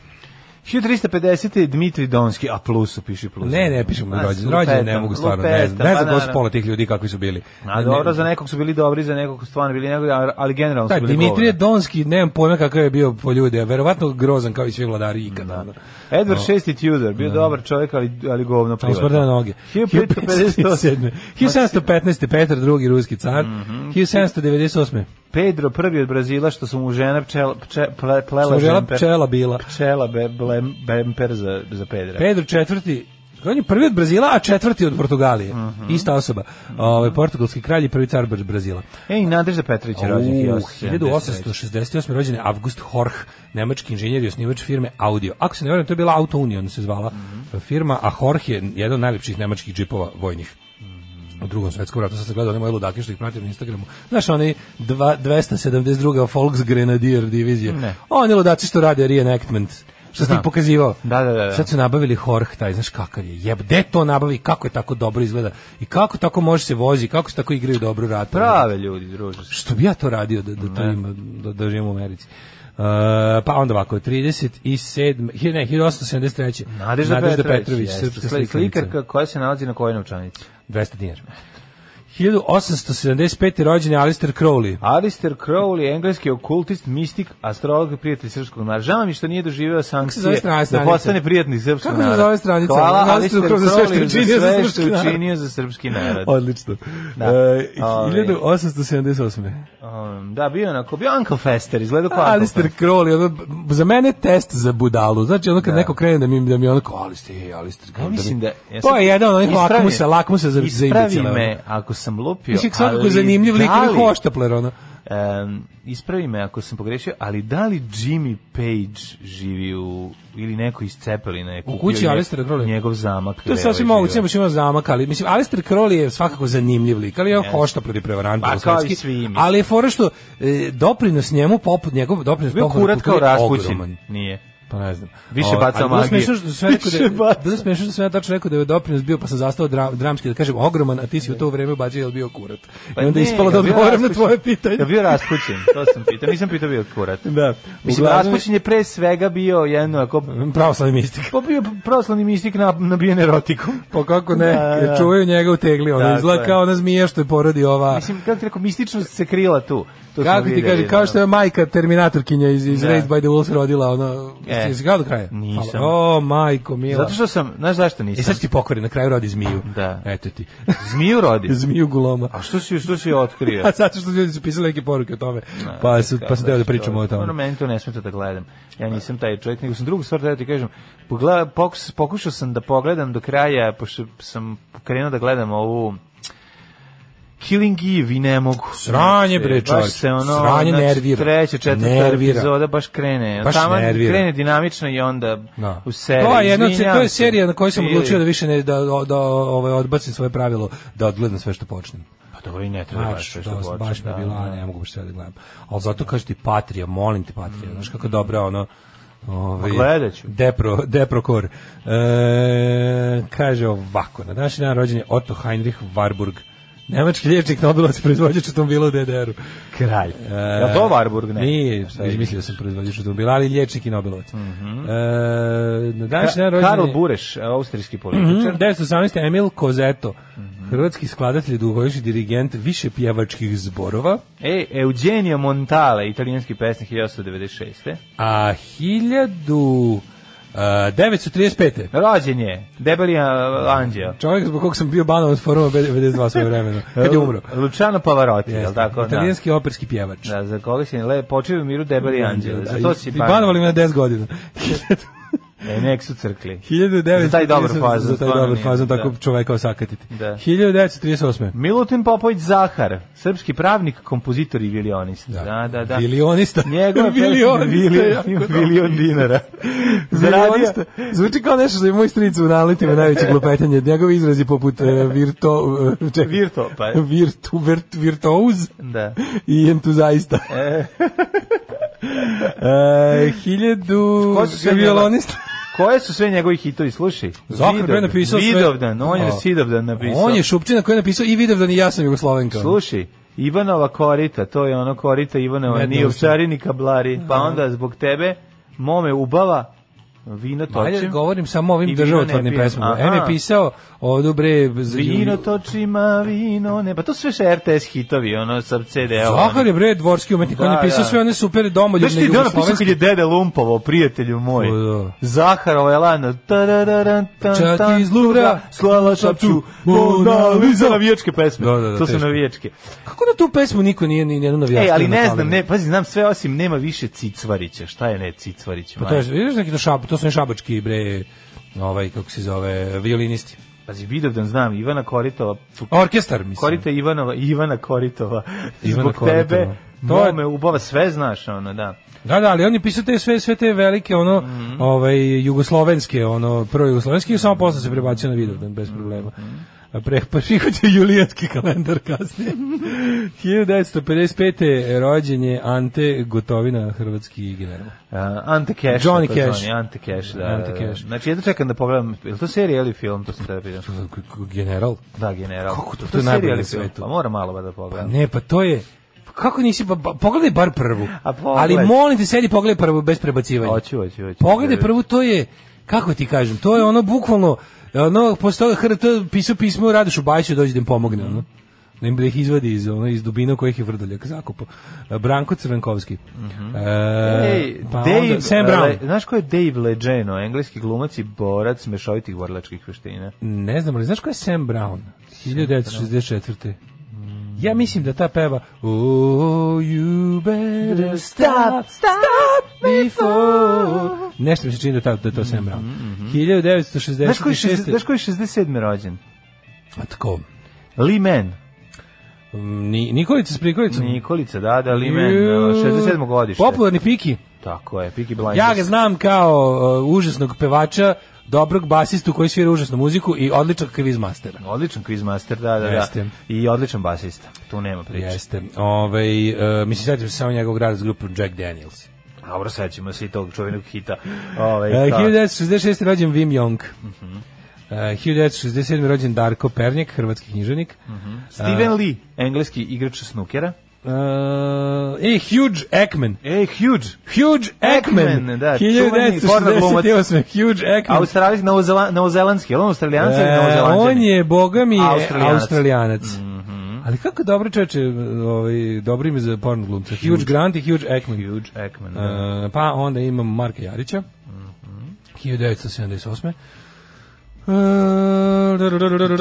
G: 1350. je Dmitri Donski, a plusu, piši plus.
F: Ne, ne pišemo
G: A,
F: rođene. Rođene ne
G: lupetam,
F: mogu stvarno. Ne
G: lupetam,
F: znam, ne znam
G: pa
F: ko su
G: naravno.
F: pola tih ljudi kakvi su bili.
G: A
F: Ne-
G: dobro,
F: ne-
G: za nekog su bili dobri, za nekog su stvarno bili negodi, ali generalno
F: Taj
G: su bili
F: Dimitrije
G: govori.
F: Donski, nemam pojma kakav je bio po ljudi, a verovatno grozan kao i svi vladari ikada. ono.
G: Edward VI Tudor, bio dobar čovjek, ali, ali govno
F: Samo
G: privatno.
F: smrde na noge.
G: 1557.
F: 1557. 1715. Petar II. ruski car. 1798.
G: Pedro prvi od Brazila, što su mu žena pčela, pče, ple, plela,
F: Što žela
G: žemper-
F: pčela bila.
G: pčela be, blem, bemper za, za Pedra.
F: Pedro IV. On je prvi od Brazila, a četvrti od Portugalije. Ista osoba. Ovaj portugalski kralj i prvi car Br- Brazila.
G: Ej, Nadežda Petrović je rođen.
F: U,
G: 1873.
F: 1868. rođen je August Horch, nemački inženjer i osnivač firme Audio. Ako se ne varam, to je bila Auto Union se zvala
G: Mhm.
F: firma, a Horch je jedan od najljepših nemačkih džipova vojnih.
G: Mhm.
F: u drugom svetskom ratu, sad sam gledao one moje ludake što ih pratim na Instagramu, znaš onaj dva- 272. Volksgrenadier divizije, oni ludaci što rade reenactment, što sam ti pokazivao.
G: Da, da, da, da.
F: Sad su nabavili Horh, taj, znaš kakav je, jeb, gde to nabavi, kako je tako dobro izgleda i kako tako može se vozi, kako se tako igraju dobro ratu.
G: Prave ljudi, druže.
F: Što bi ja to radio da, da, to ima, da, da živim u Americi? Uh, pa onda ovako, 37, hi- ne, 1873.
G: Nadežda, Petrović, jeste,
F: srpska
G: sli-
F: slikanica.
G: slikarka koja se nalazi na kojoj novčanici.
F: 200 dinara. 1875. rođen je Alistair Crowley.
G: Alistair Crowley, engleski okultist, mistik, astrolog i prijatelj srpskog naroda. Žao mi je što nije doživeo
F: zove
G: sankcije
F: strana
G: da
F: stranica?
G: postane prijatelj srpskog
F: Kako se
G: naroda.
F: zove stranica?
G: Hvala
F: Alistair
G: Alistair
F: Crowley za sve što
G: Crowley
F: učinio za
G: za sve
F: srpski
G: što je učinio za srpski narod.
F: Odlično.
G: Da.
F: E,
G: Ovaj.
F: 1878.
G: Um, da, bio je onako, bio Uncle Fester, izgleda kao Uncle
F: Alistair Crowley, ono, za mene je test za budalu. Znači, ono kad neko krene da mi, da mi onako, Alistair, ej, Alistair Crowley.
G: Ja mislim da...
F: mi- to je jedan od onih
G: Ispravi-
F: lakmusa, lakmusa za, za
G: Ispravi
F: imbecile, ono.
G: me ako sam lupio,
F: Mislim, svakako
G: ali
F: zanimljiv lik,
G: da li-
F: ali hoštapler, ono.
G: Em, ispravi me ako sam pogrešio, ali da li Jimmy Page živi u ili neko iz Cepelina je kupio
F: kući
G: nje-
F: Alistaira Crowleya?
G: njegov zamak.
F: To je
G: gde
F: sasvim
G: ovaj
F: moguće,
G: živi.
F: baš ima zamak, ali mislim Alistair Crowley je svakako zanimljiv lik, ali je on
G: Jeste.
F: hoštapler i prevarant
G: Pa, kao i
F: belosvetski.
G: svi, mislim.
F: Ali je fora što e, doprinos njemu poput njegov doprinos
G: Bio kurat
F: popularnoj
G: kao
F: kulturi je
G: Rasputin.
F: ogroman.
G: Nije.
F: Pa ne znam.
G: Više
F: Ovaj,
G: baca
F: ali bilo
G: magije.
F: smešno što sam rekao da-
G: Više baca.
F: Bilo smešno što sam ja tačno rekao da je doprinos bio, pa sam zastao dra- dramski, da kažem ogroman, a ti si u to vreme bacio jel bio kurat.
G: Pa
F: I onda
G: ne,
F: je ispalo da
G: jel bio
F: odgovaram na
G: Rasputin?
F: tvoje pitanje.
G: Da bio Rasputin, to sam pitao. Nisam pitao bio kurat.
F: Da.
G: Mislim,
F: Uglavnom-
G: Rasputin je pre svega bio jedno, ako...
F: Pravoslavni mistik.
G: Pa bio proslavni mistik na, nabijen erotikom.
F: Pa kako ne,
G: Da, da.
F: jer čuvaju njega u tegli, ona
G: Tako
F: izgleda
G: je.
F: kao ona zmija što je porodi ova...
G: Mislim, kako ti rekao, mističnost se krila tu. To smo
F: Kako ti
G: videli,
F: kaže, kao
G: da.
F: što je majka Terminatorkinja iz, iz
G: Da.
F: Raised by the Wolves rodila, ono,
G: E.
F: e. si gledao do kraja?
G: Nisam.
F: Hvala. O, majko, mila.
G: Zato što sam, znaš zašto
F: E
G: nisam?
F: sad ću ti pokori, na kraju rodi zmiju.
G: Da.
F: Eto ti.
G: Zmiju rodi.
F: zmiju guloma.
G: A što si, što si otkrio?
F: A zato što ljudi su pisali neke poruke o tome, pa, su, pa sam teo da pričamo o
G: Ono,
F: tome.
G: meni to ne smeta da gledam. Ja nisam taj čovjek, nego sam drugu stvar da ti kažem. Pogleda, pokus, pokušao sam da pogledam do kraja, pošto sam krenuo da gledam ovu Killing Eve i ne mogu.
F: Sranje, bre,
G: Baš
F: čovječe.
G: se ono,
F: Sranje
G: znači,
F: nervira.
G: Treća, četvrta
F: Nervira.
G: epizoda baš krene.
F: Baš
G: Taman
F: nervira.
G: krene dinamično i onda
F: Da.
G: u seriju.
F: To je jedna od-
G: izvinjavam
F: to je
G: se.
F: serija na kojoj sam
G: Ili-
F: odlučio da više ne da da, da ovaj odbacim svoje pravilo da odgledam sve što počnem.
G: Pa dobro i ne treba baš
F: Baš,
G: sve
F: da,
G: što
F: baš,
G: hoće,
F: mi je
G: da,
F: bilo,
G: da.
F: a ne mogu baš sve da gledam. Ali zato kažeš ti Patrija, molim te Patrija, znaš kako dobra ono Ovaj,
G: Mm. Pa gledat ću.
F: Depro, Deprokor. E, kaže ovako, na današnji dan rođen je Otto Heinrich Warburg, nemački liječnik, nobelovac, proizvođač automobila u DDR-u.
G: Kralj.
F: E,
G: Jel to Warburg, ne?
F: Nije, sad mislio sam proizvođač automobila, ali liječnik i nobelovac. e, na današnji dan
G: Mhm. Ka-
F: rođen
G: Karl
F: je-
G: Bureš, austrijski političar.
F: 1918. Emil Kozeto,
G: Mhm.
F: hrvatski skladatelj, dugovojši dirigent više pjevačkih zborova,
G: E, Eugenio Montale, italijanski pesnik 1896.
F: a 1935.
G: Rođen je, debeli a, anđeo.
F: Čovjek zbog kog sam bio banan od foruma 92 svoje vremena, kad je umro.
G: Luciano Pavarotti, jel
F: Jeste,
G: tako? Da.
F: Italijanski operski pjevač.
G: Da, za koga si le, počeo je u miru debeli anđeo. Za to si
F: I
G: pa.
F: banovali me na 10 godina.
G: E, nek su crkli.
F: 1938.
G: Za taj dobar fazon,
F: Za taj
G: stvarno
F: dobar
G: nije,
F: fazon,
G: da.
F: tako čoveka osakatiti.
G: Da.
F: 1938.
G: Milutin Popović Zahar, srpski pravnik, kompozitor i vilionista. Da, da, da.
F: Vilionista.
G: Njegova pesma-
F: Vilionista je
G: Vilion,
F: jako dobro.
G: Vilion dinara. Zaradio,
F: Vilionista. Zvuči kao nešto što je moj stric u naletima najveće glupetanje. Njegovi izrazi poput e, virto... e, čekaj.
G: Virto, pa je.
F: Virtu, virt, virtuoz
G: Da.
F: i entuzaista.
G: E.
F: E, hiljadu...
G: Ko su sve
F: Violonista.
G: Koje su sve njegovi hitovi, slušaj?
F: Zahar je napisao sve...
G: Vidovdan, on je
F: A.
G: Sidovdan napisao.
F: On je Šupčina koji je napisao i Vidovdan i ja sam Jugoslovenka.
G: Slušaj, Ivanova korita, to je ono korita Ivanova,
F: Ne,
G: ni
F: dobro.
G: ovčari ni kablari, pa onda zbog tebe mome ubava vino
F: Ajde,
G: točim.
F: govorim samo o
G: I
F: ovim
G: vino ne
F: državotvornim
G: pijem.
F: pesmama.
G: Aha.
F: M je pisao ovdje bre... za-
G: Vino točima, vino ne... Pa to su sve še RTS hitovi, ono, sa CD-a.
F: Zahar je bre dvorski umetnik, on
G: Da,
F: je pisao
G: da.
F: sve one super
G: Znaš
F: domoljubne
G: ti da napisao kad je
F: jugoslovenske.
G: dede lumpovo, prijatelju moj.
F: O, da.
G: Zaharova je lana. tarararan, tan,
F: Čak
G: tan,
F: iz Luvra,
G: slala šapću,
F: Mona
G: Mona Lisa.
F: Lisa.
G: Navijačke pesme.
F: Da, da, da,
G: to su
F: teško.
G: navijačke.
F: Kako na tu pesmu niko nije ni jednu navijačku?
G: Ej, ali ne
F: napravio?
G: znam, ne, pazi, znam sve osim nema više Cicvarića. Šta je ne Cicvarić?
F: Pa to je, vidiš neki to šab, to su oni šabački bre, ovaj kako se zove, violinisti.
G: Pazi, Vidovdan znam, Ivana Koritova. tu-
F: Orkestar mislim.
G: Korita Ivanova, Ivana Koritova.
F: Ivana
G: Zbog
F: Koritova.
G: tebe,
F: To je-
G: mome ubava, sve znaš, ono, da.
F: Da, da, ali on je pisao te sve sve te velike ono,
G: Mhm.
F: ovaj jugoslovenske, ono prvo jugoslovenski i samo posle se prebacio na Vidovdan bez problema.
G: Mhm.
F: A pre prihoće julijanski kalendar kasnije. 1955. rođen je Ante Gotovina, hrvatski general.
G: Uh, Ante Cash.
F: Johnny
G: takozvani,
F: Cash.
G: Ante Cash, da.
F: Ante
G: da,
F: Cash.
G: da. Znači, jedno čekam da pogledam, je li to serija ili film, to sam tebe pitan.
F: K- k- General?
G: Da, general.
F: Kako to?
G: Je
F: To je
G: serija
F: najbolje
G: ili
F: na
G: film?
F: svetu.
G: Pa moram malo ba da pogledam.
F: Ne, pa to je... pa Kako nisi, pa, pa- pogledaj bar prvu.
G: A pogledaj.
F: Ali molim te, sedi pogledaj prvu bez prebacivanja.
G: Hoću, hoću, hoću.
F: Pogledaj prvu, to je, kako ti kažem, to je ono bukvalno, ono, posle toga HRT pisao pismo Radošu Bajiću, dođi da im pomogne, ono. Da im da ih izvadi iz, ono, iz dubina kojih je Vrdoljak zakupao. Branko Crvenkovski. E,
G: Mhm. Ej,
F: pa
G: Dave,
F: onda Sam Brown.
G: Le- znaš ko je Dave Legeno, engleski glumac i borac mešovitih borlačkih veština?
F: Ne znam, ali znaš ko je Sam Brown? 1964. Ja mislim da ta peva Oh, you better stop, stop before Nešto mi se čini da, ta, da je to Sam Brown. 1966.
G: Mhm, Znaš ko je, šest- znaš ko je 67. rođen?
F: A Pa tko?
G: Lee Man.
F: Ni, Nikolica s prikolicom.
G: Nikolica, da, da, Lee Man, uh, 67. godište. Pa
F: Popularni Piki.
G: Tako je, Peaky Blinders.
F: Ja ga znam kao uh, užasnog pevača, dobrog basistu koji svira užasnu muziku i odličnog kvizmastera.
G: Odličan quizmaster, da, da, da.
F: Jeste.
G: I odličan basista. Tu nema priče.
F: Jeste. Ovaj uh, mislim, sjetim se samo njegovog rada s grupom Jack
G: E,
F: Daniels.
G: Dobro, sećamo se i tog čuvenog hita. Ovaj,
F: E,
G: da.
F: 1966. rođen Wim Jong.
G: Mhm.
F: E, 1967. rođen Darko Pernjek, hrvatski književnik.
G: Mhm.
F: Uh,
G: Steven Lee, engleski igrač snukera.
F: E, e, Huge Ekman.
G: E, huge.
F: Huge Ekman,
G: Ekman, da, čuveni porno
F: 1968. Huge Ekman.
G: Australijski, novozelan, novozelandski, je li on australijanac ili
F: E,
G: novozelanđanin?
F: on je, boga mi,
G: Austrijanac.
F: austrijanac.
G: Mhm.
F: Ali kako dobro čoveče, ovaj, dobro ime za porno glumca. Huge Grant i Huge Ekman.
G: Huge Ekman, da.
F: E, pa onda imamo Marka Jarića,
G: Mhm.
F: 1978.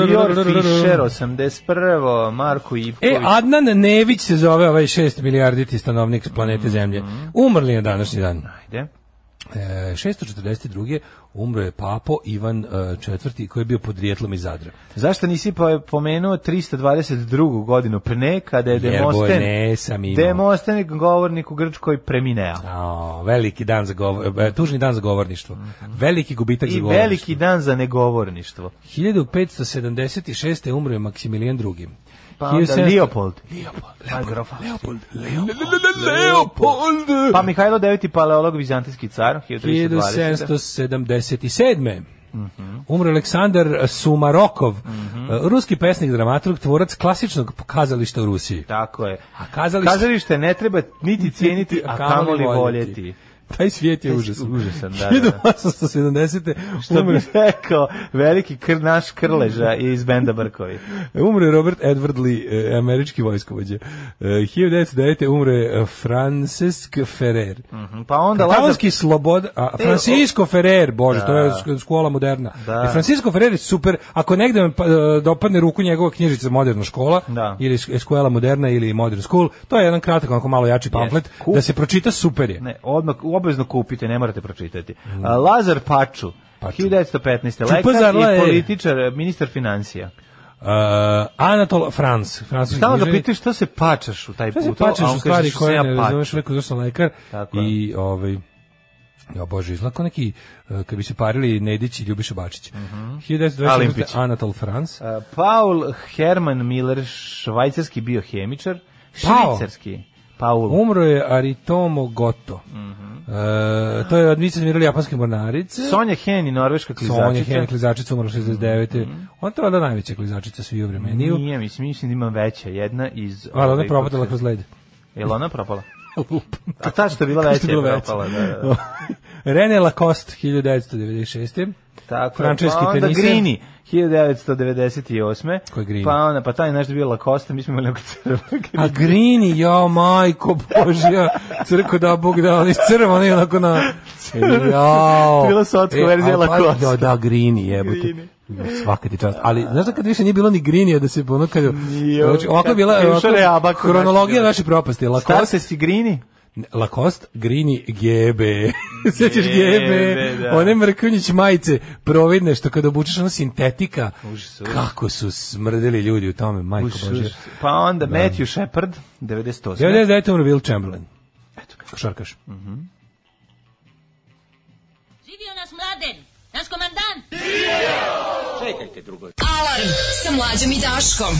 G: Dior Fisher,
F: E,
G: 81. Marko Ivković.
F: E, Adnan Nević se zove ovaj 6 milijarditi
G: Mhm.
F: stanovnik planete Zemlje. Umrli je današnji dan.
G: Ajde.
F: E, 642. umro je papo Ivan e, IV koji je bio podrijetlom iz Zadra.
G: Zašto nisi pa pomenuo 322. godinu pre ne, kada je
F: Jer
G: Demosten,
F: Boenesam imao.
G: Demosten govornik u Grčkoj preminea.
F: A, veliki dan za govor, e, tužni dan za govorništvo. Veliki gubitak za
G: Mhm. I
F: govorništvo.
G: veliki dan za negovorništvo.
F: 1576. umro je Maksimilijan II.
G: Pa onda
F: 1700
G: Leopold. Pa
F: Leopold,
G: Leopold.
F: Leopold, Leopold, Leopold.
G: Pa Mihajlo IX. paleolog, vizantijski car, 1320.
F: 1777.
G: Mhm.
F: Umro Aleksandar Sumarokov, e, ruski pesnik, dramaturg, tvorac klasičnog kazališta u Rusiji.
G: Tako je.
F: A kazalište,
G: Kazalište ne treba niti cijeniti, a kamoli voljeti.
F: Taj svijet je
G: Taj
F: užasan.
G: užasan, da, da, da.
F: 1870.
G: Što
F: umro-
G: bi rekao, veliki kr, naš krleža iz benda Brkovi.
F: E, Umro je Robert Edward Lee, e, američki vojskovođa. E, 1909. umro je e, Francesc Ferrer.
G: Pa onda Lazar E,
F: Katalonski slobod, a, Francisco Ferrer, bože, to je sk- škola moderna.
G: Da.
F: I Francisco Ferrer je super, ako negde vam pa- e, dopadne ruku njegova knjižica Moderna škola,
G: Da.
F: ili Escuela Moderna ili Modern School, to je jedan kratak, onako malo jači pamflet,
G: Kup-
F: da se pročita super je.
G: Ne, odmah, obavezno kupite, ne morate pročitati. A, Lazar Paču,
F: Paču.
G: 1915. Lekar
F: Čupazarla
G: i
F: je-
G: političar, ministar financija.
F: Uh, Anatol Franz, francuski
G: Stalno ga
F: književnik.
G: pitaš što se pačaš u taj
F: Šta se
G: put,
F: pačeš u stvari
G: što
F: koje ne razumeš, rekao zašto sam lekar
G: Tako je.
F: i ovaj Ja bože, izlako neki eh, kad bi se parili Nedić i Ljubiša Bačić. Uh
G: Mhm. Alimpić.
F: Anatol Franz.
G: A, E, Paul Herman Miller, švajcarski biohemičar,
F: Paul. Um-
G: švicarski. Paul.
F: Umro je Aritomo Goto.
G: Mhm.
F: Eh, to je od Mice Mirali japanske mornarice.
G: Sonja Heni, norveška klizačica.
F: Sonja Henja klizačica umrla 69. Ona to je valjda najveća klizačica svih u vremeniju.
G: Mhm. Nije, mislim, mislim da ima veća, jedna iz...
F: Ali ona
G: ovaj,
F: je
G: kako
F: propadala
G: se-
F: kroz led.
G: Jel ona propala? A ta što je bila veća je
F: bila veća.
G: propala, da, da, da.
F: René Lacoste, 1996.
G: Tako, je,
F: Francuski
G: pa onda
F: teniser.
G: Grini, 1998.
F: Ko je Grini?
G: Pa, ona, pa taj nešto je bio Lacoste, mi smo imali nekog crvenog.
F: A Grini, jo, majko Božja, crko da Bog da, on iz crva, on je onako na... Jao.
G: Bila sotska verzija
F: ali pa-
G: Lacoste.
F: Da, da, Grini, jebote. Svaka ti čast. Ali, znaš da kad više nije bilo ni Grinija, da se ono kad...
G: Nije,
F: Znači, ovako je
G: kad-
F: bila
G: kad je
F: ovako,
G: išao Reabak,
F: hronologija
G: znači,
F: naše propasti.
G: Star
F: Lacoste,
G: se si Grini?
F: Lacoste, Grini, GB. Sjećaš
G: GB,
F: GB,
G: da.
F: one mrkunjić majice providne, što kada obučeš ono sintetika,
G: Užas, užas.
F: kako su smrdeli ljudi u tome, majko Božja.
G: Pa onda Matthew Shepard, 98.
F: 99. umro ono Will Chamberlain. Eto ga. Košarkaš.
G: Mhm.
C: Živio naš mladen, naš komandant!
E: Alarm sa mlađom i Daškom.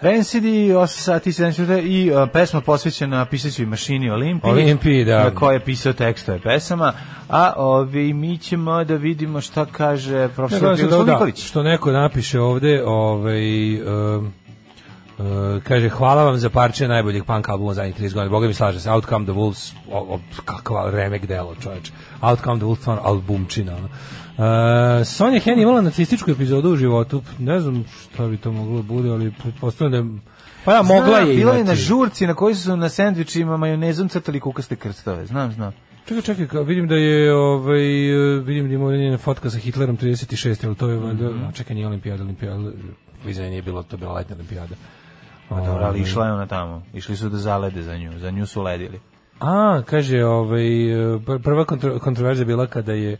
G: Rancid i 8 sati i 7 minuta i uh, pesma posvećena pisaćoj mašini Olimpiji.
F: Olimpiji, da.
G: Na kojoj je pisao tekstove pesama. A ovi, mi ćemo da vidimo šta kaže
F: Ja,
G: profesor
F: gledam sam da,
G: Miroslav
F: da,
G: Nikolić.
F: što neko napiše ovde, ovaj, um, uh, kaže, hvala vam za parče najboljeg punk albuma zadnjih 30 godina. Boga mi slaže se, Outcome the Wolves, o, o, kakva remek delo, čoveč. Outcome the Wolves, stvarno, albumčina. Ono. Uh, Sonja Hen je imala nacističku epizodu u životu, ne znam šta bi to moglo da bude, ali pretpostavljam da je... Pa da, mogla
G: Znam,
F: je
G: Bila je
F: imati.
G: na žurci na kojoj su na sendvičima majonezom crtali kukaste krstove. Znam, znam.
F: Čekaj, čekaj, ka- vidim da je ovaj e, vidim da ima ovdje njena fotka sa Hitlerom 36, ali to je valjda,
G: Mhm.
F: a čekaj, nije olimpijada, olimpijada, vizaj nije bilo, to je bila letnja olimpijada.
G: Pa dobro, ali išla je ona tamo. Išli su da zalede za nju. Za nju su ledili.
F: A, kaže, ovaj e, pr- prva kontro, kontroverza je bila kada je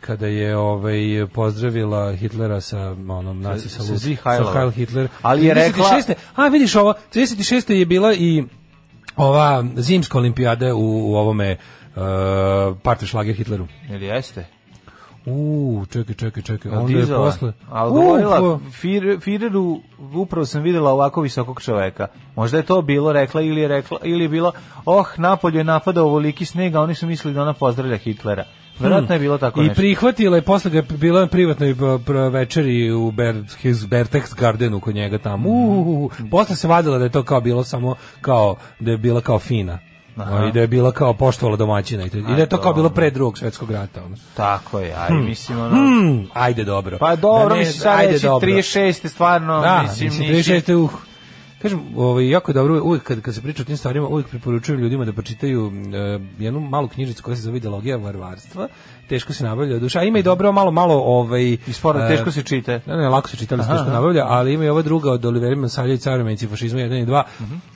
F: kada je ovaj pozdravila Hitlera sa onom naci
G: sa
F: sa, Lut-
G: Sieg
F: sa
G: Heilom.
F: Heil Hitler.
G: Ali je rekla-
F: 36.. A vidiš ovo, 36. je bila i ova zimska olimpijada u, u ovome uh, Partyšlager Hitleru.
G: Ili jeste?
F: U, čekaj, čekaj, čekaj.
G: Al
F: Onda je
G: dizala.
F: posle.
G: Ali
F: U,
G: govorila,
F: ko-
G: Fir- Fireru, upravo sam videla ovako visokog čoveka. Možda je to bilo rekla ili je rekla, ili je bilo, oh, napolju je napadao ovoliki sneg, a oni su mislili da ona pozdravlja Hitlera. Verovatno je bilo tako
F: Hmm. I
G: nešto.
F: prihvatila je, posle ga je bila na privatnoj pa, pra- večeri u Ber, his Bertex Gardenu kod njega tamo. Uuu,
G: Mm.
F: posle se vadila da je to kao bilo samo kao, da je bila kao fina.
G: Aha.
F: I da je bila kao poštovala domaćina. I, to- i da je to kao bilo pre drugog svetskog rata. Ono.
G: Tako je, aj, mislim, ono...
F: Mm, ajde dobro.
G: Pa dobro,
F: Da ne-
G: mislim, sad
F: ajde
G: reći
F: dobro.
G: 36. stvarno,
F: Da,
G: mislim,
F: mislim,
G: nisi-
F: 36. uh. Kažem, ovaj, jako je dobro, uvijek kad, kad se priča o tim stvarima, uvijek preporučujem ljudima da pročitaju e, jednu malu knjižicu koja se zove Ideologija varvarstva, teško se nabavlja od duša, a ima i dobro, malo, malo, ovaj...
G: Mhm. I sporno,
F: e,
G: teško se čite.
F: Ne, ne, lako se čitali, teško nabavlja, ali ima i ova druga od Oliveri Masalja i Caromenici fašizma 1 i 2,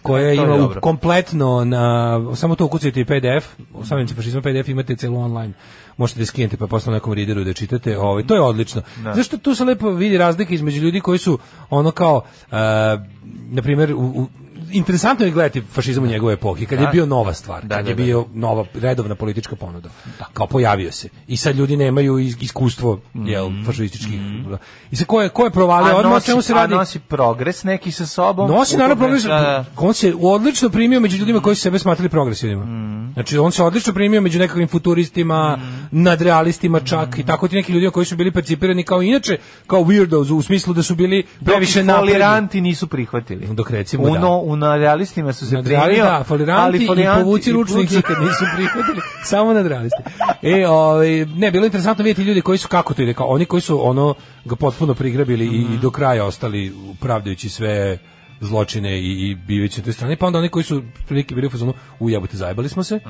F: koja
G: Mhm. E, je
F: ima u-
G: dobro.
F: kompletno na, samo to ukucajte i PDF, u Caromenici fašizma PDF imate celu online možete da skinete pa posle na nekom rideru da čitate. Ovaj to je odlično. Zašto tu se lepo vidi razlika između ljudi koji su ono kao e, na primjer u, u- interesantno je gledati fašizam u njegove epohi kad je bio nova stvar, kad
G: da,
F: je
G: da.
F: bio nova redovna politička ponuda. Kao pojavio se. I sad ljudi nemaju is- iskustvo jel fašističkih. I se ko je ko je provalio
G: Mhm. A
F: odmah o
G: nosi,
F: čemu se
G: a
F: radi?
G: nosi progres neki sa sobom.
F: Nosi
G: U
F: naravno
G: tome,
F: progres.
G: da, da.
F: On se odlično primio među ljudima koji su sebe smatrali progresivnima.
G: Mm.
F: Znači on se odlično primio među nekakvim futuristima, nadrealistima
G: Mm.
F: čak i tako ti neki ljudi koji su bili percipirani kao inače, kao weirdos u smislu da su bili previše
G: Dok ih
F: napredni.
G: Foliranti nisu prihvatili.
F: Dok recimo,
G: Uno,
F: da.
G: u nadrealistima su se
F: Nadreali,
G: primio,
F: da, foliranti,
G: ali
F: i
G: foliranti
F: povuci
G: i
F: ručnik
G: povuci-
F: nikad nisu prihvatili, samo nadrealisti. E, ovaj, ne, bilo je interesantno vidjeti ljudi koji su, kako to ide, kao oni koji su ono, ga potpuno prigrabili i, i do kraja ostali pravdajući sve zločine i, i bivajući na toj strani, pa onda oni koji su prilike bili u fazonu, u jebote, zajebali smo se,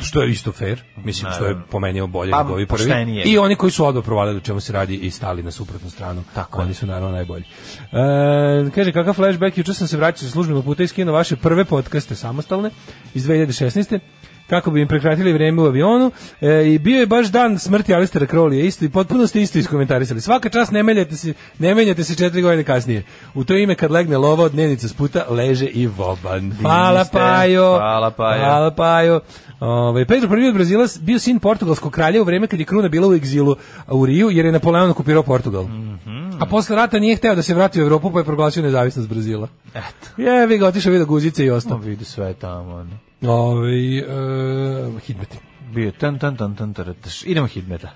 F: što je isto fair, mislim, što je po meni bolje
G: Pa,
F: nego ovi prvi.
G: poštenije.
F: I oni koji su odmah provalili o čemu se radi i stali na suprotnu stranu. Tako oni su naravno najbolji. E, kaže kakav flashback, juče sam se vraćao sa službenog puta i skinuo vaše prve podcaste samostalne iz 2016 kako bi im prekratili vrijeme u avionu E, i bio je baš dan smrti Alistera Crowley isto i potpuno ste isto iskomentarisali svaka čast ne menjate se ne menjate se četiri godine kasnije u to ime kad legne lova od dnevnica s puta leže i voban hvala
G: ste.
F: Pajo
G: Hvala, Pajo.
F: Hvala Pajo. Ovaj Pedro prvi od Brazila bio sin portugalskog kralja u vrijeme kad je kruna bila u egzilu u Riju jer je Napoleon okupirao Portugal.
G: Mhm.
F: A posle rata nije hteo da se vrati u Evropu pa je proglasio nezavisnost Brazila.
G: Eto.
F: Je, vi ga otišao vidio guzice i ostao.
G: Vidi sve tamo. ono.
F: Ovaj e, hidmeti.
G: Bio tan tan tan tan tarataš. Idemo hitmeta.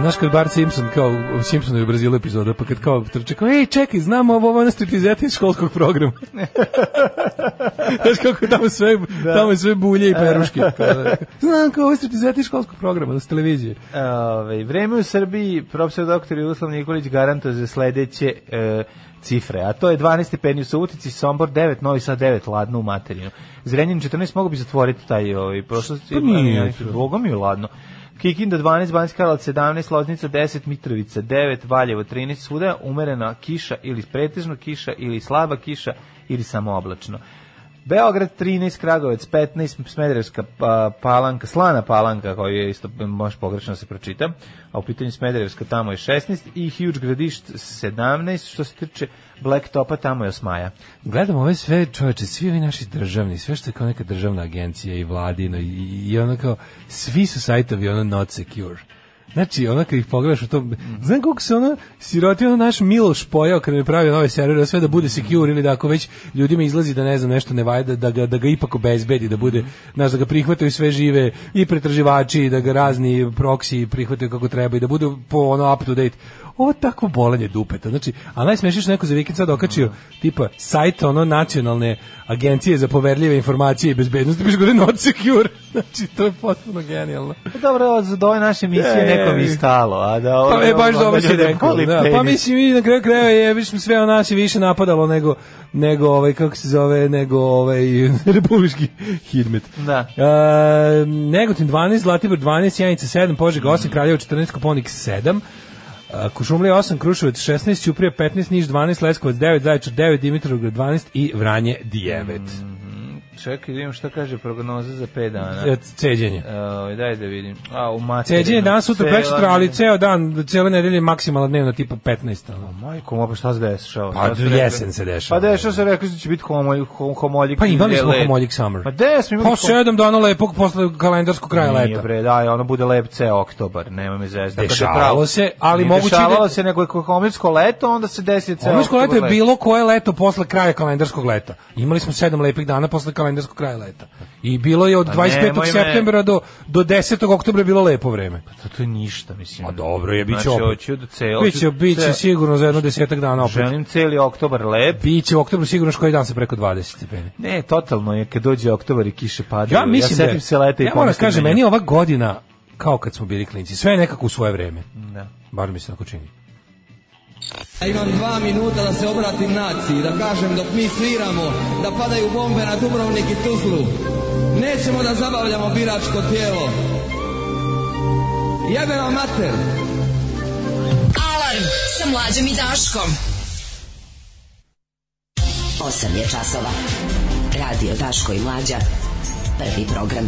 F: Znaš kad Bart Simpson, kao u Simpsonu u Brazilu epizoda, pa kad kao trče, kao, ej, čekaj, znam ovo, ovo je ona striptizeta iz školskog programa. Znaš kako je tamo sve, tamo je sve bulje i peruške. Kao da- Znam kao ovo je striptizeta iz školskog programa, s televizije.
G: Ove, vreme u Srbiji, profesor doktor Jugoslav Nikolić garantuje za sledeće e, cifre, a to je 12 stepeni u Subotici, Sombor 9, Novi Sad 9, ladno u materinu. Zrenjanin 14 mogu bi zatvoriti taj ovaj, prošlost.
F: Pa nije, to.
G: Boga mi je ladno. Kikinda 12, Banjska Karlovac 17, Loznica 10, Mitrovica 9, Valjevo 13, svuda je umerena kiša ili pretežno kiša ili slaba kiša ili samo oblačno. Beograd 13, Kragovec 15, Smederevska pa, palanka, Slana palanka, koju je isto baš pogrešno se pročita, a u pitanju Smederevska tamo je 16 i Huge Gradišt 17, što se tiče Black Topa tamo je Osmaja.
F: Gledam ove sve čoveče, svi ovi naši državni, sve što je kao neka državna agencija i vladino i, i ono kao, svi su sajtovi ono not secure. Znači, ono kad ih pogledaš u tom, znam koliko se ono siroti, ono naš Miloš pojao kada je pravio nove servere, sve da bude secure ili da ako već ljudima izlazi da ne znam nešto ne vajda, da ga, da ga ipak obezbedi, da bude, znaš, da ga prihvataju sve žive i pretraživači, i da ga razni proksi prihvataju kako treba i da budu po ono up to date. Ovo je tako bolanje dupeta. Znači, a najsmešnije što je neko za vikend sad okačio, tipa, sajt ono nacionalne agencije za poverljive informacije i bezbednosti, biš gore not secure. Znači, to je potpuno genijalno.
G: Pa dobro, za ove naše emisije
F: Je,
G: nekom
F: je.
G: je stalo, a da
F: Pa
G: ove-
F: je baš
G: onda
F: dobro si
G: ljude
F: rekao.
G: boli
F: Da, pa
G: penis.
F: mislim i na kraju krajeva je biš sve o nas je više napadalo nego nego ovaj kako se zove nego ovaj republički hidmet.
G: Da.
F: E, Negotin 12, Zlatibor 12, Janica 7, Požega 8, Kraljevo 14, Koponik 7. e, Kušumlija 8, Kruševac 16, Ćuprija 15, Niš 12, Leskovac 9, Zaječar 9, Dimitrovgrad 12 i Vranje 9.
G: Mm, Čekaj, da vidim šta kaže prognoza za 5 dana.
F: E, Ceđenje.
G: Evo, daj da vidim. A, u materinu.
F: Ceđenje danas, sutra,
G: Cela-
F: prečutra, ali ceo dan, cijele nedelje maksimalna dnevna tipa 15. Ono.
G: Majko, ma pa šta se dešava?
F: Pa,
G: Šta se rekli?
F: jesen se dešava.
G: Pa dešava se, rekli su da će biti homoljik. homoljik
F: Pa imali
G: ili
F: smo
G: led.
F: Homoljik Summer.
G: Pa gde smo imali
F: Po sedam dana lepog posle kalendarskog kraja
G: Nije
F: leta.
G: bre, daj, ono bude lep ceo oktobar, nema mi zvezda.
F: Dešavalo se, ali moguće da-
G: Dešavalo se, nego je homoljsko leto, onda se desi ceo
F: Homoljsko leto Ono je
G: oktobar
F: bilo koje leto posle kraja kalendarskog leta. Imali smo sedam lepih dana posle kalendarskog kraja leta. I bilo je od
G: Pa
F: 25.
G: nemoj me.
F: septembra do, do 10. oktobra je bilo lepo vreme.
G: Pa To, to je ništa, mislim.
F: Ma dobro je, bit će
G: Znači,
F: opet.
G: hoću da ceo...
F: Biće, biće
G: ceo-
F: sigurno za jedno desetak dana opet.
G: Želim celi oktobar lep.
F: Biće u oktobru sigurno što koji dan se preko 20 stepeni.
G: Ne, totalno je, kad dođe oktobar i kiše padaju.
F: Ja mislim da
G: setim
F: je-
G: se leta i
F: ja moram
G: pomislim
F: kažem,
G: na nju.
F: meni je ova godina kao kad smo bili klinci. Sve je nekako u svoje vreme.
G: Da.
F: Bar mi se tako čini.
H: Ja imam dva minuta da se obratim naciji, da kažem dok mi sviramo, da padaju bombe na Dubrovnik i Tuzlu. Nećemo da zabavljamo biračko tijelo. Jebe vam mater!
E: Alarm sa mlađom i Daškom.
B: 8 je časova. Radio Daško i Mlađa. Prvi program.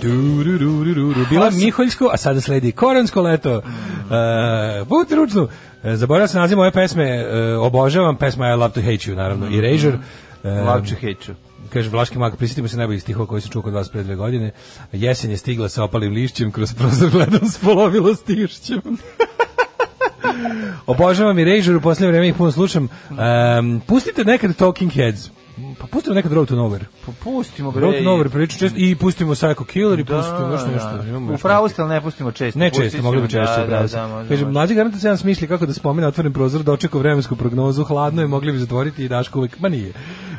F: Tururururu. Bila je Miholjsko, a sada sledi koransko leto. Uh, Budite ručnu. E, Zaboravio sam naziv moje pesme. e, obožavam pesma I Love to Hate You, naravno. I Razor.
G: Lapče heću.
F: Kaže Vlaški mag, prisjetimo se najboljih stihova koji sam čuo kod vas pre dve godine. Jesen je stigla sa opalim lišćem, kroz prozor gledam s polovilo stišćem. Obožavam i Razor, u posljednje vreme ih puno slušam. Em, pustite nekad Talking Heads. Pa pustimo nekad Road to Nowhere.
G: Popustimo bre.
F: Road to Nowhere prilično često i pustimo Psycho Killer i pustimo još nešto. Imamo
G: U
F: još
G: pravu ste, ali ne pustimo često.
F: ne
G: Pustit
F: često, mogli bi
G: ćemo,
F: češće,
G: da,
F: bravo
G: da,
F: si.
G: da, može,
F: Kaže,
G: može.
F: mlađi garanta se jedan smišlja kako da spomene otvoren prozor, dočekao vremensku prognozu, hladno je, mogli bi zatvoriti i Daško uvijek, ma nije.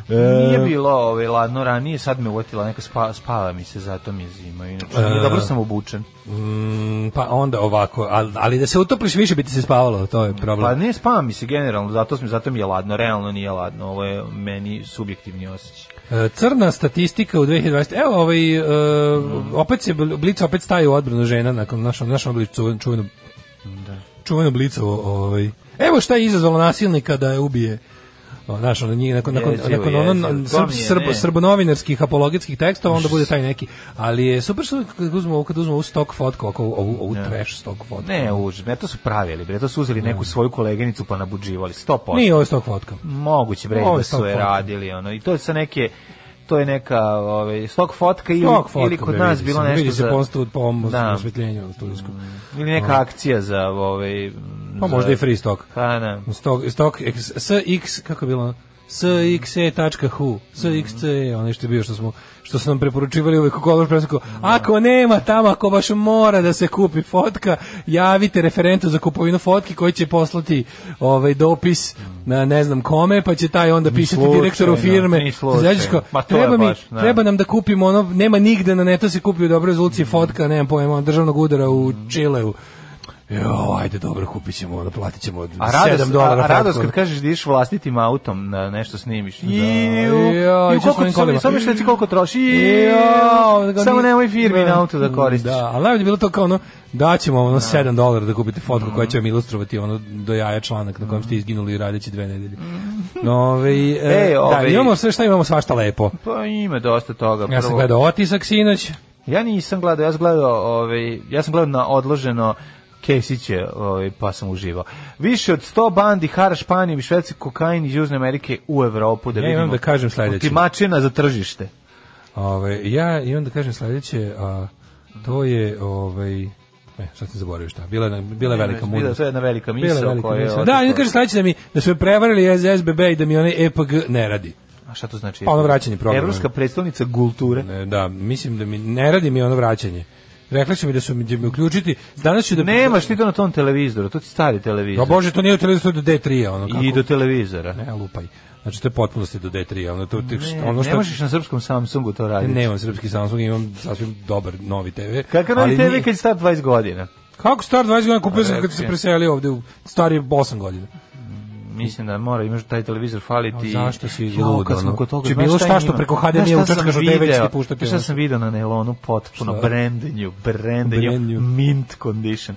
F: E,
G: Nije bilo ovaj, ladno ranije, sad me uvatila neka spa, spava mi se, zato mi je zima. Inače, Nije, dobro sam obučen.
F: Mm, pa onda ovako, ali, ali da se utopliš više bi ti se spavalo, to je
G: Pa
F: problem.
G: ne spava mi se generalno, zato, sam, zato mi je ladno, realno nije ladno, ovo je meni subjektivni osjećaj.
F: E, crna statistika u 2020. Evo, ovaj, e, opet se, Blic opet staje u odbranu žena nakon našom, našom Blicu, čuvenom, čuvenom, čuvenom Blicu, ovaj. Evo šta je izazvalo nasilnika da je ubije O, znaš, ono, njih, nakon, nakon,
G: Jezivo,
F: nakon ono,
G: jezivo.
F: n-
G: To
F: srb,
G: mi je,
F: srb,
G: ne.
F: srbonovinarskih apologetskih tekstova, onda bude taj neki. Ali je super što kad uzmemo, ovu- kad uzmemo ovu stok fotku, ovako, ovu, ovu trash stok fotku.
G: Ne, užas, ne, to su pravili, bre, to su uzeli neku svoju koleginicu pa nabuđivali, 100%.
F: Nije ovo stok fotka.
G: Moguće bre
F: Ovo je
G: da
F: stock
G: su je
F: fotka.
G: radili ono i to je sa neke to je neka ovaj stok fotka ili
F: Stok fotka,
G: ili kod
F: bre,
G: nas
F: vidi
G: bilo
F: se,
G: nešto
F: vidi se
G: za
F: posto po ovom
G: Da.
F: osvetljenju na studijskom.
G: ili neka akcija za ovaj
F: Ono. Pa
G: za-
F: možda i free stock.
G: Pa da.
F: Stok, stok, X- SX, kako je bilo? ono? sxe.hu sxe, ono što je bio što smo što su nam preporučivali uvek u kolor presuku ako nema tamo, ako baš mora da se kupi fotka, javite referentu za kupovinu fotki koji će poslati ovaj dopis na ne znam kome, pa će taj onda pisati
G: slučajno,
F: direktoru firme
G: ni slučajno.
F: Znaš ko,
G: Ma to je
F: treba, mi,
G: baš, da.
F: treba nam da kupimo ono, nema nigde na netu se kupi u dobroj
G: Mm.
F: rezoluciji fotka, nemam pojma, ono, državnog udara u Čileu Jo, ajde, dobro, kupit ćemo, ono, platit ćemo
G: A radost,
F: 7 dolara.
G: a, a radost
F: fotku.
G: kad kažeš da ideš vlastitim autom na nešto snimiš. Iu,
F: Joj,
G: iu, koliko
F: išao svojim
G: samo
F: kolima.
G: samo što ti koliko troši.
F: Jo,
G: Iu,
F: ga
G: samo
F: ni-
G: nemoj firmi na auto da koristiš.
F: Da, ali najbolje je bilo to kao ono, daćemo ono 7 dolara da kupite fotku koja
G: Mm.
F: će vam ilustrovati ono do jaja članak na kojem ste izginuli radeći dve nedelje. No, ovaj, e,
G: Mm. E,
F: da,
G: ovaj-
F: imamo sve šta imamo, svašta lepo.
G: Pa ima dosta toga.
F: Ja sam
G: Prvo-
F: gledao otisak sinoć,
G: Ja nisam gledao, ja sam gledao, ovaj, ja sam gledao na odloženo Kesiće, ovaj, pa sam uživao. Više od 100 bandi hara Španijom i Švedske kokain iz Južne Amerike u Evropu. Da
F: Ja imam
G: vidimo
F: da kažem sledeće.
G: Otimačina za tržište.
F: Ovaj ja imam da kažem sledeće, a to je ovaj E, sad sam zaboravio šta. Bila je, bila je velika
G: Bila je
F: mudrost.
G: to jedna velika
F: Bila je
G: misla.
F: velika misao. Da, i kaže sledeće da mi da su me prevarili iz SBB i da mi onaj EPG ne radi.
G: A šta to znači?
F: Pa ono vraćanje programa.
G: Evropska predstavnica kulture.
F: Ne, da, mislim da mi ne radi mi ono vraćanje. Rekli su mi da su mi, da mi uključiti. Danas ću da...
G: Nemaš ti to na tom televizoru, to ti stari
F: Da
G: televizor.
F: bože, to nije u televizoru do D3, ono kako.
G: I do televizora.
F: Ne, lupaj. Znači, to je potpunosti do D3, ono, to, ne, ono
G: Ne
F: što...
G: možeš na srpskom Samsungu to raditi.
F: Nemam srpski Samsung, imam sasvim dobar novi TV.
G: Kakav
F: ali
G: novi TV
F: nije-
G: kad je star 20 godina?
F: Kako star 20 godina kupio sam kad
G: Rekao
F: se
G: je.
F: preselio ovde u stari 8 godina.
G: Mislim da mora, imaš taj televizor faliti.
F: A zašto si
G: Jao,
F: lud,
G: kad
F: ono?
G: smo kod toga,
F: Či
G: znaš
F: bilo šta
G: ima?
F: što preko HDMI
G: Znaš šta sam
F: utrkaš od TV će ti
G: video?
F: puštati,
G: Znaš Šta
F: ono?
G: sam video na nailonu potpuno,
F: Šta?
G: brand new, brand new,
F: Brand new.
G: mint condition,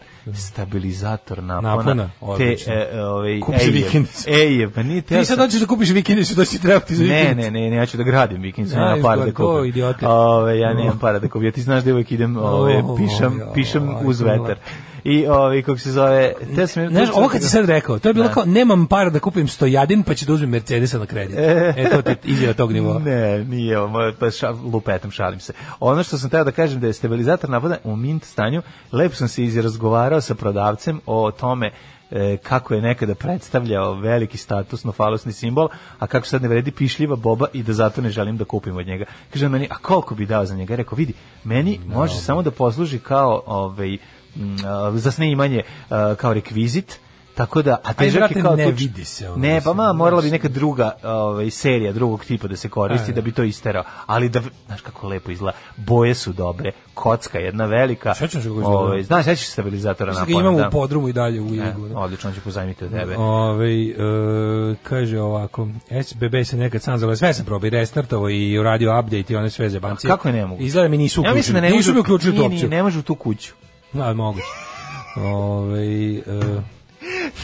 G: stabilizator napona.
F: Napona,
G: te,
F: odlično.
G: e, ovaj,
F: Kupiš
G: Ejeb.
F: vikendicu.
G: Ejeb, pa nije te...
F: Ti sad hoćeš da kupiš vikendicu, da će trebati za
G: Ne,
F: vikendicu.
G: ne, ne, ne, ja ću da gradim vikendicu,
F: Ja,
G: nema para da
F: izgleda, ko
G: kupim.
F: idiote.
G: Ove, ja nemam para da kupim, ja ti znaš da uvijek idem, ove,
F: O,
G: pišem,
F: ja,
G: pišem
F: ajko,
G: uz vetar.
F: mlad.
G: I ove, kako se zove... Te sam,
F: Znaš, ovo kad si sad rekao, to je bilo kao, nemam para da kupim stojadin, pa ću da uzmem Mercedesa na kredit. E, to ti je izjava tog nivoa.
G: Ne, nije, ovo, moj- pa ša, lupetam, šalim se. Ono što sam teo da kažem da je stabilizator napada u mint stanju, lepo sam se izrazgovarao sa prodavcem o tome e, kako je nekada predstavljao veliki statusno falosni simbol, a kako sad ne vredi pišljiva boba i da zato ne želim da kupim od njega. Kaže on meni, a koliko bi dao za njega? Ja Rekao, vidi, meni može samo da posluži kao ovaj, m, a, za snimanje a, kao rekvizit, Tako da, a težak
F: brate,
G: je kao
F: ne
G: tuč-
F: vidi se ono,
G: Ne, pa
F: mislim,
G: ma, morala bi neka druga ovaj, serija drugog tipa da se koristi
F: E.
G: da bi to isterao. Ali da, znaš kako lepo izgleda, boje su dobre, kocka jedna velika.
F: Sećam se kako izgleda.
G: Ovaj, znaš, sećaš se stabilizatora
F: Mislim
G: na
F: da ga imam u podrumu i dalje u Iligu.
G: E, odlično, on će pozajmiti od tebe.
F: Ove, e, kaže ovako, SBB se nekad sam zove, sve sam probao i restartovo i uradio update i one sve zebancije.
G: Kako je ne mogu?
F: Izgleda mi
G: Ja
F: nisu uključili.
G: mislim da ne
F: nisu
G: može-
F: mi uključili tu
G: nije, nije,
F: opciju.
G: Ne može u tu kuću.
F: e, Da, moguće. Ove,
G: i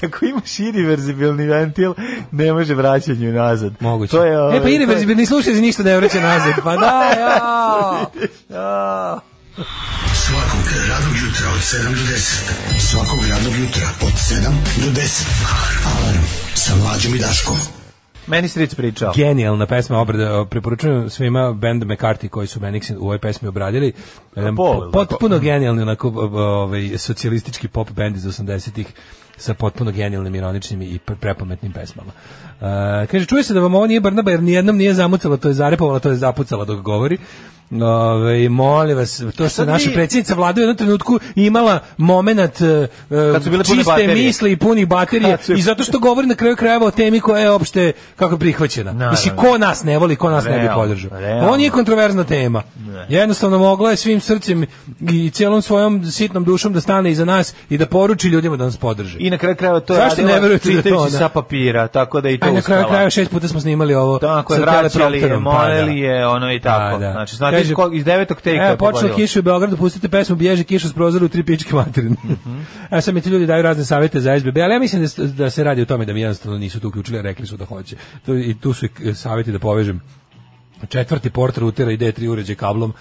G: ako imaš irreverzibilni ventil, ne može vraćanju nazad.
F: Moguće.
G: To je,
F: e pa
G: ovaj,
F: irreverzibilni slušaj, ništa ne vraća nazad. Pa da, ja.
G: to je- A,
I: Svakog radnog jutra od 7 do 10. Svakog radnog jutra od 7 do 10. Alarm sa mlađom i Daškom.
G: Meni stric pričao.
F: Genijalna pesma obrada, preporučujem svima band McCarthy koji su Menixin u ovoj pesmi obradili. Jedan
G: pol,
F: po- potpuno
G: pa-
F: genijalni onako o- o- ovaj socijalistički pop band iz 80-ih sa potpuno genijalnim, ironičnim i pre- prepametnim pesmama. E, kaže, čuje se da vam ovo nije Barnaba jer nijednom nije zamucala, to je zarepovala, to je zapucala dok govori. Ove, molim vas, to se
G: E, sad
F: naša
G: mi-
F: predsjednica vlada u jednom trenutku imala moment e,
G: Kad su bile pune
F: čiste
G: baterije.
F: misli i punih baterije
G: Kad su-
F: i zato što govori na kraju krajeva o temi koja je opšte kako je prihvaćena.
G: Naravno.
F: Mislim, ko nas ne voli, ko nas ne bi
G: Realno,
F: podržao.
G: realno.
F: On je kontroverzna tema. Jednostavno mogla je svim srcem i cijelom svojom sitnom dušom da stane iza nas i da poruči ljudima da nas podrže.
G: I na kraju krajeva to je
F: Zašto ne
G: radila
F: verujete da je to
G: čitajući
F: ona?
G: sa papira, tako da je i to
F: A na kraju
G: uspela.
F: krajeva šest puta smo snimali ovo
G: Tako je,
F: sa
G: vraćali je,
F: teleprompterom. Pa da.
G: moleli je, ono i tako.
F: Pa da.
G: Znači, znate
F: Kaže,
G: ko- iz devetog teka
F: Evo,
G: je
F: počela
G: pogodilo.
F: kiša u Beogradu, pustite pesmu Bježe kiša s prozora u tri pičke materine.
G: Mhm.
F: A sad mi ti ljudi daju razne savete za SBB, ali ja mislim da, s- da se radi o tome da mi jednostavno nisu tu uključili, a rekli su da hoće. Tu, I tu su i k- saveti da povežem četvrti port routera i D3 uređaj kablom.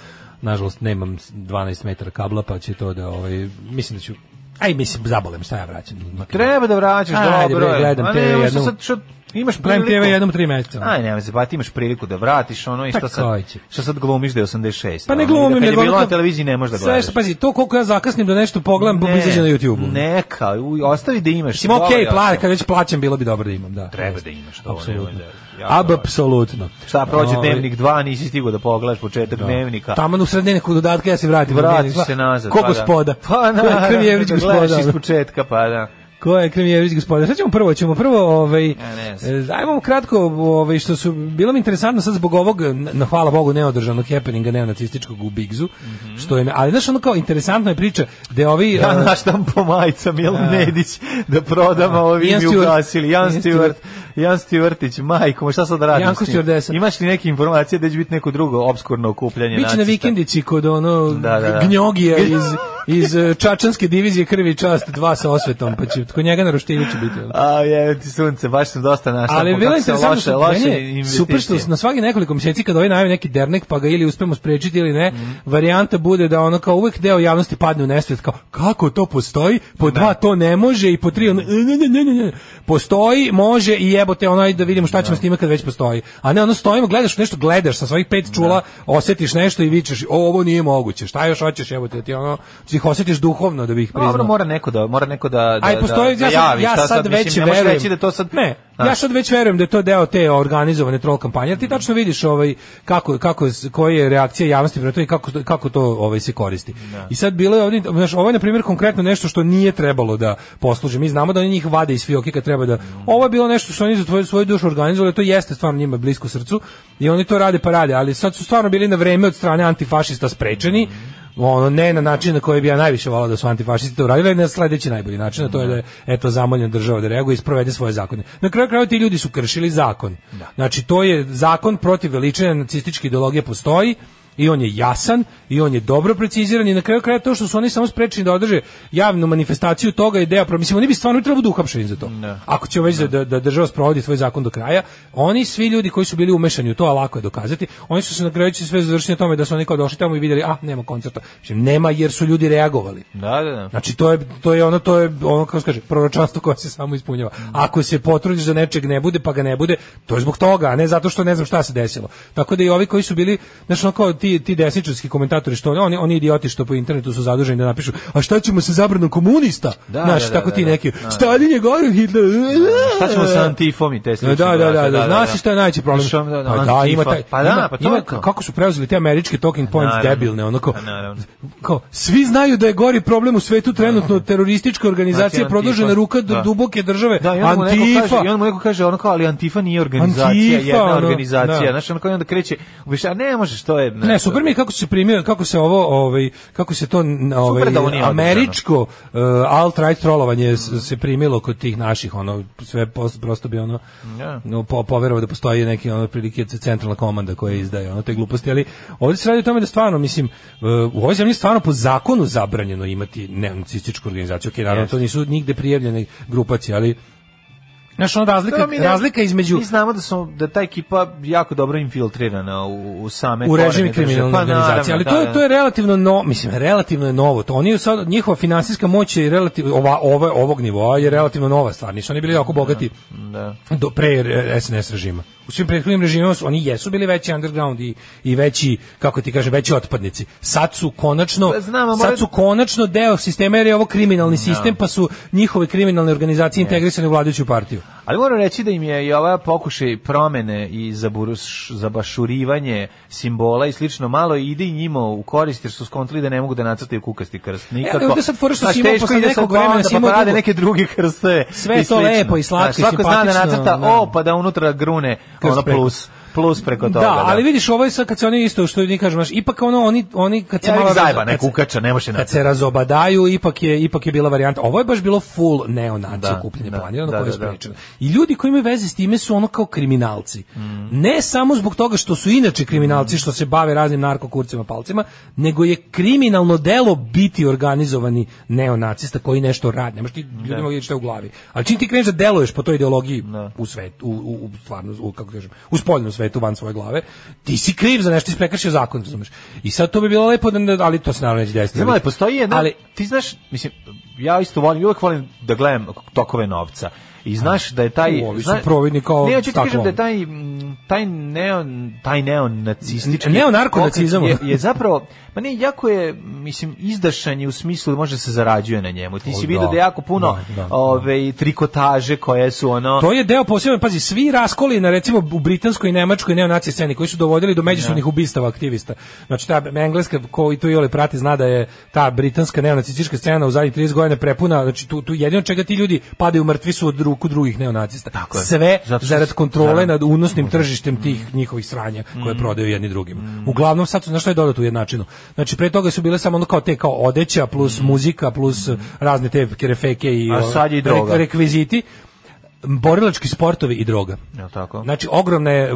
F: Nažalost, nemam 12 metara kabla, pa će to da, ovaj, mislim da ću... Aj, mislim, zabolem, šta ja vraćam? Znači,
G: Treba da vraćaš,
F: Ajde,
G: dobro.
F: bre,
G: je.
F: gledam
G: Ma
F: TV
G: ne, imaš
F: jednom.
G: sad, što, imaš
F: Gledam
G: priliku.
F: TV jednom u tri meseca.
G: Aj, nema se, pa ti imaš priliku da vratiš ono i
F: Pa
G: šta sad,
F: koji će?
G: šta sad glumiš da je 86.
F: Pa
G: ono,
F: ne
G: i da
F: glumim,
G: Kad je
F: nego
G: bilo
F: ono
G: na
F: to-
G: televiziji ne možeš da
F: Sve
G: gledaš.
F: što, pa pazi, to koliko ja zakasnim da nešto pogledam, bum, izađe na YouTube-u.
G: Neka, u- ostavi da imaš.
F: Mislim, okej,
G: dovolj,
F: pla,
G: ostavi.
F: kad već plaćam, bilo bi dobro da imam, da.
G: Treba
F: Jeste.
G: da imaš, to
F: Apsolutno.
G: nemoj da- jako
F: Ab,
G: važno.
F: apsolutno.
G: Šta, prođe
F: Ovaj,
G: dnevnik 2, nisi stigao da pogledaš početak dnevnika.
F: Taman u sredini nekog dodatka ja se vratim. u
G: Vratiš
F: dnevnik.
G: se nazad.
F: Ko
G: pa da.
F: gospoda?
G: Pa
F: Ko je
G: na,
F: Kremjević
G: gledaš iz
F: gospoda?
G: početka, pa da.
F: Ko je Kremjević gospoda? Sad ćemo prvo, ćemo prvo, ovaj,
G: ne
F: e, ajmo kratko, ovaj, što su, bilo mi interesantno sad zbog ovog, na na hvala Bogu, neodržanog happeninga neonacističkog u Bigzu,
G: Mhm.
F: što je, ali znaš, ono kao, interesantna je priča, gde ovi...
G: Ja
F: e,
G: naštam po majicama Milan Nedić da prodam, a ovi
F: Ian
G: mi
F: Stewart.
G: ugasili. Jan
F: Ian
G: Stewart, Jan Stewartić, majko, ma šta sad radim
F: Janko
G: s njim?
F: Stewardesa.
G: Imaš li neke informacije da će biti neko drugo obskurno okupljanje
F: Biće na
G: nacista?
F: vikendici kod ono
G: Da, da, da.
F: gnjogija iz, iz eh, Čačanske divizije krvi i čast dva sa osvetom, pa će kod njega na roštilju će biti. ono.
G: A je, ti sunce, baš sam dosta našao.
F: Ali bilo je interesantno
G: loše,
F: što
G: loše
F: meni je
G: investicije.
F: super što na svaki nekoliko mjeseci kad ovaj najavi neki dernek pa ga ili uspemo sprečiti ili ne,
G: Mhm.
F: varijanta bude da ono kao uvek deo javnosti padne u nesvet kao kako to postoji, po dva to ne može i po tri
G: Mhm.
F: ono, ne, ne, ne, ne, ne. postoji, može i jebote onaj da vidimo šta ćemo s time kad već postoji. A ne ono stojimo, gledaš nešto, gledaš sa svojih pet čula, osjetiš nešto i vičeš o, ovo nije moguće, šta još hoćeš jebote ti ono, ti ih osjetiš duhovno da bi ih priznao.
G: Pa Dobro, mora neko da, mora neko da, da,
F: Aj, postoji,
G: da,
F: ja,
G: da
F: sad,
G: javi.
F: ja
G: šta
F: sad,
G: mislim,
F: već
G: ne možeš
F: verujem.
G: reći da to sad...
F: Ne, ja
G: Znaš.
F: sad već verujem da je to deo te organizovane troll kampanje, jer ti tačno vidiš ovaj, kako, kako, koja je reakcija javnosti prema tome i kako, kako to ovaj, se koristi. I sad bilo je ovdje, znaš, ovo je na primjer konkretno nešto što nije trebalo da posluži. Mi znamo da oni njih vade iz fioke kad treba da... Ovo je bilo nešto što oni za tvoju, svoju dušu organizovali, to jeste stvarno njima blisko srcu i oni to rade pa rade, ali sad su stvarno bili na vreme od strane antifašista sprečeni, ono ne na način na koji bi ja najviše volao da su antifašisti to uradili, ali na sledeći najbolji način, a to je da je eto zamoljena država da reaguje i sprovede svoje zakone. Na kraju krajeva ti ljudi su kršili zakon. Znači to je zakon protiv veličine nacističke ideologije postoji i on je jasan i on je dobro preciziran i na kraju kraja to što su oni samo sprečeni da održe javnu manifestaciju toga je deo pro- mislim oni bi stvarno trebalo da uhapšeni za to. Ako će već da, da država sprovodi svoj zakon do kraja, oni svi ljudi koji su bili umešani u to, a lako je dokazati, oni su se na kraju sve završili na tome da su oni kao došli tamo i vidjeli, a nema koncerta. Mislim nema jer su ljudi reagovali.
G: Da, da, da.
F: Znači to je to je ono to je ono kako se kaže proročanstvo koje se samo ispunjava. Ako se potrudiš da nečeg ne bude pa ga ne bude, to je zbog toga, a ne zato što ne znam šta se desilo. Tako da i ovi koji su bili znači ono kao ti ti desničarski komentatori što oni oni idioti što po internetu su zaduženi da napišu, a šta ćemo sa zabranom komunista?
G: Da,
F: Znaš,
G: da, da,
F: tako
G: da,
F: ti
G: da.
F: neki.
G: Da.
F: Stalin je gore Hitler.
G: Šta ćemo sa antifom i te
F: Da,
G: slične?
F: da, da, da, da, znaš
G: da.
F: šta je najveći problem?
G: Što- da, da,
F: Pa da, ima
G: Antifa.
F: taj,
G: Pa da,
F: ima-
G: pa to
F: ima
G: je to.
F: kako su preuzeli te američke talking points
G: Naravno.
F: debilne, onako,
G: Pa naravno.
F: kao, svi znaju da je gori problem u svetu trenutno teroristička organizacija
G: Znači,
F: produžena
G: Antifa.
F: ruka do
G: Da.
F: duboke države.
G: Da, i onda mu neko kaže, i onda mu neko kaže ono kao, ali Antifa nije organizacija,
F: Antifa,
G: jedna
F: ono,
G: organizacija.
F: da.
G: Znaš, ono kao i onda kreće, ubiš, a ne možeš, to je, ne,
F: ne, super mi je kako se primio, kako se ovo, ovaj, kako se to n- ovaj,
G: da ovo nije
F: američko uh, alt-right trolovanje s- se primilo kod tih naših, ono, sve pos- prosto bi ono,
G: Ja.
F: no, po, poverovao da postoji neki, ono, prilike centralna komanda koja izdaje, ono, te gluposti, ali ovdje se radi o tome da stvarno, mislim, uh, u ovoj zemlji je stvarno po zakonu zabranjeno imati neonacističku organizaciju, ok, naravno,
G: Jeste.
F: to nisu nigde prijavljene grupacije, ali Znaš, ono razlika,
G: Dobro, mi ne-
F: razlika između...
G: Mi znamo da su da ta ekipa jako dobro infiltrirana u, u same
F: u
G: korene
F: režimi
G: države.
F: kriminalne
G: Pa, naravno,
F: organizacije, ali
G: da,
F: to
G: da.
F: je to je relativno no, mislim relativno je novo. To oni sad njihova finansijska moć je relativno ova ova ovog nivoa je relativno nova stvar. Nisu oni bili jako bogati
G: Da.
F: do pre e, SNS režima. U svim prethodnim režimima su, oni jesu bili veći underground i, i veći, kako ti kažem, veći otpadnici. Sad su konačno,
G: Pa znam, a mora-
F: sad su konačno deo sistema jer je ovo kriminalni sistem, pa su njihove kriminalne organizacije integrisane u vladajuću partiju.
G: Ali moram reći da im je i ova pokušaj promene i zaburus, zabašurivanje simbola i slično malo ide i njima u korist jer su skontali da ne mogu da nacrtaju kukasti krst. Nikako.
F: E, ovdje sad fora što si imao
G: teško
F: posle
G: ide sad
F: nekog
G: pa onda
F: vremena si
G: pa
F: imao
G: rade
F: drugo-
G: neke druge krste.
F: Sve
G: i
F: je to
G: slično.
F: lepo i slatko i
G: Znaš, Svako zna da
F: simpatično,
G: nacrta
F: da.
G: o pa da unutra grune
F: Krst
G: ono
F: preko.
G: plus, plus preko toga.
F: Da, ali vidiš ovo je sad kad se oni isto što ni kažem, znaš, ipak ono oni oni kad se
G: Ja ih
F: malo
G: zajeba,
F: raz-
G: nek
F: kad se-
G: ukača, ne može
F: Kad
G: nacrtati.
F: se razobadaju, ipak je ipak je bila varijanta. Ovo je baš bilo full neonaci
G: Da,
F: okupljanje
G: da,
F: planirano
G: da,
F: koje je
G: da, da.
F: sprečeno. I ljudi koji imaju veze s time su ono kao kriminalci. Ne samo zbog toga što su inače kriminalci što se bave raznim narkokurcima palcima, nego je kriminalno delo biti organizovani neonacista koji nešto radi. Nemaš ti ljudi mogu vidjeti šta je u glavi. Ali čim ti kreneš da deluješ po toj ideologiji u svetu, u, u, u stvarno, u, kako kažem, u spoljnom svetu van svoje glave, ti si kriv za nešto, ti si prekršio zakon, razumeš. I sad to bi bilo lepo, da, ali to se naravno neće desiti.
G: Znam, ali postoji jedna,
F: Ali-
G: ali, ti znaš, mislim, ja isto volim, uvek volim da gledam tokove novca. I znaš da je taj...
F: U, ovi su
G: zna-
F: providni kao
G: Ne, ja ću ti
F: staklo.
G: kažem da je taj, mm, taj, neon, taj neonacistički...
F: N- neonarkonacizam.
G: pokret Je, je zapravo, ma ne, jako je, mislim, izdašan je u smislu da može se zarađuje na njemu. Ti
F: O,
G: si vidio
F: da.
G: da je jako puno
F: Da, da, da.
G: ove, trikotaže koje su ono...
F: To je deo posebno, pazi, svi raskoli na recimo u britanskoj i nemačkoj neonacije sceni koji su dovodili do međusobnih ubistava aktivista. Znači ta engleska koji tu iole prati zna da je ta britanska neonacistička scena u zadnjih 30 godina prepuna, znači tu, tu jedino čega ti ljudi padaju mrtvi su od ruku drugih neonacista.
G: Tako je.
F: Sve
G: Zato što
F: zarad
G: su-
F: kontrole
G: da. Mm.
F: nad unosnim tržištem tih njihovih sranja koje prodaju jedni drugima. Uglavnom sad su, znaš što je dodato u jednačinu? Znači pre toga su bile samo ono kao te kao odeća plus muzika plus razne te kerefeke i
G: Mm. A sad je i
F: o, rek-
G: droga.
F: rekviziti borilački sportovi i droga.
G: Jel tako?
F: Znači, ogromna je e,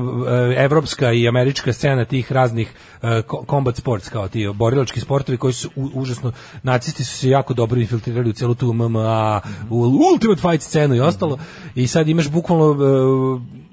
F: evropska i američka scena tih raznih e, ko- combat sports, kao ti borilački sportovi koji su u- užasno, nacisti su se jako dobro infiltrirali u celu tu MMA, u Ultimate Fight scenu i ostalo, i sad imaš bukvalno e,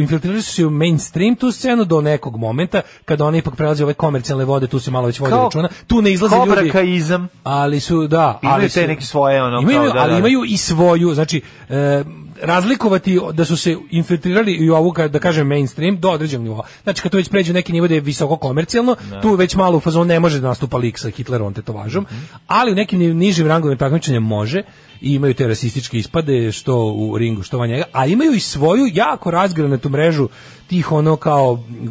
F: infiltrirali su se u mainstream tu scenu do nekog momenta, kada oni ipak prelaze ove komercijalne vode, tu se malo već vodi
G: Kao
F: računa, tu ne izlaze ljudi.
G: Kobrakaizam.
F: Ali su, da.
G: Imaju
F: ali
G: te
F: su-
G: neke svoje, ono,
F: imaju,
G: kao, da,
F: ali
G: da.
F: imaju i svoju, znači, e, razlikovati da su se infiltrirali i u ovu, ka- da kažem, mainstream do određenog nivoa. Znači, kad to već pređe u neki nivo da je visoko komercijalno, tu već malo u fazon ne može da nastupa lik sa Hitlerovom tetovažom,
G: Mhm.
F: ali u nekim ni- nižim rangovima takmičenja može i imaju te rasističke ispade što u ringu, što van njega, a imaju i svoju jako razgranatu mrežu tih ono kao e,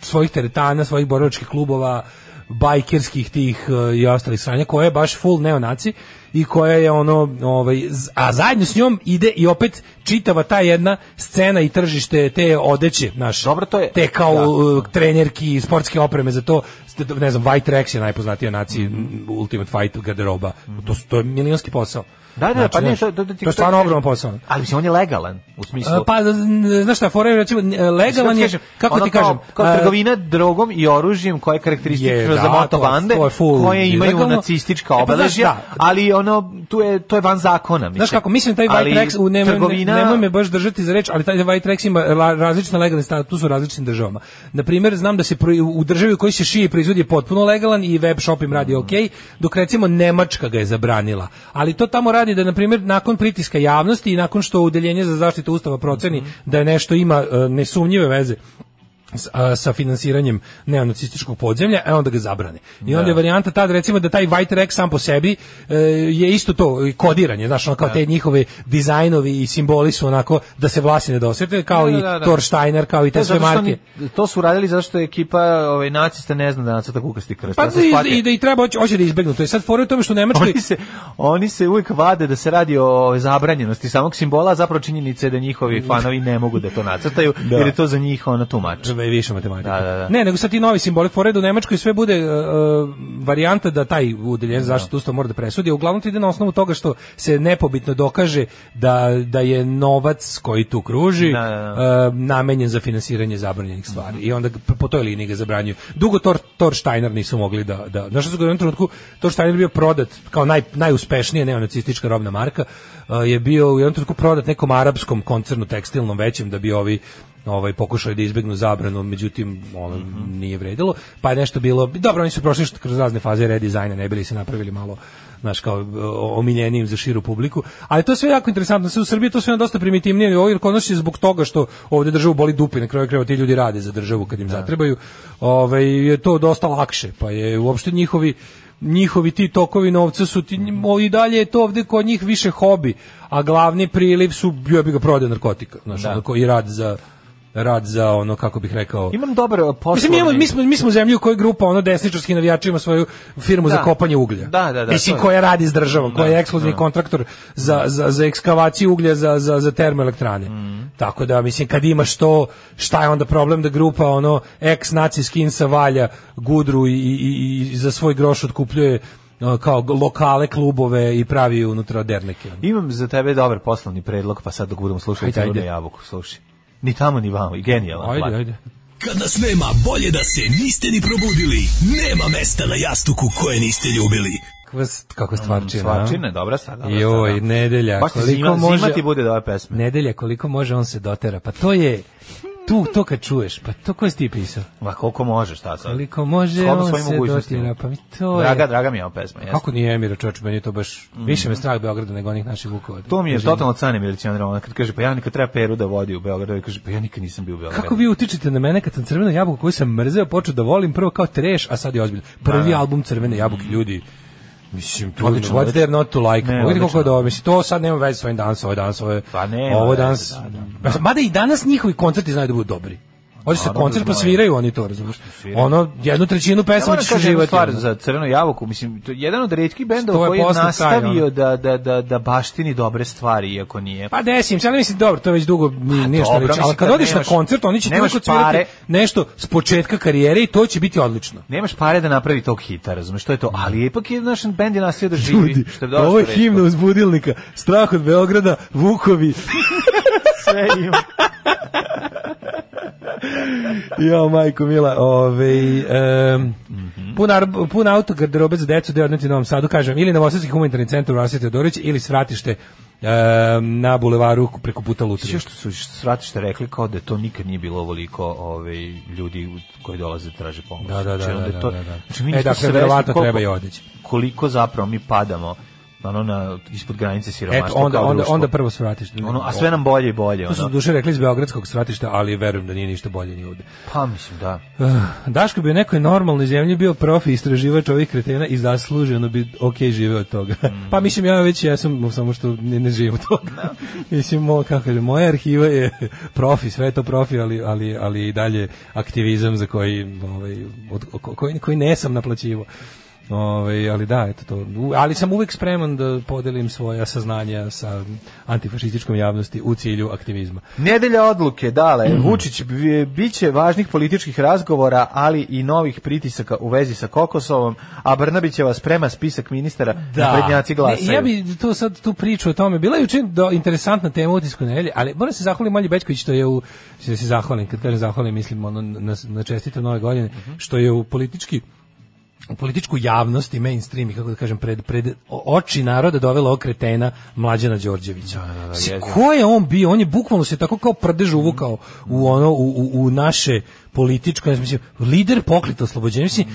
F: svojih teretana, svojih borilačkih klubova, bajkerskih tih e, i ostalih sranja koja je baš full neonaci i koja je ono ovaj z- a zajedno s njom ide i opet čitava ta jedna scena i tržište te odeće naš
G: Dobro, to je-
F: te kao
G: da.
F: e, trenerki i sportske opreme za to Ste- ne znam White Rex je najpoznatija naci
G: Mhm.
F: Ultimate Fight garderoba to su to je milionski posao
G: Da, da,
F: Znači,
G: pa ne,
F: znaš,
G: to, to, to,
F: je stvarno ogroman posao
G: Ali mislim, on je legalan, u smislu...
F: E, pa n- znaš šta fora je recimo n- legalan je kako
G: ono
F: ti
G: kao-
F: kažem
G: kao
F: e,
G: trgovina drogom i oružjem koja je
F: Je,
G: karakteristična
F: da,
G: za moto
F: to je-
G: bande
F: to je full
G: koje imaju
F: ilegalno.
G: nacistička
F: E, pa znaš,
G: obeležja,
F: da.
G: ali ono tu je to je van zakona, mislim.
F: Znaš kako, mislim taj White
G: Ali
F: Rex, u, nemoj,
G: trgovina,
F: nemoj me baš držati za reč, ali taj White Rex ima la- različne legalne status u različnim državama. Na primjer, znam da se pro- u državi u kojoj se šije i proizvodi je potpuno legalan i web shop im radi ok, dok recimo Nemačka ga je zabranila. Ali to tamo radi da, na primjer, nakon pritiska javnosti i nakon što Udeljenje za zaštitu Ustava proceni da je nešto ima e, nesumnjive veze s- a, sa finansiranjem neonacističkog podzemlja, a onda ga zabrane. I onda je varijanta tad recimo da taj White Rex sam po sebi e, je isto to i kodiranje, znaš, ono kao te njihove dizajnovi i simboli su onako da se vlasi ne dosete, kao
G: Da,
F: i
G: da, da, da.
F: Thor Steiner, kao i
G: To,
F: te
G: je
F: sve
G: zato što
F: marke.
G: oni, to su radili zato što je ekipa ovaj, nacista ne zna da nacrta kukasti krst.
F: Pa
G: da se
F: i-
G: shvati.
F: i, da i treba hoće, hoće da izbegnu. To je sad fora u tome što u Nemačkoj
G: Oni se, oni se uvijek vade da se radi o zabranjenosti
F: Mm.
G: samog simbola, a zapravo činjenica je da njihovi fanovi ne mogu da to nacrtaju, jer je to za njih ono tumač.
F: je više matematika.
G: Da, da, da.
F: Ne, nego sad ti novi simbolik pored u Nemačkoj sve bude e, e, varijanta da taj udeljen zaštitu ustav mora da presudi. a Uglavnom ti ide na osnovu toga što se nepobitno dokaže da, da je novac koji tu kruži
G: Da, da,
F: e, namenjen za finansiranje zabranjenih stvari. I onda p- po toj liniji ga zabranjuju. Dugo Tor, Tor Steiner nisu mogli da... da znaš što su ga u jednom trenutku, Tor Steiner bio prodat kao naj, najuspešnija neonacistička robna marka, e, je bio u jednom trenutku prodat nekom arapskom koncernu tekstilnom većem da bi ovi ovaj pokušao da izbegnu zabranu, međutim ono
G: Mhm.
F: nije vredilo, pa je nešto bilo dobro, oni su prošli što- kroz razne faze redizajna, ne bili se napravili malo znaš kao o- omiljenijim za širu publiku. Ali to je sve jako interesantno. Sve u Srbiji to sve na dosta primitivnije, ali ovo jer kod nas je zbog toga što ovde državu boli dupe, na kraju krajeva ti ljudi rade za državu kad im zatrebaju. Ovaj je to dosta lakše, pa je uopšte njihovi njihovi ti tokovi novca su ti, o, i dalje je to ovde kod njih više hobi, a glavni priliv su bio bi ga prodaja narkotika, znaš, ono, ko- i rad za rad za ono kako bih rekao
G: Imam dobar poslovni...
F: Mislim, mi, imamo, mi, smo, mi smo zemlju u kojoj grupa ono desničarski navijači ima svoju firmu za
G: Da.
F: kopanje uglja.
G: Da, da, da,
F: Mislim,
G: to je.
F: koja radi s državom, koja je ekskluzivni kontraktor za, za, za ekskavaciju uglja za, za, za termoelektrane.
G: Mhm.
F: Tako da, mislim, kad imaš to, šta je onda problem da grupa ono ex-naci skinsa valja gudru i, i, i- i za svoj groš otkupljuje uh, kao g- lokale klubove i pravi unutra derneke.
G: Imam za tebe dobar poslovni predlog, pa sad dok budemo slušali
F: Ajde,
G: Crvenu
F: ajde.
G: jabuku, slušaj. Ni tamo ni vamo, i genijalan. plan.
F: Ajde, ajde.
J: Kad nas nema, bolje da se niste ni probudili. Nema mesta na jastuku koje niste ljubili.
F: Kvast, kako stvarčina. a?
G: Svačine, dobra stvar. dobra
F: Joj,
G: stvar, Mm, da.
F: nedelja.
G: Baš ti
F: koliko
G: zima,
F: može...
G: zima ti bude da ove pesme.
F: Nedelja koliko može on se dotera. Pa to je tu to kad čuješ, pa to ko si ti pisao?
G: Ma koliko možeš, šta sad?
F: Koliko može
G: Shodno
F: on
G: svojim
F: se
G: mogućnostima.
F: dotera, pa mi to je.
G: Draga, draga mi je ova pesma. jeste.
F: Kako nije Emira čoveče, meni je to baš više me strah Beograda nego onih naših Vukovara. Znači,
G: To mi je
F: Kažem,
G: totalno cane milicionar, ona kad kaže, pa ja nikad treba Peru da vodi u Beogradu, ja kaže, pa ja nikad nisam bio u Beogradu.
F: Kako vi utičete na mene kad sam crveno jabuku koju sam mrzeo počeo da volim prvo kao treš, a sad je ozbiljno. Prvi album crvene jabuke ljudi. Mislim, tu
G: Odlično,
F: what's
G: odlično.
F: there not to like?
G: Ne,
F: Pogledaj koliko
G: odlično.
F: je dobro. Mislim, to sad nema veze s ovim danas, ovo je danas, ovo je...
G: Pa nema
F: Ovo je
G: veze,
F: danas...
G: da,
F: Pa, Mada i danas njihovi koncerti znaju da budu dobri. Hoće se
G: Naravno,
F: koncert pa
G: znaju.
F: sviraju oni to, razumiješ?
G: sviraju.
F: Ono, jednu trećinu
G: Ja
F: pesama
G: moram
F: ćeš
G: kažem jednu
F: uživati.
G: stvar
F: ono.
G: za Crvenu jabuku, mislim, to je jedan od retkih bendova
F: Sto je
G: koji je
F: posle taj,
G: nastavio
F: ono.
G: da, da, da, da baštini dobre stvari, iako nije.
F: Pa desim, se, ali mislim dobro, to je već dugo ni nije što
G: Pa dobro,
F: reći.
G: mislim,
F: Ali kad
G: kad
F: odeš na
G: nemaš-
F: koncert, oni će ti
G: nemaš
F: uvijek odsvirati
G: pare.
F: nešto s početka karijere i to će biti odlično.
G: Nemaš pare da napravi tog hita, razumeš, to je to, ali ipak je naš bend je nastavio da živi,
F: Ljudi,
G: što je dosta
F: ovo je
G: retko.
F: himna uzbudilnika, strah od Beograda, Vukovi.
G: Sve ima.
F: jo, majko mila, ovaj, em,
G: Mhm.
F: pun, ar- pun auto garderobe za decu da je odneti u Novom Sadu, kažem, ili Novosadski humanitarni centar u Rasvete Teodorić, ili svratište em, na bulevaru preko puta Lutrije.
G: Sve što su svratište rekli kao da to nikad nije bilo ovoliko ovaj ljudi koji dolaze da traže pomoć.
F: Da, da, da,
G: Znači, onda
F: da,
G: je
F: da,
G: to-
F: da, da.
G: Znači, mi
F: E,
G: nismo
F: dakle,
G: svesni
F: verovatno
G: koliko-
F: treba i odeći.
G: Koliko zapravo mi padamo ono na ispod granice siromaštva
F: Eto, onda,
G: kao
F: onda,
G: društvo.
F: onda prvo svratište.
G: ono, a sve nam bolje i bolje
F: To su
G: ono.
F: duše rekli iz Beogradskog svratišta, ali verujem da nije ništa bolje ni ovde.
G: Pa mislim da.
F: Uh, Daško bi u nekoj normalnoj zemlji bio profi istraživač ovih kretena i zasluženo bi ok živeo od toga. pa mislim ja već jesam, samo što ne, ne živim od toga. mislim, mo, kako kažem, moja arhiva je profi, sve je to profi, ali, ali, ali i dalje aktivizam za koji, ovaj, od, ko- koji, koji ne sam naplaćivo. Ovaj, ali da, eto to. U- Ali sam uvek spreman da podelim svoja saznanja sa antifašističkom javnosti u cilju aktivizma.
G: Nedelja odluke, dale, Vučić bi- biće važnih političkih razgovora, ali i novih pritisaka u vezi sa Kokosovom, a Brnabićeva sprema spisak ministara da. prednjaci glasaju.
F: Ne, ja bi tu sad tu priču o tome. Bila je juče do interesantna tema u utisku nedelje, ali moram se zahvaliti Malji Bećković što je u što se zahvalim, kad kažem zahvalim mislim ono na na čestitam nove godine što je u politički u političku javnost i mainstream i kako da kažem pred pred o- oči naroda dovela ovog kretena Mlađana Đorđevića. Si-
G: jezivo.
F: ko je on bio? On je bukvalno se tako kao prdež uvukao u ono u, u, u naše političko, ja mislim, lider pokreta oslobođenja, mislim,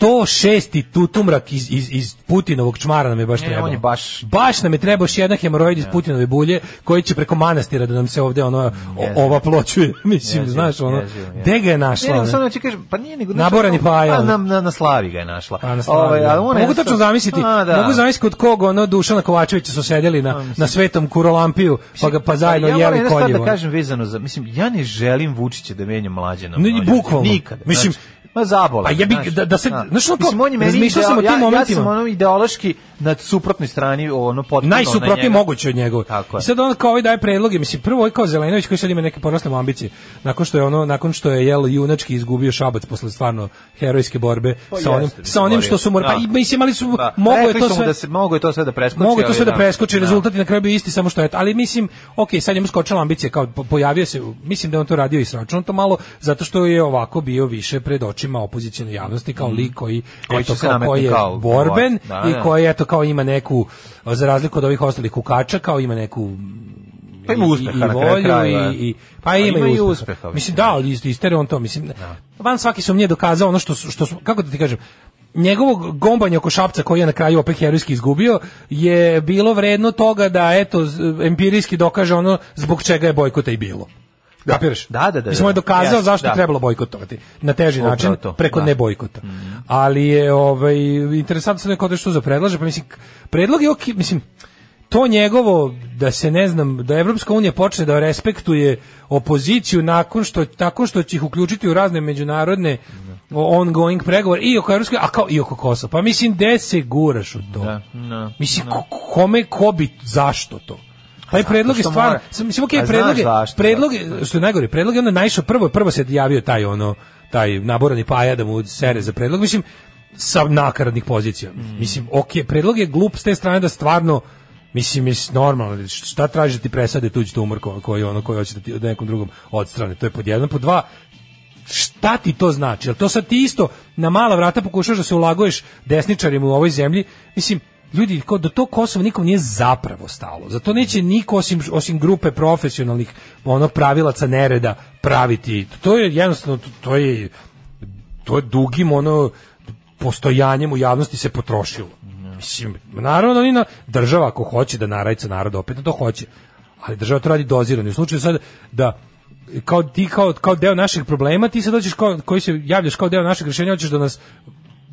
F: 106. tutumrak iz, iz, iz Putinovog čmara nam je baš
G: Ne,
F: trebao.
G: E, on je baš-
F: Baš nam je trebao još jedna hemoroid iz Putinove bulje koji će preko manastira da nam se ovde ono, o, ova pločuje, mislim,
G: Jezivo,
F: znaš, ono,
G: jezivo, jezivo.
F: gde ga je
G: Ne,
F: našla?
G: nego
F: ono?
G: samo znači kažem, pa nije nego
F: Naborani paja,
G: A,
F: ono.
G: na, na, na slavi ga je našla.
F: Pa na slavi, da.
G: Ovaj, ali ona je
F: Mogu
G: sa-
F: tačno zamisliti.
G: A, da.
F: Mogu zamisliti kod kog ono Dušana Kovačevića su sedeli na na Svetom Kurolampiju, pa ga pa zajedno
G: ja moram
F: jeli
G: jednu stvar
F: koljivo.
G: da kažem vezano za, mislim, ja ne želim Vučića da menja mlađe na
F: Ne, bukvalno.
G: Nikad.
F: Mislim,
G: Ma zabola.
F: Pa jebi ga, da- da se- znaš ono kao,
G: Mislim, on je meni
F: razmišljao sam o
G: ideo-
F: tim
G: ja, ja
F: momentima.
G: sam ono ideološki na suprotnoj strani, ono potpuno na
F: najsuprotnije
G: njega.
F: moguće od njega.
G: Tako je.
F: I sad on kao ovaj daje predloge, mislim prvo ovaj kao Zelenović koji sad ima neke porasle mu ambicije, nakon što je ono nakon što je jel junački izgubio Šabac posle stvarno herojske borbe sa onim
G: Pa jeste,
F: sa onim
G: govorio.
F: što su mu pa
G: Da.
F: i- mislim ali su
G: Da.
F: mogu je
G: Rekli
F: to
G: su mu
F: sve
G: da se mogu je to sve da preskoči.
F: Mogu to
G: ali
F: sve da
G: da.
F: preskoči,
G: Da.
F: rezultat je na kraju bio isti, samo što je. Ali mislim, ok, sad njemu skočila ambicija, kao po- pojavio se, mislim da je on to radio i sračunao to malo, zato što je ovako bio više pred očima opozicijalne javnosti, kao lik koji,
G: Mhm. Koji
F: eto,
G: će se
F: kao,
G: nametnuti
F: koji je
G: kao
F: borben
G: bor- da,
F: i
G: da.
F: koji, eto, kao ima neku, za razliku od ovih ostalih kukača, kao ima neku
G: Pa ima
F: i-
G: uspeha
F: i,
G: na kraju
F: volju
G: krajeva.
F: i, i pa ima, i uspeha. mislim da, ali isto istere on to, mislim. Van svaki su je dokazao ono što su- što su- kako da ti kažem, njegovog gombanja oko Šapca koji je na kraju opet herojski izgubio je bilo vredno toga da eto z- empirijski dokaže ono zbog čega je bojkota i bilo. Kapiraš?
G: Da, da, da, da.
F: Mislim, on je dokazao
G: Jeste,
F: zašto je
G: da.
F: trebalo bojkotovati. Na teži
G: Upravo
F: način,
G: to,
F: preko
G: da.
F: ne bojkota. Ali je ovaj, interesantno se neko što za predlaže, pa mislim, predlog je ok, mislim, to njegovo da se ne znam da Evropska unija počne da respektuje opoziciju nakon što tako što će ih uključiti u razne međunarodne o- ongoing pregovore i oko Evropske a kao i oko Kosova. Pa mislim gde se guraš u to?
G: Da.
F: Mislim ko- kome ko bi zašto to? Taj predlog je
G: što
F: stvarno,
G: mora.
F: sam-
G: A
F: mislim okej,
G: znaš
F: predlog je,
G: zašto,
F: predlog je- što je najgore, predlog je onda naišao prvo, prvo se javio taj ono taj naborani paja da mu sere za predlog. Mislim sa nakaradnih pozicija.
G: Mm.
F: Mislim, okej, predlog je glup s te strane da stvarno Mislim, je normalno, šta traži da ti presade tuđ tumor ko- koji ono koji hoće da ti od nekom drugom odstrane, to je pod jedan, pod dva, šta ti to znači? Jel to sad ti isto na mala vrata pokušaš da se ulaguješ desničarima u ovoj zemlji? Mislim, ljudi, kao do to Kosovo nikom nije zapravo stalo. Zato neće niko osim, osim grupe profesionalnih ono pravilaca nereda praviti. To je jednostavno, to, to je to je dugim ono postojanjem u javnosti se potrošilo. Mislim, naravno oni na država ako hoće da narajca narod opet to hoće. Ali država to radi dozirano. I U slučaju sad da kao ti kao, kao deo naših problema, ti se dođeš kao, koji se javljaš kao deo našeg rješenja, hoćeš da nas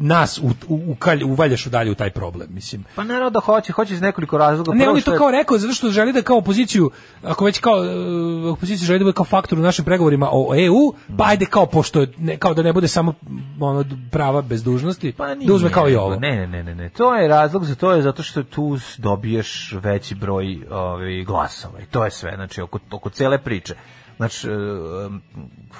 F: nas u, u, ukalj- uvaljaš u dalje u taj problem, mislim.
G: Pa naravno da hoće, hoće iz nekoliko razloga.
F: Ne,
G: Pa Prvo
F: on je
G: što
F: to kao rekao zato što želi da kao opoziciju, ako već kao e, opoziciju želi da bude kao faktor u našim pregovorima o EU, pa ajde kao pošto je- ne, kao da ne bude samo m, ono prava bez dužnosti,
G: Pa nije,
F: da uzme kao i ovo.
G: Ne, ne, ne, ne, ne. To je razlog za to je zato što tu s- dobiješ veći broj ovaj, glasova i to je sve, znači oko, oko cele priče. Znači, e, m,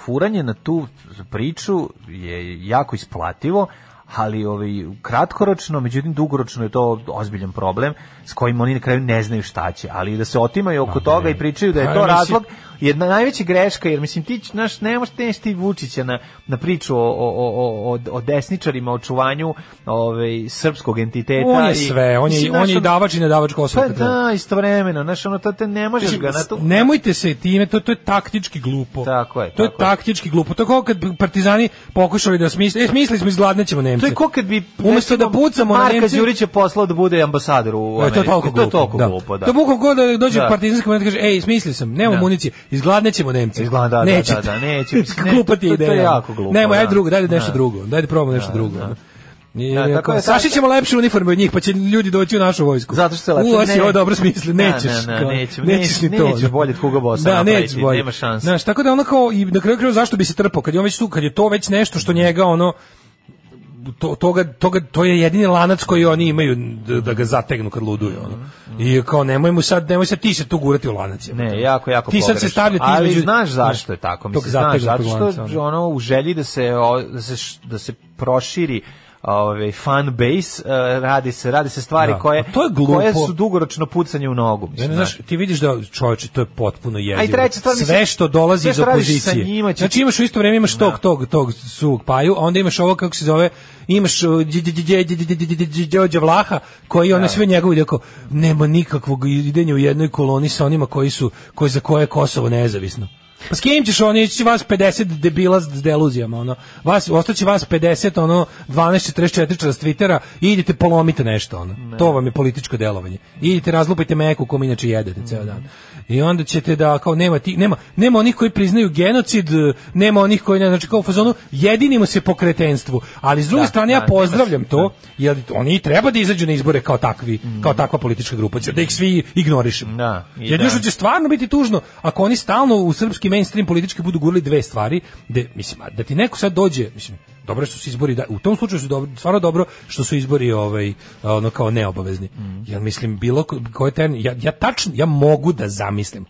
G: furanje na tu priču je jako isplativo, ali ovaj, kratkoročno, međutim dugoročno je to ozbiljan problem s kojim oni na kraju ne znaju šta će, ali da se otimaju oko toga i pričaju da je
F: Pa,
G: to
F: mislim-
G: razlog jedna najveća greška jer mislim ti ć- znaš ne možeš teneš ti Vučića na na priču o o o o o desničarima o čuvanju ovaj srpskog entiteta
F: On je
G: i-
F: sve, on je,
G: mislim,
F: on
G: znaš,
F: je i
G: ono-
F: davač i nedavač Kosova.
G: pa da istovremeno znaš ono to te ne možeš ga na to
F: Nemojte se time, to, to je taktički glupo.
G: Tako je,
F: To je
G: tako je.
F: taktički glupo. To je kao kad bi partizani pokušali da smisle, e, smislili smo izgladnećemo Nemce.
G: To je ko kad bi
F: Umesto da
G: recimo,
F: pucamo na
G: Marka
F: Nemce-
G: Đurića poslao da bude ambasador u
F: E,
G: Americi.
F: to je toliko glupo.
G: To je toliko glupo, da.
F: To bukvalno kao da dođe
G: Da.
F: partizanski moment i kaže, ej, smislio sam, nema
G: Da.
F: municije, izgladnećemo Nemce.
G: Izgleda, da, da, da,
F: Nećete.
G: da, neće, mislim, ne,
F: Glupa ti je
G: to- to je
F: ideja.
G: jako glupo,
F: Nemo, ajde
G: da.
F: drugo, dajde nešto
G: Da.
F: drugo, dajde probamo nešto drugo. Da. I,
G: Da, tako je,
F: sašit ćemo lepše uniforme od njih, pa će ljudi doći u našu vojsku.
G: Zato što se lepše-
F: U, a si
G: ne.
F: ovo dobro smisli,
G: Da,
F: nećeš.
G: ne, ne,
F: kao,
G: neću,
F: nećeš ni
G: neću,
F: to.
G: nećeš
F: da.
G: bolje od Hugo Bossa
F: Da,
G: napraviti,
F: nećeš bolje.
G: nema šanse.
F: Znaš, tako da ono kao, i na kraju kraju zašto bi se trpao, kad je on već tu, kad je to već nešto što njega, ono, to, toga, toga, to je jedini lanac koji oni imaju da, da ga zategnu kad luduju. Ono. I kao nemoj mu sad, nemoj sad ti se tu gurati u lanac. jebote.
G: Ne, jako, jako
F: Ti sad se
G: pogrešno.
F: stavljati
G: Ali
F: između...
G: znaš zašto je tako,
F: tog
G: mislim, znaš, zato
F: zategnutog lanca, ono.
G: što ono, u želji da se, o, da se, š- da se proširi ovaj fan base e, radi se radi se stvari
F: Da,
G: koje
F: a to je glupo.
G: koje su dugoročno pucanje u nogu
F: Ne,
G: mislim
F: ne, znaš, ti vidiš da čovječe, to je potpuno jezivo.
G: A i treća stvar, mislim,
F: sve što dolazi
G: sve
F: iz
G: što radiš sa
F: opozicije.
G: njima će-
F: Znači imaš u isto vrijeme imaš tog tog tog suvog paju, a onda imaš ovo kako se zove, imaš uh, Đ- Đ- Đ- Đ- Đ- Đ- Đ- Đ- Đ- Đorđe Vlaha koji ono sve njegovo ide kao nema nikakvog idenja u jednoj koloni sa onima koji su koji za koje je Kosovo nezavisno. Pa s kim ćeš oni ići vas 50 debila s deluzijama, ono. Vas, ostaće vas 50, ono, 12.44 s Twittera i idite polomite nešto, ono. To vam je političko delovanje. Idite razlupajte meku kom inače jedete ceo dan. I onda ćete da, kao, nema, ti, nema, nema onih koji priznaju genocid, eh, nema onih koji, ne, znači, kao u fazonu, jedinimo se po kretenstvu. Ali, s druge
G: Da,
F: strane,
G: da,
F: ja
G: nema
F: pozdravljam to, jer oni i treba da izađu na izbore kao takvi, kao takva politička grupa, da ih svi ignorišemo.
G: Mhm. Da, i
F: Jedino
G: da.
F: što će stvarno biti tužno ako oni stalno u srpskim mainstream politički budu gurali dve stvari, da mislim, a da ti neko sad dođe, mislim, dobro su se izbori, da, u tom slučaju su dobro, stvarno dobro što su izbori ovaj, a, ono kao neobavezni.
G: Mhm.
F: Jer mislim, bilo ko- koji termin, ja, ja tačno, ja mogu da zamislim,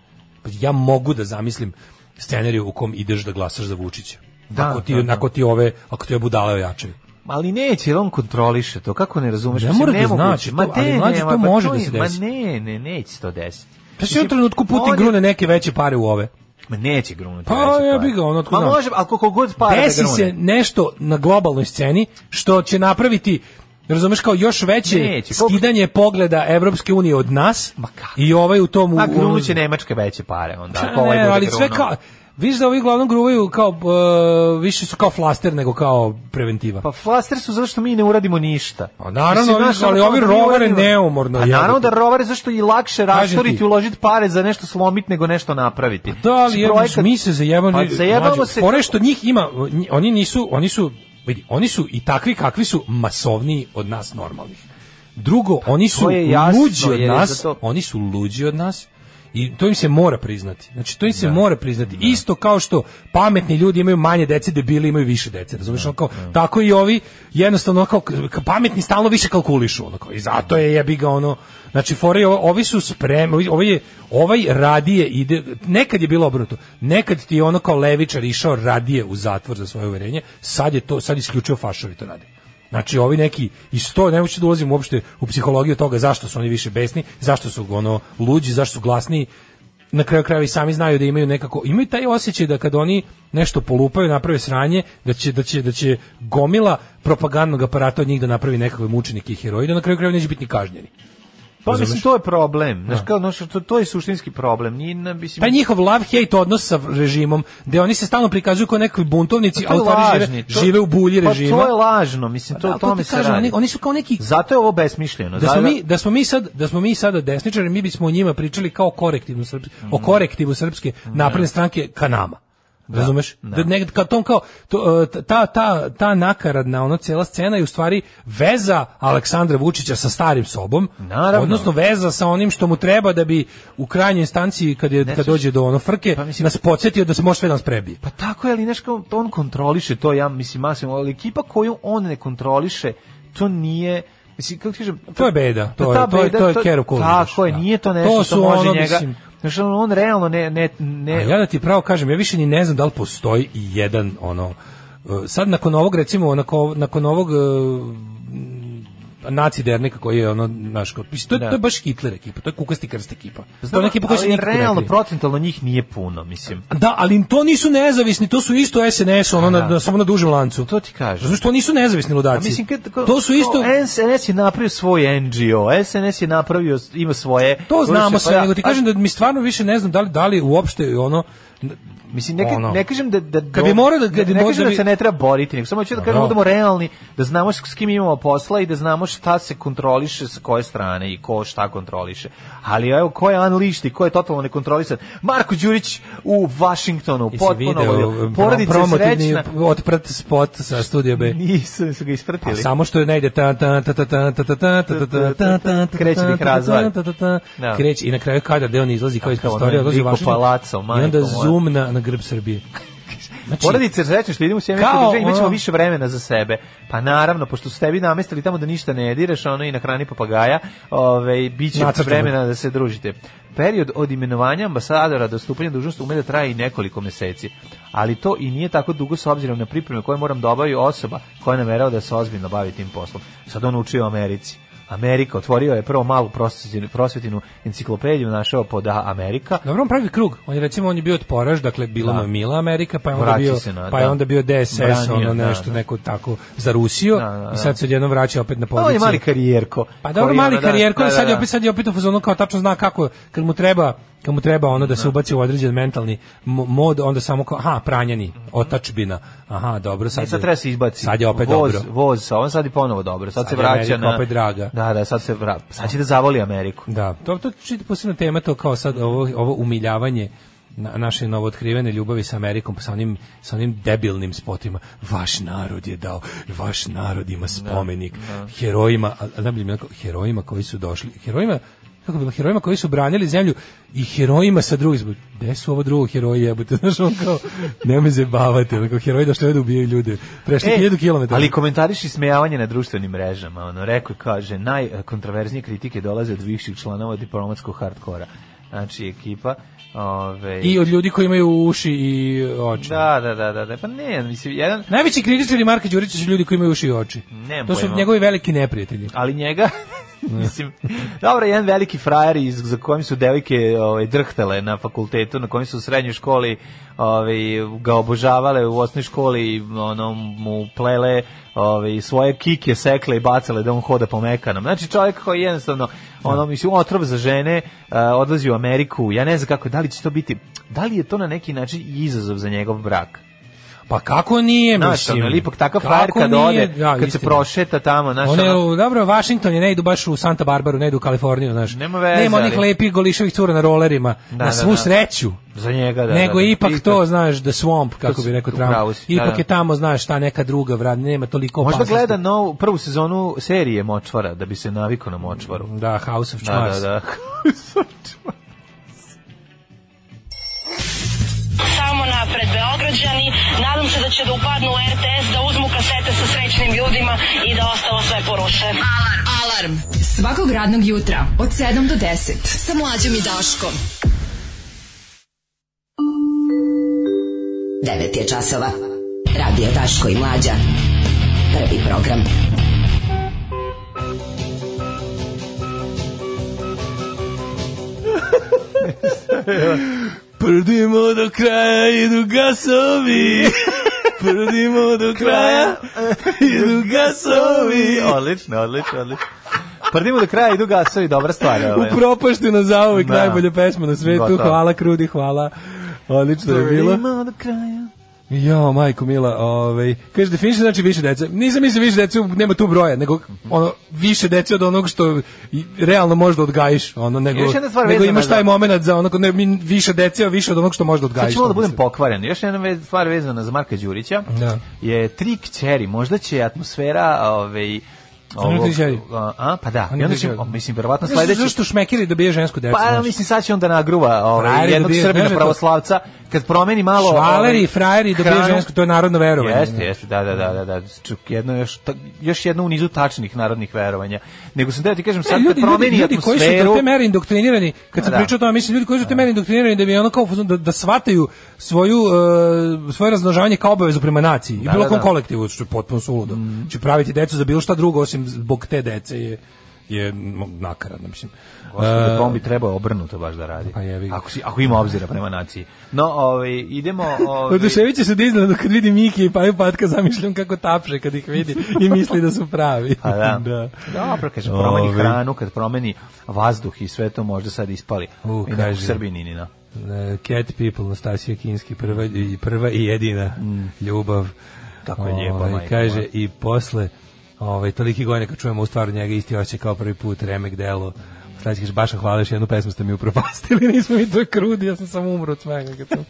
F: ja mogu da zamislim scenariju u kom ideš da glasaš za Vučića.
G: Da,
F: ako ti,
G: da, da.
F: ako ti ove, ako ti ove budale ojačaju.
G: Ali neće, jer on kontroliše to. Kako ne razumeš?
F: Ne
G: Mislim,
F: mora da
G: nemoguće.
F: znači to, ali
G: ne,
F: mlađe,
G: ne,
F: to
G: ma
F: može
G: to
F: da
G: je-
F: se desi.
G: Ma ne, ne, neće to desiti.
F: Pa si u jednom trenutku Putin
G: on je-
F: grune neke veće pare u ove.
G: Ma neće grunuti.
F: Pa,
G: veće
F: ja
G: pare.
F: bi ga, ono, otkud
G: Ma
F: znam.
G: može, ali koliko god para da
F: Desi se
G: grune.
F: nešto na globalnoj sceni što će napraviti razumeš kao još veće
G: Neće, koliko-
F: skidanje pogleda Evropske unije od nas i ovaj u tom u-
G: A
F: u-
G: grunuće Nemačka veće pare, onda.
F: Pa
G: ako ovaj
F: ne,
G: bude
F: ali sve
G: grunuo.
F: kao Viš da ovi glavnom gruvaju kao, e, više su kao flaster nego kao preventiva.
G: Pa flaster su zato što mi ne uradimo ništa.
F: Pa naravno,
G: Mislim,
F: ovi-
G: znaš,
F: ali
G: ono,
F: ovi
G: kao da mi
F: rovare
G: uradimo-
F: neumorno,
G: A naravno da
F: jebote.
G: rovare zašto je i lakše
F: Kažem
G: rasturiti,
F: ti. Pa
G: uložiti pare za nešto slomiti nego nešto napraviti.
F: Da, ali
G: Mislim,
F: jebote,
G: projekat-
F: mi se zajebamo.
G: Pa zajebamo
F: Mlađe,
G: se.
F: fora je što njih ima, nji- oni nisu, oni su, vidi, oni su i takvi kakvi su masovniji od nas normalnih. Drugo, oni su
G: Pa, je jasno,
F: luđi od
G: jer je
F: nas,
G: za to-
F: oni su luđi od nas. I to im se mora priznati. Znači to im se mora priznati. Isto kao što pametni ljudi imaju manje dece, debili imaju više dece. Razumeš ono kao tako i ovi jednostavno kao k- pametni stalno više kalkulišu ono kao. I zato je jebi ga ono. Znači fore ovi su spremni, ovi- ovi je ovaj radije ide nekad je bilo obrnuto. Nekad ti je ono kao levičar išao radije u zatvor za svoje uverenje, sad je to sad isključivo fašovi to rade. Znači ovi neki i sto ne hoću da ulazim uopšte u psihologiju toga zašto su oni više besni, zašto su ono luđi, zašto su glasniji. Na kraju krajeva i sami znaju da imaju nekako imaju taj osjećaj da kad oni nešto polupaju, naprave sranje, da će da će da će gomila propagandnog aparata od njih da napravi nekakve mučenike i heroje, da na kraju krajeva neće biti ni kažnjeni.
G: Pa
F: Razumeš?
G: mislim, to je problem. Znaš, kao, znaš, to, to je suštinski problem. Nije, na- mislim,
F: Taj njihov love-hate odnos sa režimom, gde oni se stalno prikazuju kao nekakvi buntovnici,
G: Pa to
F: a
G: je
F: u stvari žive,
G: lažni, to-
F: žive u bulji režima.
G: Pa to je lažno, mislim, to,
F: Da,
G: o
F: ali
G: tome
F: ti
G: se
F: kažem,
G: radi.
F: Oni, oni su kao neki
G: Zato je ovo besmišljeno.
F: Ono, da smo
G: zato-
F: mi da smo mi sad da smo mi sada desničari mi bismo o njima pričali kao korektivno srpski o korektivu srpske napredne stranke ka nama razumeš Mhm. da, negde ka tom kao to, e, ta ta ta nakaradna ono cela scena je u stvari veza Aleksandra Vučića sa starim sobom
G: Naravno.
F: odnosno veza sa onim što mu treba da bi u krajnjoj instanci kad je kad
G: znaš-
F: dođe do ono frke
G: Pa mislim-
F: nas podsjetio da se može sve da nas prebije
G: Pa tako je, ali znaš kao, on kontroliše to, ja mislim, masimo, ali ekipa koju on ne kontroliše, to nije, mislim, kako ti kažem...
F: To je beda, to
G: ta
F: je- to je-
G: beda,
F: to je Kerov Kulin,
G: Tako je,
F: da.
G: nije to
F: To
G: nešto što
F: su
G: može
F: ono,
G: njega...
F: mislim-
G: Znaš, on, on realno ne... ne,
F: A
G: ne
F: ja da ti pravo kažem, ja više ni ne znam da li postoji i jedan ono e, sad nakon ovog recimo nakon, nakon ovog e, naci dernika koji je ono naš kao, mislim, to, je-
G: Da.
F: to je baš Hitler ekipa, to je kukasti krst ekipa. to
G: Znam,
F: je ona ekipa koja se
G: ono, ali
F: nikako ne
G: realno,
F: krije.
G: procentalno njih nije puno, mislim.
F: Da, ali to nisu nezavisni, to su isto SNS, ono, na,
G: da.
F: samo na dužem lancu.
G: To ti kažem.
F: Zato što nisu nezavisni
G: A
F: ludaci.
G: mislim, kad, ko-
F: to su isto...
G: ko- SNS je napravio svoj NGO, SNS je napravio, ima svoje...
F: To znamo
G: Pa
F: sve,
G: da,
F: nego ti
G: a-
F: kažem da mi stvarno više ne znam da li, da li uopšte ono...
G: Mislim, ne, ka-
F: Ono.
G: ne kažem da... da
F: Kad bi morao da-
G: ne-
F: kad bi
G: ne,
F: možda
G: kažem da
F: bi-
G: se ne treba boriti, nego samo ću da
F: Pa
G: kažem da
F: da.
G: budemo realni, da znamo s s kim imamo posla i da znamo šta se kontroliše sa koje strane i ko šta kontroliše. Ali evo, ko je unleashed i ko je totalno nekontrolisan? Marko Đurić u Vašingtonu,
F: Jesi
G: potpuno
F: video,
G: ludio.
F: e,
G: Porodica je
F: promotivni
G: srećna.
F: otprat spot sa studio B.
G: Nisu su ga
F: Pa
G: ispratili.
F: samo što ne ide ta ta ta ta ta ta ta ta ta ta ta ta ta ta
G: Kreće ih razvar.
F: ta ta ta
G: Da.
F: Kreće i na kraju kadar gde on izlazi kao iz
G: Kakav ono
F: prostorije, odlazi u
G: liko
F: Washington
G: palaco,
F: I
G: majko
F: onda
G: moja.
F: zoom na, na grb Srbije. Znači,
G: Porodice srećne što idemo u sjemeničku
F: Kao
G: državu, imat ćemo
F: ono-
G: više vremena za sebe. Pa naravno, pošto su tebi namestili tamo da ništa ne direš, ono i na hrani papagaja, ove, bit će
F: Nacrtano.
G: vremena da se družite. Period od imenovanja ambasadora do stupanja dužnosti ume da traje i nekoliko meseci. Ali to i nije tako dugo s obzirom na pripreme koje moram da obavi osoba koja je namerao da se ozbiljno bavi tim poslom. Sad on učio u Americi. Amerika, otvorio je prvo malu prosvetinu, prosvetinu enciklopediju, našao pod A Amerika.
F: Dobro, on pravi krug. On je recimo on je bio od Poraž, dakle bila
G: Da.
F: mu je mila Amerika, pa je onda
G: Vraća
F: bio
G: se na-
F: pa je
G: da.
F: onda bio DSS,
G: Branio,
F: ono
G: da,
F: nešto
G: da.
F: neko tako za Rusiju
G: Da, da,
F: i sad
G: da.
F: se odjednom vraća opet na
G: Pa on je
F: poziciju.
G: mali karijerko.
F: Pa dobro,
G: Koji
F: mali
G: ono, da,
F: karijer koji
G: da,
F: sad je
G: da.
F: opet sad je opet u fazonu kao tačno zna kako kad mu treba kad mu treba ono da se ubaci u određen mentalni mo- mod, onda samo kao aha, pranjani, otačbina. Aha, dobro, sad.
G: E, sad
F: je-
G: treba se izbaci.
F: Sad je opet
G: voz,
F: dobro.
G: Voz sa ovom, sad je ponovo dobro. Sad,
F: Sad
G: se
F: je
G: vraća
F: Amerika
G: na...
F: opet draga.
G: Da, da, sad se vra... Sad će da zavoli Ameriku.
F: Da, to to je čita posebna tema to kao sad ovo ovo umiljavanje na, naše novootkrivene ljubavi sa Amerikom sa onim sa onim debilnim spotima. Vaš narod je dao, vaš narod ima spomenik herojima, a a najbolje mi je onako, herojima koji su došli, herojima kako bi herojima koji su branili zemlju i herojima sa drugih zbog gde su ovo drugo heroji jebote znaš on kao ne me zebavate kao heroji da što je da ubijaju ljude prešli 1000 km
G: E, Ali komentariš ismejavanje na društvenim mrežama. Ono, rekao je, kaže, najkontraverznije kritike dolaze od viših članova diplomatskog hardkora. Znači, ekipa... Ove,
F: i od ljudi koji imaju uši i oči
G: Da, da, da, da, da. Pa ne, mislim, jedan...
F: Najveći kritičari Marka Đurića su ljudi koji imaju uši i oči.
G: Nemam
F: to su
G: pojma.
F: njegovi veliki neprijatelji.
G: Ali njega... Mislim, dobro, jedan veliki frajer iz, za kojim su devojke ovaj, drhtale na fakultetu, na kojem su u srednjoj školi ovaj, ga obožavale, u osnovnoj školi ono, mu plele ovaj, svoje kike sekle i bacale da on hoda po mekanom. Znači čovjek koji je jednostavno ono, mislim, otrov za žene, eh, odlazi u Ameriku, ja ne znam kako, da li će to biti, da li je to na neki način i izazov za njegov brak?
F: Pa kako nije,
G: Znaš,
F: mislim.
G: ono, ili ipak takav
F: Kako
G: frajer kad
F: nije?
G: ode,
F: Da,
G: kad se
F: istina.
G: prošeta tamo, znaš,
F: One,
G: ono-
F: u- dobro, Washington je, ne idu baš u Santa Barbaru, ne idu u Kaliforniju, znaš.
G: Nema veze,
F: Nema onih
G: ali-
F: lepih goliševih cura na rolerima,
G: Da,
F: na
G: da,
F: svu
G: da.
F: sreću.
G: Za njega, da.
F: Nego
G: da, da.
F: ipak to, znaš, the swamp, kako
G: si-
F: bi rekao
G: u
F: Trump.
G: pravu si, da,
F: ipak
G: da.
F: je tamo, znaš, ta neka druga vrat, nema toliko
G: Možda
F: opasnosti.
G: gleda novu, prvu sezonu serije Močvara, da bi se naviko na Močvaru.
F: Da, House of
G: Da,
F: Charms.
G: da, da.
C: Samo napred Beograđani, nadam se da će da upadnu u RTS, da uzmu kasete sa srećnim ljudima i da ostalo sve poruše.
E: Alarm. Alarm. Svakog radnog jutra od 7 do 10.
K: Sa mlađom i Daškom.
B: 9 je časova. Radio Daško i Mlađa. Prvi program.
F: Prdimo do kraja idu gasovi. Prdimo do kraja idu gasovi.
G: odlično, odlično, odlično. Prdimo do kraja, idu gasovi, dobra stvar. Ovaj.
F: Upropašteno zauvek
G: Da.
F: najbolja pesma na svetu.
G: Gotovo.
F: Hvala Krudi, hvala. Odlično je bilo.
G: Prdimo do kraja.
F: Jo, majko mila, ovaj, kaže definition znači više dece. Nisam mislio više dece, nema tu broja, nego ono više dece od onog što i- realno možeš da odgajiš, ono nego
G: Još jedna stvar
F: nego
G: vezana
F: imaš
G: za-
F: taj momenat za ono kad ne, mi- više dece, a više od onog što možeš da
G: Sad
F: odgajiš.
G: ću Znači, malo da budem
F: mislim.
G: pokvaren. Još jedna ve- stvar vezana za Marka Đurića
F: Da.
G: je tri kćeri. Možda će atmosfera ovaj,
F: ima Pa tri kćeri?
G: a, a, pa da.
F: On
G: I
F: je
G: onda će,
F: pričao.
G: o, mislim, verovatno
F: Znaš
G: sledeći...
F: Zašto šmekiri dobije žensku decu? znači?
G: Pa
F: znaš?
G: mislim sad će onda nagruva ovaj,
F: Frajeri
G: jednog
F: dobijaju,
G: Srbina
F: znaš da to-
G: pravoslavca kad promeni malo
F: Švaleri
G: ovaj,
F: i frajeri dobije
G: hranu.
F: žensku, to je narodno verovanje.
G: Jeste, jeste, da, da, da, da, da. Čuk, jedno još, ta- još jedno u nizu tačnih narodnih verovanja. Nego sam da ti kažem,
F: E,
G: sad kad promeni
F: ljudi koji su
G: atmosferu...
F: do te mere indoktrinirani, kad sam
G: Da.
F: pričao o tome, mislim ljudi koji su do te mere indoktrinirani da bi ono kao fuzon- da, da shvataju svoju e, svoje razmnožavanje kao obavezu prema naciji i
G: Da,
F: bilo
G: da, Mhm.
F: kom
G: da.
F: kolektivu, što je potpuno suludo. Mm. Će praviti decu za bilo šta drugo osim zbog te dece je je mo- nakaradno mislim.
G: Gospode,
F: E,
G: bombi treba obrnuto baš da radi.
F: Pa jebi ga.
G: ako, si, ako ima obzira prema naciji. No, ovaj, idemo... Ovaj,
F: Oduševit će se da iznenadno kad vidi Miki i Paju Patka zamišljam kako tapše kad ih vidi i misli da su pravi.
G: Pa da.
F: da. Ovaj.
G: Dobro, kažem, promeni
F: Ovi.
G: hranu, kad promeni vazduh i sve to možda sad ispali.
F: U,
G: I nekog
F: kaži.
G: Srbininina.
F: E, Cat People, Nastasija Kinski, prva i, prva i jedina ljubav.
G: Kako Mm. je lijepa,
F: Ovaj,
G: majko
F: Kaže,
G: moja.
F: i posle ovaj, toliki godina kad čujemo u stvaru njega isti oće kao prvi put, remek delo. Sada ćeš baš hvala još jednu pesmu ste mi upropastili, nismo mi to krudi, ja sam samo umro od svega kad sam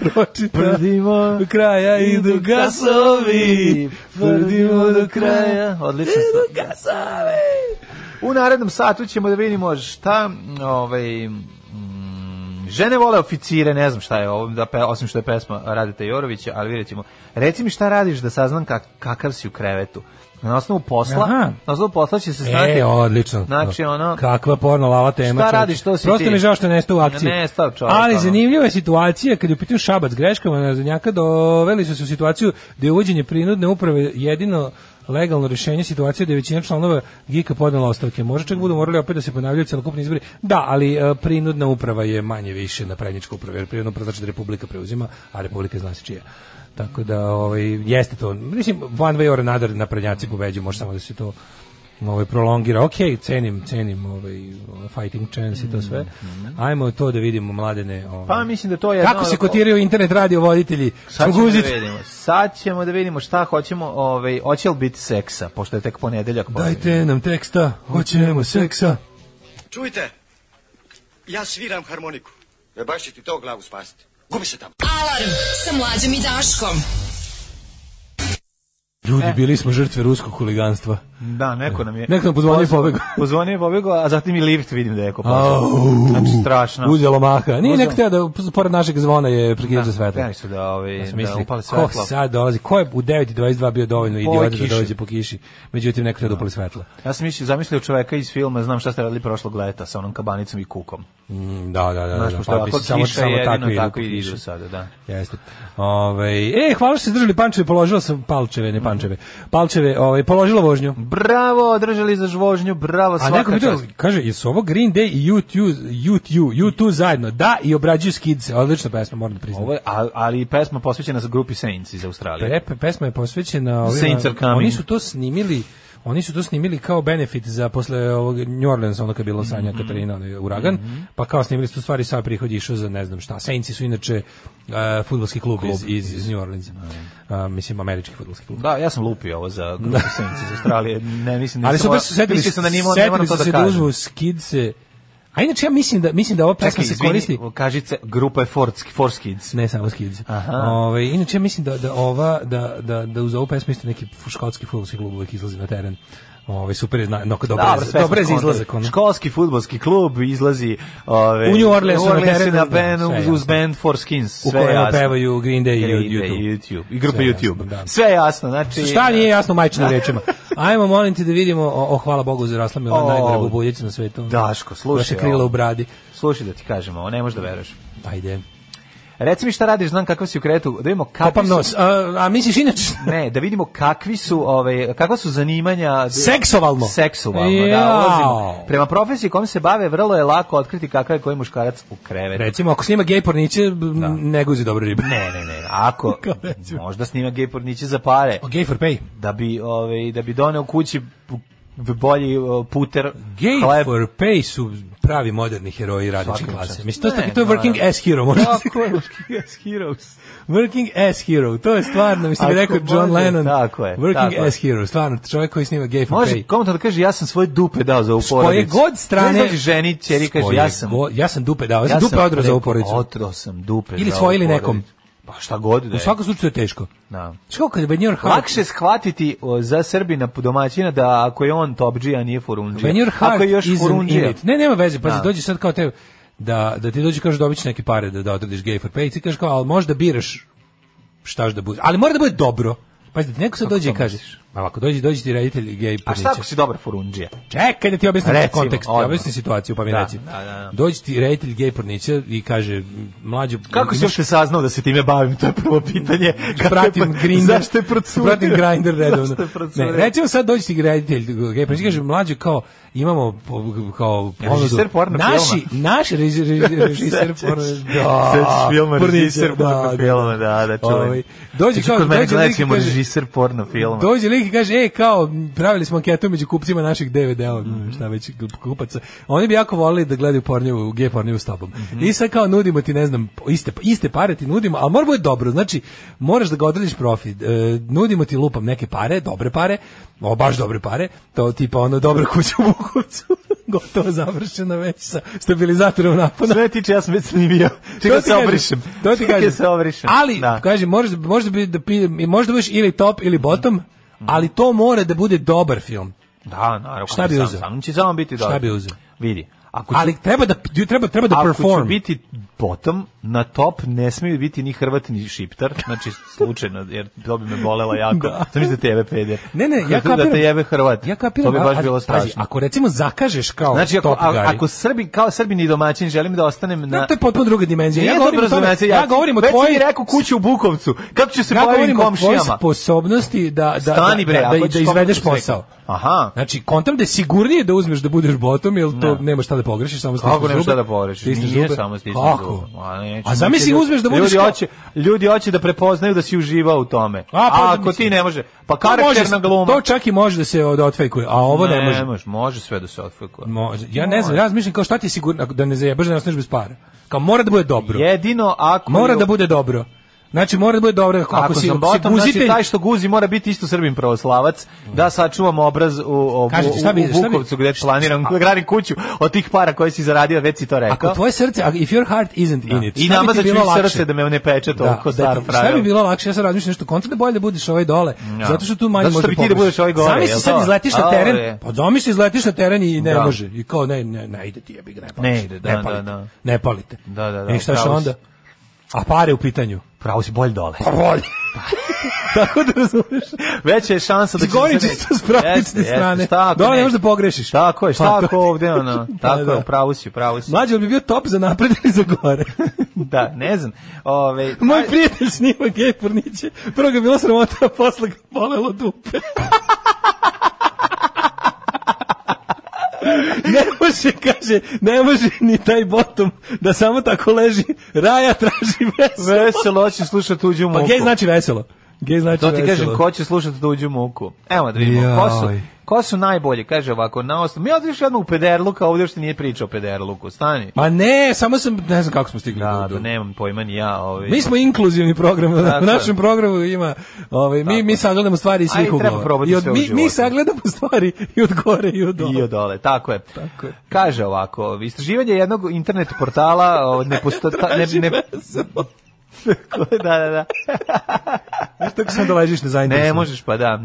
F: pročitao.
G: Prdimo
F: do kraja idu gasovi, prdimo do kraja.
G: Odlično su. U narednom satu ćemo da vidimo šta mm, ovaj mm, Žene vole oficire, ne znam šta je ovo, da pe- osim što je pesma Radita Jorovića, ali vidjet ćemo. Reci mi šta radiš da saznam kak- kakav si u krevetu. Na osnovu posla,
F: Aha.
G: na osnovu posla će se znati.
F: E, odlično.
G: Znači, ono-
F: Kakva porno lava tema.
G: Šta
F: čoveče.
G: radiš, to si
F: Prosto
G: ti.
F: mi je žao što je nestao u akciji.
G: Nestao čovek,
F: Ali
G: ono.
F: zanimljiva je situacija kad je u pitanju šabac greškama na Zanjaka doveli su se u situaciju da je uvođenje prinudne uprave jedino legalno rješenje situacije da je većina članova GIK-a podnela ostavke. Možda čak budu morali opet da se ponavljaju celokupni izbori. Da, ali e, prinudna uprava je manje više na predničku upravu, jer prinudna uprava znači da Republika preuzima, a Republika zna se čija. Tako da ovaj, jeste to. Mislim, one way or another naprednjaci pobeđuju, može samo da se to ovaj prolongira. Ok, cenim, cenim ovaj fighting chance i to sve. Ajmo to da vidimo mladene. Ovaj.
G: Pa mislim da to je...
F: Kako
G: jedno-
F: se kotiraju internet radio voditelji?
G: Sad ćemo, da
F: Struguzit.
G: vidimo. Sad ćemo da vidimo šta hoćemo, ovaj, hoće li biti seksa, pošto je tek ponedeljak. pa-
F: Dajte nam teksta, hoćemo seksa.
L: Čujte, ja sviram harmoniku. E baš će ti to glavu spasiti. Gubi se tamo.
K: Alarm. Sa mlađom i Daškom.
F: Ljudi,
G: E.
F: bili smo žrtve ruskog huliganstva.
G: Da, neko nam je...
F: Neko nam pozvonio i
G: pozvao-
F: pobegao.
G: Pozvonio i pobegao, a zatim i lift vidim da je ko pozvao.
F: Au.
G: Znači, strašno.
F: Uzelo maha. Nije
G: Uzeo-
F: neko teo da, pored našeg zvona je prekinuto svetlo.
G: hteli su da, ovaj,
F: Ja sam
G: da
F: mislio,
G: upale
F: ko
G: svetlo.
F: sad dolazi? Ko je u 9.22 bio dovoljno
G: Po ovoj
F: idiota da
G: kiši.
F: dođe po kiši? Međutim, neko teo da upali svetlo.
G: Ja sam mislio, zamislio čoveka iz filma, znam šta ste radili prošlog leta sa onom kabanicom i kukom.
F: Mm, da, da, da.
G: Znaš,
F: da,
G: pošto
F: pa bi
G: ovako
F: se samo-
G: kiša
F: samo
G: jedino
F: tako idu
G: tako
F: po
G: i
F: kiši.
G: idu sada, da.
F: Jeste. Ovaj e, hvala što ste držali pančeve, položila sam palčeve, ne pančeve. Palčeve, ovaj položila vožnju.
G: Bravo, održali za žvožnju, bravo,
F: A
G: svaka
F: neko pitao,
G: čast.
F: kaže, jesu ovo Green Day i U2, U2, U2 zajedno? Da, i obrađuju Skidse. Odlična pesma, moram da priznam.
G: Ovo je, a- ali pesma posvećena za grupi Saints iz Australije.
F: Pre, pesma je posvećena ovima-
G: Saints are coming.
F: Oni su to snimili Oni su to snimili kao benefit za posle ovog New Orleans, ono kad je bilo Sanja Katarina, onaj uragan, pa kao snimili su tu stvari, sad prihod je išao za ne znam šta. Saintsi su inače uh, futbolski klub, iz, iz, iz New Orleansa. A, mislim, američki futbolski klub.
G: Da, ja sam lupio ovo za grupu Saints iz Australije. Ne, mislim,
F: Ali
G: nisam
F: super su
G: mora-
F: setili,
G: mislio sam da nije, ne
F: setili
G: moram to
F: su
G: da
F: se
G: kažem.
F: da uzmu skidse. A inače ja mislim da mislim da ova pesma
G: Čekaj,
F: se
G: izvini,
F: koristi
G: Kažice, grupa je Four, Four Kids.
F: ne samo skidze.
G: Aha.
F: Ovaj inače ja mislim da da ova da da da uz ovu pesmu isto neki škotski fudbalski klub uvek izlazi na teren. Ovaj super je zna, no, dobro,
G: Dobro,
F: je-
G: sve
F: dobro je
G: smo
F: za izlazak
G: skontali.
F: ono.
G: Školski fudbalski klub izlazi ove,
F: U New Orleansu na terenu,
G: na
F: da,
G: band,
F: sve
G: uz,
F: jasno.
G: uz band Four Skins. Sve
F: U kojoj
G: jasno.
F: pevaju Green Day i
G: Green
F: YouTube.
G: Day, YouTube. I grupa
F: Sve
G: YouTube.
F: jasno, da.
G: Sve je jasno, znači...
F: Šta nije jasno majčina rečima? Ajmo, molim te da vidimo, o, o, hvala Bogu, zarasla mi ona
G: O,
F: najdrago buljica na svetu.
G: Daško, slušaj
F: Vaše krila
G: ovo.
F: u bradi.
G: Slušaj da ti kažem ovo, ne možeš da veruješ.
F: Ajde.
G: Reci mi šta radiš, znam kakav si u kretu, da vidimo kakvi
F: Kopam
G: su-
F: nos. A, a misliš inače?
G: Ne, da vidimo kakvi su, ove, kakva su zanimanja...
F: Seksualno.
G: Seksualno, da,
F: Jao.
G: ulazimo. Prema profesiji kojom se bave, vrlo je lako otkriti kakav je koji muškarac u krevetu.
F: Recimo, ako snima gej porniće, m, ne guzi dobro ribe.
G: Ne, ne, ne. Ako
F: Kao recimo.
G: možda snima gej porniće za pare
F: O, gay for pay.
G: da bi ovaj da bi doneo kući b- bolji o, puter
F: Gay
G: hleb.
F: for pay su pravi moderni heroji radničke
G: Svaka
F: klase.
G: čast.
F: Mislim, to, je
G: Ne,
F: tako- to je working
G: naravno.
F: ass hero. Možda.
G: Tako je, Working Ass Heroes.
F: Working ass hero, to je stvarno, mislim bi
G: Ako
F: rekao John
G: može,
F: Lennon.
G: tako je,
F: Working
G: tako je.
F: ass hero, stvarno, čovjek koji snima gay for
G: Može
F: pay.
G: komentar da kaže ja sam svoje dupe dao za ovu
F: koje
G: porodicu.
F: god strane-
G: Ne znači ženi, ćeri
F: S koje
G: kaže ja sam
F: go- ja sam dupe dao, ja sam dupe odreo za ovu
G: rekao,
F: porodicu.
G: Otrao sam dupe.
F: Ili
G: za ovu
F: svoje ili nekom.
G: porodicu. Pa šta god da
F: U
G: je.
F: svakom slučaju je teško.
G: Da.
F: Znaš kako kad je Benjor Hart...
G: Lakše shvatiti o, za Srbina domaćina da ako je on topdžija, nije furundžija.
F: Benjor Hart
G: ako je još
F: is an
G: furundžija.
F: idiot. Ne, nema veze, pa
G: Da.
F: se dođe sad kao te... Da, da ti dođe kaže dobit ćeš neke pare da, da odradiš gay for pay i ti kažeš kao, ali možda biraš štaš da bude. Ali mora da bude dobro. Pa da ti neko sad dođe i
G: to
F: kaže, ma ako dođe, dođe ti reditelj gay
G: A šta ako
F: porniće.
G: si dobar furundžija?
F: Čekaj da ti objasnim
G: Recimo,
F: kontekst,
G: odmah.
F: objasnim situaciju, pa mi
G: Da,
F: reci.
G: da, da, da.
F: Dođe ti reditelj gej pornića i kaže, mlađo...
G: Kako si
F: imaš-
G: uopšte saznao da se time bavim? To je prvo pitanje. Kako je- pa-
F: pratim Grindr.
G: Zašto je procurio?
F: Pratim Grindr redovno.
G: Zašto je procurio?
F: Ne, recimo sad dođe ti reditelj, gej, pa kaže mlađe kao imamo po- kao ponudu.
G: Režiser porno
F: naši, naši reži- reži- režiser
G: Sećaš-
F: porno.
G: sećaš filma
F: ono, porniče,
G: režiser porno
F: da,
G: filma, da, da, čujem.
F: Ovaj, Dođe
G: Znači,
F: kao
G: kod mene
F: dođe
G: gledat
F: lik i
G: ćemo
F: kaže,
G: režiser porno filma.
F: Dođe lik i kaže, e, kao, m, pravili smo anketu među kupcima naših DVD-a, ono, šta već, kupaca. Oni bi jako volili da gledaju pornjevu, gej pornjevu s tobom. I sad kao nudimo ti, ne znam, iste, iste pare ti nudimo, ali mora bude dobro, znači, moraš da ga odradiš profit. E, nudimo ti lupam neke pare, dobre pare, o, baš dobre pare, to tipa ono, dobra kuća u Bukovcu, gotovo završena već sa stabilizatorom napona.
G: Sve tiče, ja sam već snimio. Čekaj da
F: ti
G: se
F: kažem,
G: obrišem.
F: To ti
G: Čekaj
F: kažem.
G: da se obrišem.
F: Ali,
G: Da.
F: kažem, možda, možda, bi, da, pi- možda budeš ili top ili bottom, ali to mora da bude dobar film.
G: Da, naravno.
F: Šta bi
G: sam-
F: uzeo?
G: Sam će samo biti
F: Šta
G: dobro.
F: bi uzeo?
G: Vidi. Ako ću,
F: Ali treba da, treba, treba da
G: ako ću
F: perform.
G: biti potom, na top ne smiju biti ni Hrvat, ni Šiptar. Znači, slučajno, jer to bi me bolela jako. Da. Sam da te jebe pede.
F: Ne, ne,
G: Da
F: ja kapiram-
G: te jebe Hrvat.
F: Ja
G: To
F: kapiram,
G: bi
F: a-
G: baš
F: a-
G: bilo
F: pazi,
G: strašno.
F: ako recimo zakažeš kao
G: Znači, ako,
F: top
G: a-
F: guy,
G: ako Srbi, kao Srbin i domaćin, želim da ostanem na...
F: Ne, to je potpuno druga dimenzija.
G: Nije to
F: Ja govorim, o tome-
G: brzo, znači,
F: ja govorim o
G: već si
F: tvojoj
G: mi rekao kuću u Bukovcu. Kako ću se
F: ja
G: baviti
F: govorim o tvojoj
G: komšijama?
F: sposobnosti da, da,
G: Stani, bre,
F: da,
G: ako
F: da, da,
G: ćeš
F: izvedeš
G: komšiju
F: posao.
G: slikati. Aha.
F: Znači, kontam da je sigurnije da uzmeš da budeš botom, jer to nema šta da pogrešiš, samo stisneš
G: Kako nema šta
F: zube.
G: da porečiš?
F: Stisneš
G: Nije
F: zube.
G: samo stisneš
F: Kako?
G: zube. A, neću.
F: A zamisli
G: Ljudi-
F: uzmeš da budeš
G: ljudi
F: kao-
G: hoće, ljudi hoće da prepoznaju da si uživao u tome. A,
F: A, pa da
G: ako
F: mislim-
G: ti ne može, pa
F: To
G: karakterna
F: može-
G: gluma.
F: To čak i može da se od- otfejkuje, a ovo ne, može.
G: Može sve da se otfukuje.
F: Može. Ja ne znam, ja razmišljam kao šta ti je sigurno ako- da ne zajebaš da ne ostaneš bez para. Kao mora da bude dobro.
G: Jedino ako
F: Mora
G: je-
F: da bude dobro. Znači mora da bude dobro ako,
G: ako
F: si,
G: sam
F: ako si
G: botom,
F: guzitelj-
G: znači taj što guzi mora biti isto srbin pravoslavac, da sačuvam obraz u, u,
F: Kažete, šta bi-
G: u, u
F: šta bi-
G: Bukovcu gde planiram,
F: A-
G: gradim kuću od tih para koje si zaradio, već si to rekao.
F: Ako tvoje srce, ako- if your heart isn't in
G: Da.
F: it.
G: I
F: šta bi ti
G: namazat ću
F: bilo
G: i
F: lakše?
G: srce da me ne peče toliko,
F: da,
G: staro
F: da, Šta
G: pravilo.
F: bi bilo lakše? Ja sad razmišljam nešto kontra da bolje da budeš ovaj dole.
G: Ja.
F: Zato što tu manje
G: Zato što
F: može
G: bi ti da budeš ovaj gore,
F: Zamisli
G: jel
F: sad
G: to?
F: izletiš na
G: A,
F: teren.
G: ove.
F: Pa zamisli izletiš na teren i ne
G: Da.
F: može. I kao ne ne ne ide ti jebi ga ne pališ.
G: Ne ide, da,
F: ne
G: da,
F: palite.
G: da.
F: Ne palite.
G: Da, da, da,
F: I šta će
G: pravo si.
F: onda? A pare u pitanju.
G: Pravo si bolj dole.
F: Pa bolje.
G: Tako da razumeš. Veća je šansa da
F: Ti govorim
G: se-
F: Znači, čisto s praktične
G: Znači, Jeste, jeste.
F: strane.
G: Šta ako
F: Dole ne možeš da pogrešiš.
G: Tako je, šta
F: Pa,
G: ako ovde, ono,
F: Pa,
G: tako
F: da.
G: je, pravo si, pravo si.
F: Mlađe, jel bi bio top za napred ili za gore?
G: Da, ne znam. Ove,
F: Moj prijatelj snima gej porniće. Prvo ga je bilo sramota, a posle ga bolelo dupe. ne može, kaže, ne može ni taj bottom da samo tako leži. Raja traži veselo.
G: Veselo će slušati tuđu
F: Pa
G: muku.
F: gej znači veselo. Gej znači
G: To ti
F: veselo.
G: kažem, ko će slušati tuđu muku? Evo da vidimo, ko su,
F: Jaj.
G: ko su najbolje, kaže ovako, na osnovu. Mi otiš jedno u Pederluka, ovdje još ti nije pričao o Pederluku, stani.
F: Ma ne, samo sam, ne znam kako smo stigli.
G: Da,
F: do-
G: da, nemam pojma ni ja. ovaj, Ove.
F: Mi smo inkluzivni program,
G: Tako
F: u
G: je.
F: našem programu ima, ovaj, mi, mi sagledamo stvari iz
G: A i
F: svih
G: treba
F: uglova.
G: probati
F: I od,
G: sve u
F: mi, mi
G: životu.
F: sagledamo stvari i od gore i od dole.
G: I od dole, tako je.
F: Tako je.
G: Kaže ovako, istraživanje jednog internet portala o, ne posto... ta- ne, ne, da, da, da.
F: Znaš tako sam da ležiš nezainteresovan.
G: Ne možeš, pa da.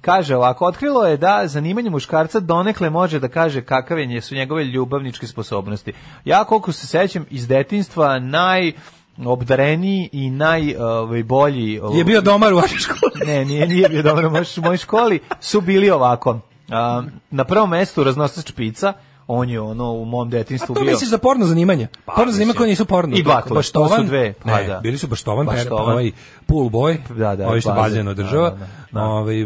G: Kaže ovako, otkrilo je da zanimanje muškarca donekle može da kaže kakav je nje- su njegove ljubavničke sposobnosti. Ja koliko se sećam iz detinstva naj obdareniji i najbolji
F: Je bio domar u vašoj školi.
G: ovaj, ne, nije, nije bio dobro u mojoj- u mojoj školi, su bili ovako. A, na prvom mestu raznosač špica, on je ono u mom detinstvu
F: A Pa to
G: bio.
F: misliš za porno zanimanja?
G: Pa,
F: porno zanimanja
G: mislim.
F: koje nisu porno.
G: I batle,
F: Baštovan,
G: to su dve, pa
F: ne,
G: da.
F: bili su Baštovan, per,
G: Baštovan.
F: ovaj pool boy,
G: Da, da,
F: ovaj što
G: bazen,
F: bazen održava.
G: da, da,
F: Ovaj,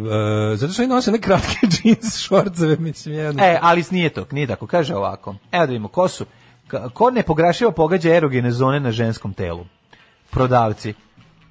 F: e, zato što oni nose ne kratke džins, šorceve, mislim, jedno.
G: E, ali nije to, nije tako. Kaže ovako. Evo da vidimo, ko su? Ka- Ko ne pograšiva pogađa erogene zone na ženskom telu? Prodavci.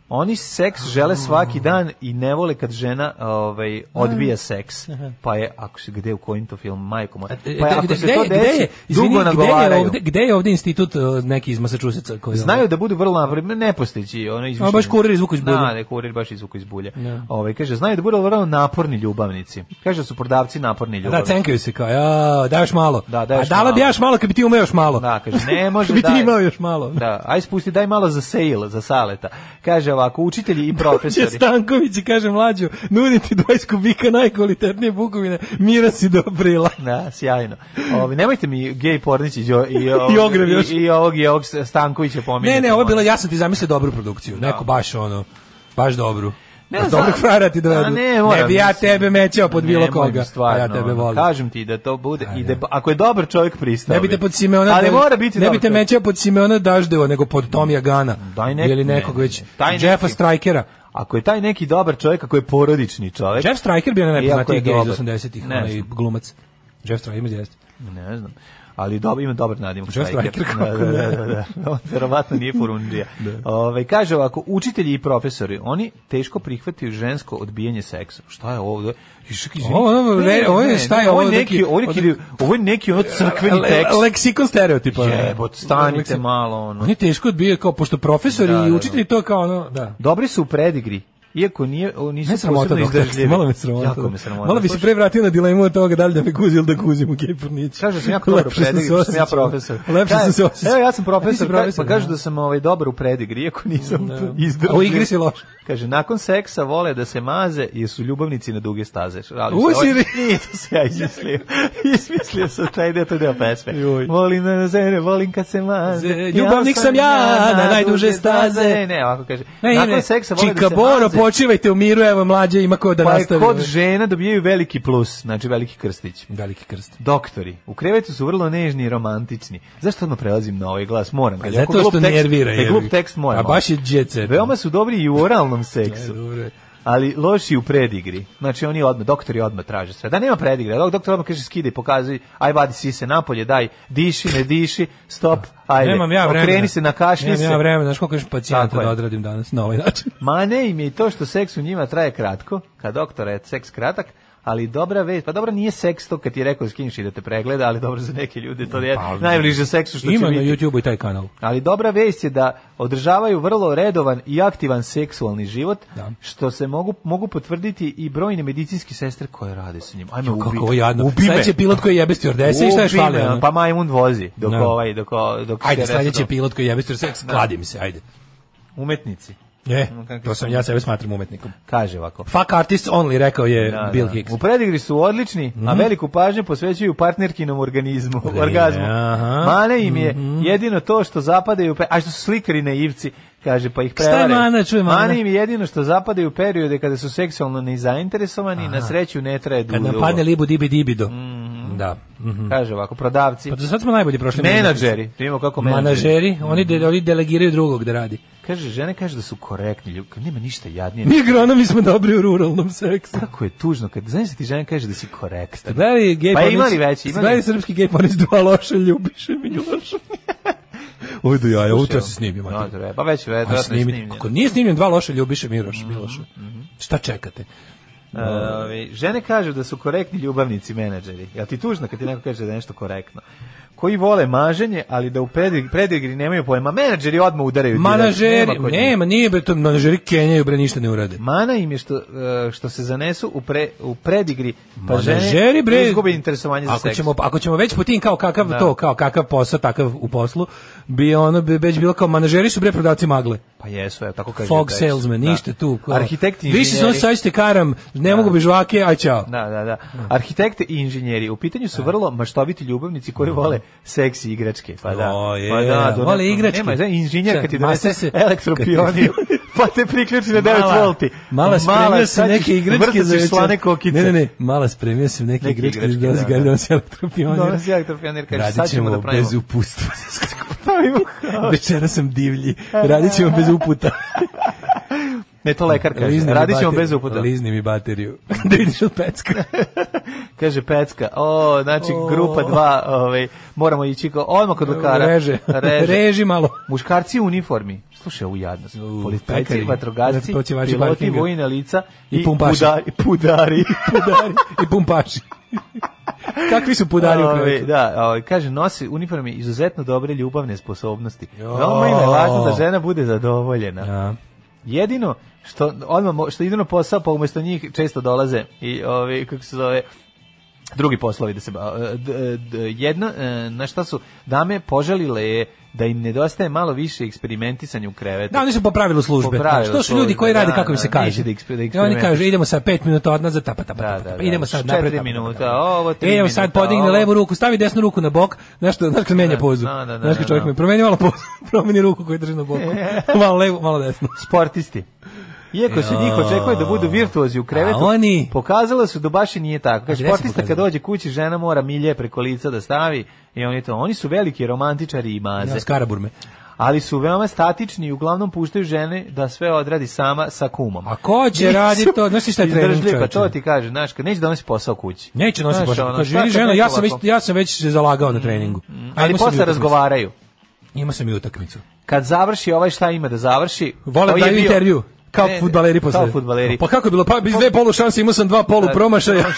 G: Oni seks
F: Mm.
G: žele svaki dan i ne vole kad žena ovaj,
F: Mm.
G: odbija seks. Pa je, ako se gde u kojim to film, majko moja. Pa
F: E,
G: je,
F: da,
G: ako
F: gde-
G: se
F: gde
G: to
F: je- gde je-
G: desi,
F: izvini,
G: dugo
F: gde je
G: nagovaraju.
F: ovde, gde je ovde institut e, neki iz Massachusettsa koji ovaj?
G: Znaju da budu vrlo napredni, ne postići, ono izmišljeni.
F: baš kurir izvuku iz bulje.
G: Da, ne, kurir baš izvuku iz bulje.
F: Da.
G: Ovaj, kaže, znaju da budu vrlo naporni ljubavnici. Kaže, da su prodavci naporni
F: Da,
G: ljubavnici.
F: cenkaju se kao, ja, daj još malo.
G: Da, daj još
F: A dala bi
G: malo.
F: ja još malo kad bi ti umeo još malo.
G: Da, kaže, ne može
F: Kad bi ti
G: daj.
F: imao još malo.
G: Da, aj spusti, daj malo za sale, za saleta. Kaže ovako, učitelji i
F: Će
G: profesori.
F: Stanković i kaže mlađu, nudi ti 20 kubika najkvalitetnije bukovine, mira si do aprila.
G: Da, sjajno. Ovi, nemojte mi gej pornići i, o- i,
F: I ogrev još.
G: i, i ovog, i ovog Stankovića
F: Ne,
G: pominjati.
F: ne, ovo je bilo, ja sam ti zamislio dobru produkciju, neku baš ono, baš dobru. Ne,
G: znam.
F: dobrog frajera ti dovedu.
G: A ne, moram,
F: bi ja
G: mislim.
F: tebe mećao pod bilo
G: Nemoj mi
F: koga,
G: stvarno,
F: a ja tebe
G: ono,
F: volim.
G: Kažem ti da to bude, i da, ako je dobar čovjek pristao.
F: Ne bi te
G: bi.
F: pod Simeona,
G: Ali
F: Daž-
G: mora biti
F: ne bi
G: dobar
F: te
G: čovjek.
F: mećao pod Simeona Daždeva, nego pod Tomija Gana,
G: Daj nek-
F: ili nekog
G: ne,
F: već,
G: ne, taj neki.
F: Jeffa Strikera.
G: Ako je taj neki dobar čovjek, ako je porodični čovjek.
F: Jeff Striker bio onaj
G: Iako
F: najpoznatiji
G: je
F: gej iz
G: dobar.
F: 80-ih,
G: Ne
F: onaj
G: znam.
F: glumac. Jeff Striker, jeste.
G: Ne znam. Ali dobar, ima dobar nadimak.
F: Joe Striker,
G: Da,
F: kako
G: da,
F: ne.
G: da, da, da. On verovatno nije furundija. Ove, kaže ovako, učitelji i profesori, oni teško prihvataju žensko odbijanje seksa. Šta je ovo? Išak, izvini.
F: Ovo, ovo,
G: Ne,
F: re- ovo je-
G: ne,
F: šta
G: ne,
F: je
G: ovo? je
F: ovo,
G: neki,
F: neki-
G: ovo je neki, ovo je neki ono crkveni
F: Le-
G: tekst.
F: Leksikon stereotipa.
G: Jebot, stanite
F: Leksi-
G: malo, ono.
F: Oni teško odbijaju kao pošto profesori
G: Da, da,
F: i
G: da.
F: učitelji to kao ono, da.
G: Dobri su u predigri. Iako nije, o, nisu
F: Ne sramota
G: posebno
F: dok
G: izdržljivi.
F: malo me sramota.
G: Jako me sramota.
F: Malo bi se
G: Slušaj,
F: pre vratio na dilemu od toga da li da me kuzi ili da kuzim u Kejpurnić.
G: Kaže da sam jako dobro u predigri, što sam ja profesor.
F: Lepše
G: Kaže,
F: sam se osjećao.
G: Evo ja sam
F: A ti si
G: profesor, ka-
F: profesor,
G: pa kaže da sam ovaj dobar u predigri, iako nisam izdržao.
F: A u igri si loš.
G: Kaže, nakon seksa vole da se maze jer su ljubavnici na duge staze. Šalim se.
F: Usiri.
G: Ovo- Nije to se ja izmislio. Izmislio sam taj deo, to je deo pesme.
F: Joj.
G: Volim na zemlje, volim kad se maze.
F: Ze- ljubavnik sam ja na najduže staze.
G: Ne, ovako kaže.
F: Ne,
G: Nakon
F: ne,
G: seksa vole da
F: Čika
G: se
F: Boro,
G: maze.
F: počivajte u miru, evo mlađe ima ko da
G: Pa je
F: nastavi.
G: kod žena dobijaju veliki plus, znači veliki krstić.
F: Veliki krst.
G: Doktori, u krevetu su vrlo nežni i romantični. Zašto odmah prelazim na ovaj glas? Moram.
F: A
G: Kad je
F: Pa zato
G: glup
F: što
G: tekst-
F: nervira.
G: kad je.
F: jebi
G: glup
F: ga.
G: tekst moram.
F: A baš je djece.
G: Veoma su dobri i u oralnom seksu.
F: dobro je.
G: Ali loši u predigri. Znači oni odmah, doktori odmah traže sve. Da nema predigre, dok doktor odmah kaže skidaj, pokazuj, aj vadi sise napolje, daj, diši, ne diši, stop, ajde.
F: Nemam ja vremena.
G: Okreni se, nakašlji
F: Nemam
G: se.
F: ja vremena, znaš koliko još pacijenta
G: Tako je.
F: da odradim danas na ovaj način.
G: Ma ne im je i to što seks u njima traje kratko, Ka doktora je seks kratak, ali dobra vest, pa dobro nije seks to kad ti je rekao da skineš i da te pregleda, ali dobro za neke ljude to je
F: Pa,
G: najbliže seksu što
F: ima
G: će
F: na
G: biti.
F: YouTubeu i taj kanal.
G: Ali dobra vest je da održavaju vrlo redovan i aktivan seksualni život, što se mogu, mogu potvrditi i brojne medicinske sestre koje rade sa njim. Ajme,
F: Jo, kako
G: ubi,
F: ovo jadno.
G: ubi me.
F: Sad će pilot koji jebe stjordese i šta je
G: Ubi me,
F: fali, ono?
G: Pa majmun vozi dok
F: Da.
G: ovaj, dok, o- dok
F: Ajde,
G: se
F: sledeći
G: resetno-
F: pilot koji jebe stjordese,
G: Da.
F: kladim se, ajde.
G: Umetnici.
F: Je,
G: Kakvi
F: to
G: su
F: sam
G: oni?
F: ja sebe smatram umetnikom.
G: Kaže ovako.
F: Fuck artists only, rekao je
G: Da,
F: Bill
G: da.
F: Hicks. Mhm.
G: U predigri su odlični, a veliku pažnju posvećuju partnerkinom organizmu, orgazmu.
F: aha. Mhm.
G: Mane im je jedino to što zapadaju, pe- a što su slikari naivci, kaže, pa ih
F: je
G: prevare.
F: mana, čuj, mana.
G: im je jedino što zapadaju u periode kada su seksualno nezainteresovani, na sreću ne traje dugo.
F: Kad nam padne libu dibi dibido. Da. Mhm.
G: Kaže ovako, prodavci.
F: Pa do sad smo najbolje prošli.
G: Menadžeri, vidimo kako
F: Manažeri, oni, de, oni delegiraju drugog da radi.
G: Kaže, žene kaže da su korektni ljudi, kao, nema ništa jadnije.
F: Mi agronomi smo dobri u ruralnom seksu.
G: Kako je tužno, kad znaš da ti žena kaže da si korektan.
F: Gledali gej
G: Pa
F: pornić-
G: imali već,
F: ste
G: imali.
F: Gledali srpski gej pornić dva loše ljubiše mi Miloša. Ujdu ja, ja utra se snimim.
G: No, treba, pa već verovatno
F: A
G: je
F: snimit,
G: snimljeno. Mhm,
F: ako nije snimljen dva loše ljubiše Miroš, Miloša. Šta čekate?
G: E, ovi, žene kažu da su korektni ljubavnici menadžeri. Jel ti tužno kad ti neko kaže da je nešto korektno? Koji vole maženje, ali da u predigri, predigri nemaju pojma. Menadžeri odmah udaraju. direkt.
F: Manažeri,
G: kod njih.
F: nema, nije bre to, manažeri Kenjaju bre ništa ne urade.
G: Mana im je što, e, što se zanesu u, pre, u predigri, pa žene
F: Manažeri bre
G: izgube interesovanje za
F: ako
G: seks.
F: ćemo ako ćemo već po tim kao kakav
G: Da.
F: to kao kakav posao takav u poslu bi ono bi već bilo kao manažeri su bre prodavci magle.
G: Pa jesu, evo, tako kaže.
F: Fog
G: tekst.
F: salesman,
G: Da.
F: ništa tu. kao,
G: Arhitekti i
F: Više se
G: inženjeri.
F: ono sajste karam, ne mogu bi žvake, aj čao.
G: Da, da, da. Arhitekte i inženjeri u pitanju su vrlo maštoviti ljubavnici koji vole seksi igračke. Pa da.
F: O, je,
G: pa da, do-
F: vole igračke.
G: Nema, znaš, inženjer kad ti
F: Čak,
G: donese
F: masa se-
G: elektropionir, pa te priključi na 9 volti.
F: Mala spremio sam
G: sad
F: neke
G: ćeš-
F: igračke
G: vrtat
F: za
G: ćeš
F: večer.
G: slane kokice.
F: Ne, ne, ne, mala spremio sam neke,
G: Neke
F: igračke,
G: igračke,
F: da,
G: da,
F: da,
G: da.
F: da, da, elektropionir.
G: Donosi elektropionir, kaže, sad ćemo da pravimo.
F: bez upustva.
G: Pravimo haos.
F: Večera sam divlji, radit ćemo bez uputa.
G: Ne, to lekar kaže.
F: Lizni mi
G: Radit ćemo
F: bateriju,
G: bez uputa.
F: Lizni mi bateriju. da vidiš od pecka.
G: Kaže Pecka. O, znači,
F: O.
G: grupa dva, ovaj, moramo ići kao, odmah kod lekara.
F: Reže.
G: Reže.
F: Reži malo.
G: Muškarci u uniformi. Slušaj, ovu jadnost. Policajci,
F: pekari.
G: vatrogasci,
F: To će vaši
G: piloti,
F: parkinga.
G: vojna lica i,
F: I pumpaši.
G: pudari. pudari.
F: Pudari i pumpaši. Kakvi su pudari u
G: Ove,
F: krevetu?
G: Da, ove, kaže, nosi uniforme izuzetno dobre ljubavne sposobnosti.
F: Jo.
G: Veoma im je važno da žena bude zadovoljena.
F: Da.
G: Jedino što odmah mo- što idu na posao, pa umesto njih često dolaze i ovi kako se zove drugi poslovi da se ba- e, d- d- jedno e, na šta su dame požalile je da im nedostaje malo više eksperimentisanja u krevetu.
F: Da, oni su po pravilu službe.
G: Po pravilu
F: što su ljudi
G: službe,
F: koji rade
G: da,
F: kako im se
G: da,
F: kaže.
G: neće da eksper- da
F: I oni
G: eksperimentišu.
F: kažu idemo sa 5 minuta odnazad, tapa, tapa,
G: Da,
F: tapa,
G: da,
F: tapa.
G: da.
F: idemo sad
G: Četiri
F: napred. tapa, tapa,
G: minuta,
F: tapa.
G: ovo, tri
F: Idemo sad
G: minuta,
F: podigne
G: ovo.
F: levu ruku, stavi desnu ruku na bok, znaš što, znaš kad menja
G: Da,
F: pozu.
G: da, da, da,
F: Znaš kad čovjek
G: da.
F: me promeni malo pozu, promeni ruku koju drži na boku. malo levu, malo desnu.
G: sportisti. Iako se njih očekuje da budu virtuozi u krevetu,
F: A oni?
G: pokazala su da baš i nije tako. Kaže,
F: Gde su
G: sportista kad
F: pokazali?
G: dođe kući, žena mora milje preko lica da stavi i oni to. Oni su veliki romantičari i maze,
F: Ja, skaraburme.
G: ali su veoma statični i uglavnom puštaju žene da sve odradi sama sa kumom.
F: A ko će
G: Nisu
F: raditi to? Znaš ti šta je trening,
G: izdržljivi, Pa
F: čoveče?
G: to ti kaže, znaš, kad neće da nosi posao kući.
F: Neće nositi
G: Znaš,
F: baš.
G: ono,
F: Kaže,
G: šta
F: vidi
G: kad
F: ženo, ja
G: neko
F: sam već
G: ovako- Mm,
F: ja sam već se zalagao na treningu. A
G: Ali
F: imao sam i
G: posle
F: utakmicu.
G: razgovaraju.
F: Imao sam i utakmicu.
G: Kad završi ovaj šta ima da završi,
F: Vole
G: to
F: da
G: je
F: daju
G: bio-
F: intervju. Kao
G: Ne, ne,
F: fudbaleri posle.
G: Kao fudbaleri.
F: Pa kako je bilo? Pa iz dve polu šanse imao sam dva polu promašaja.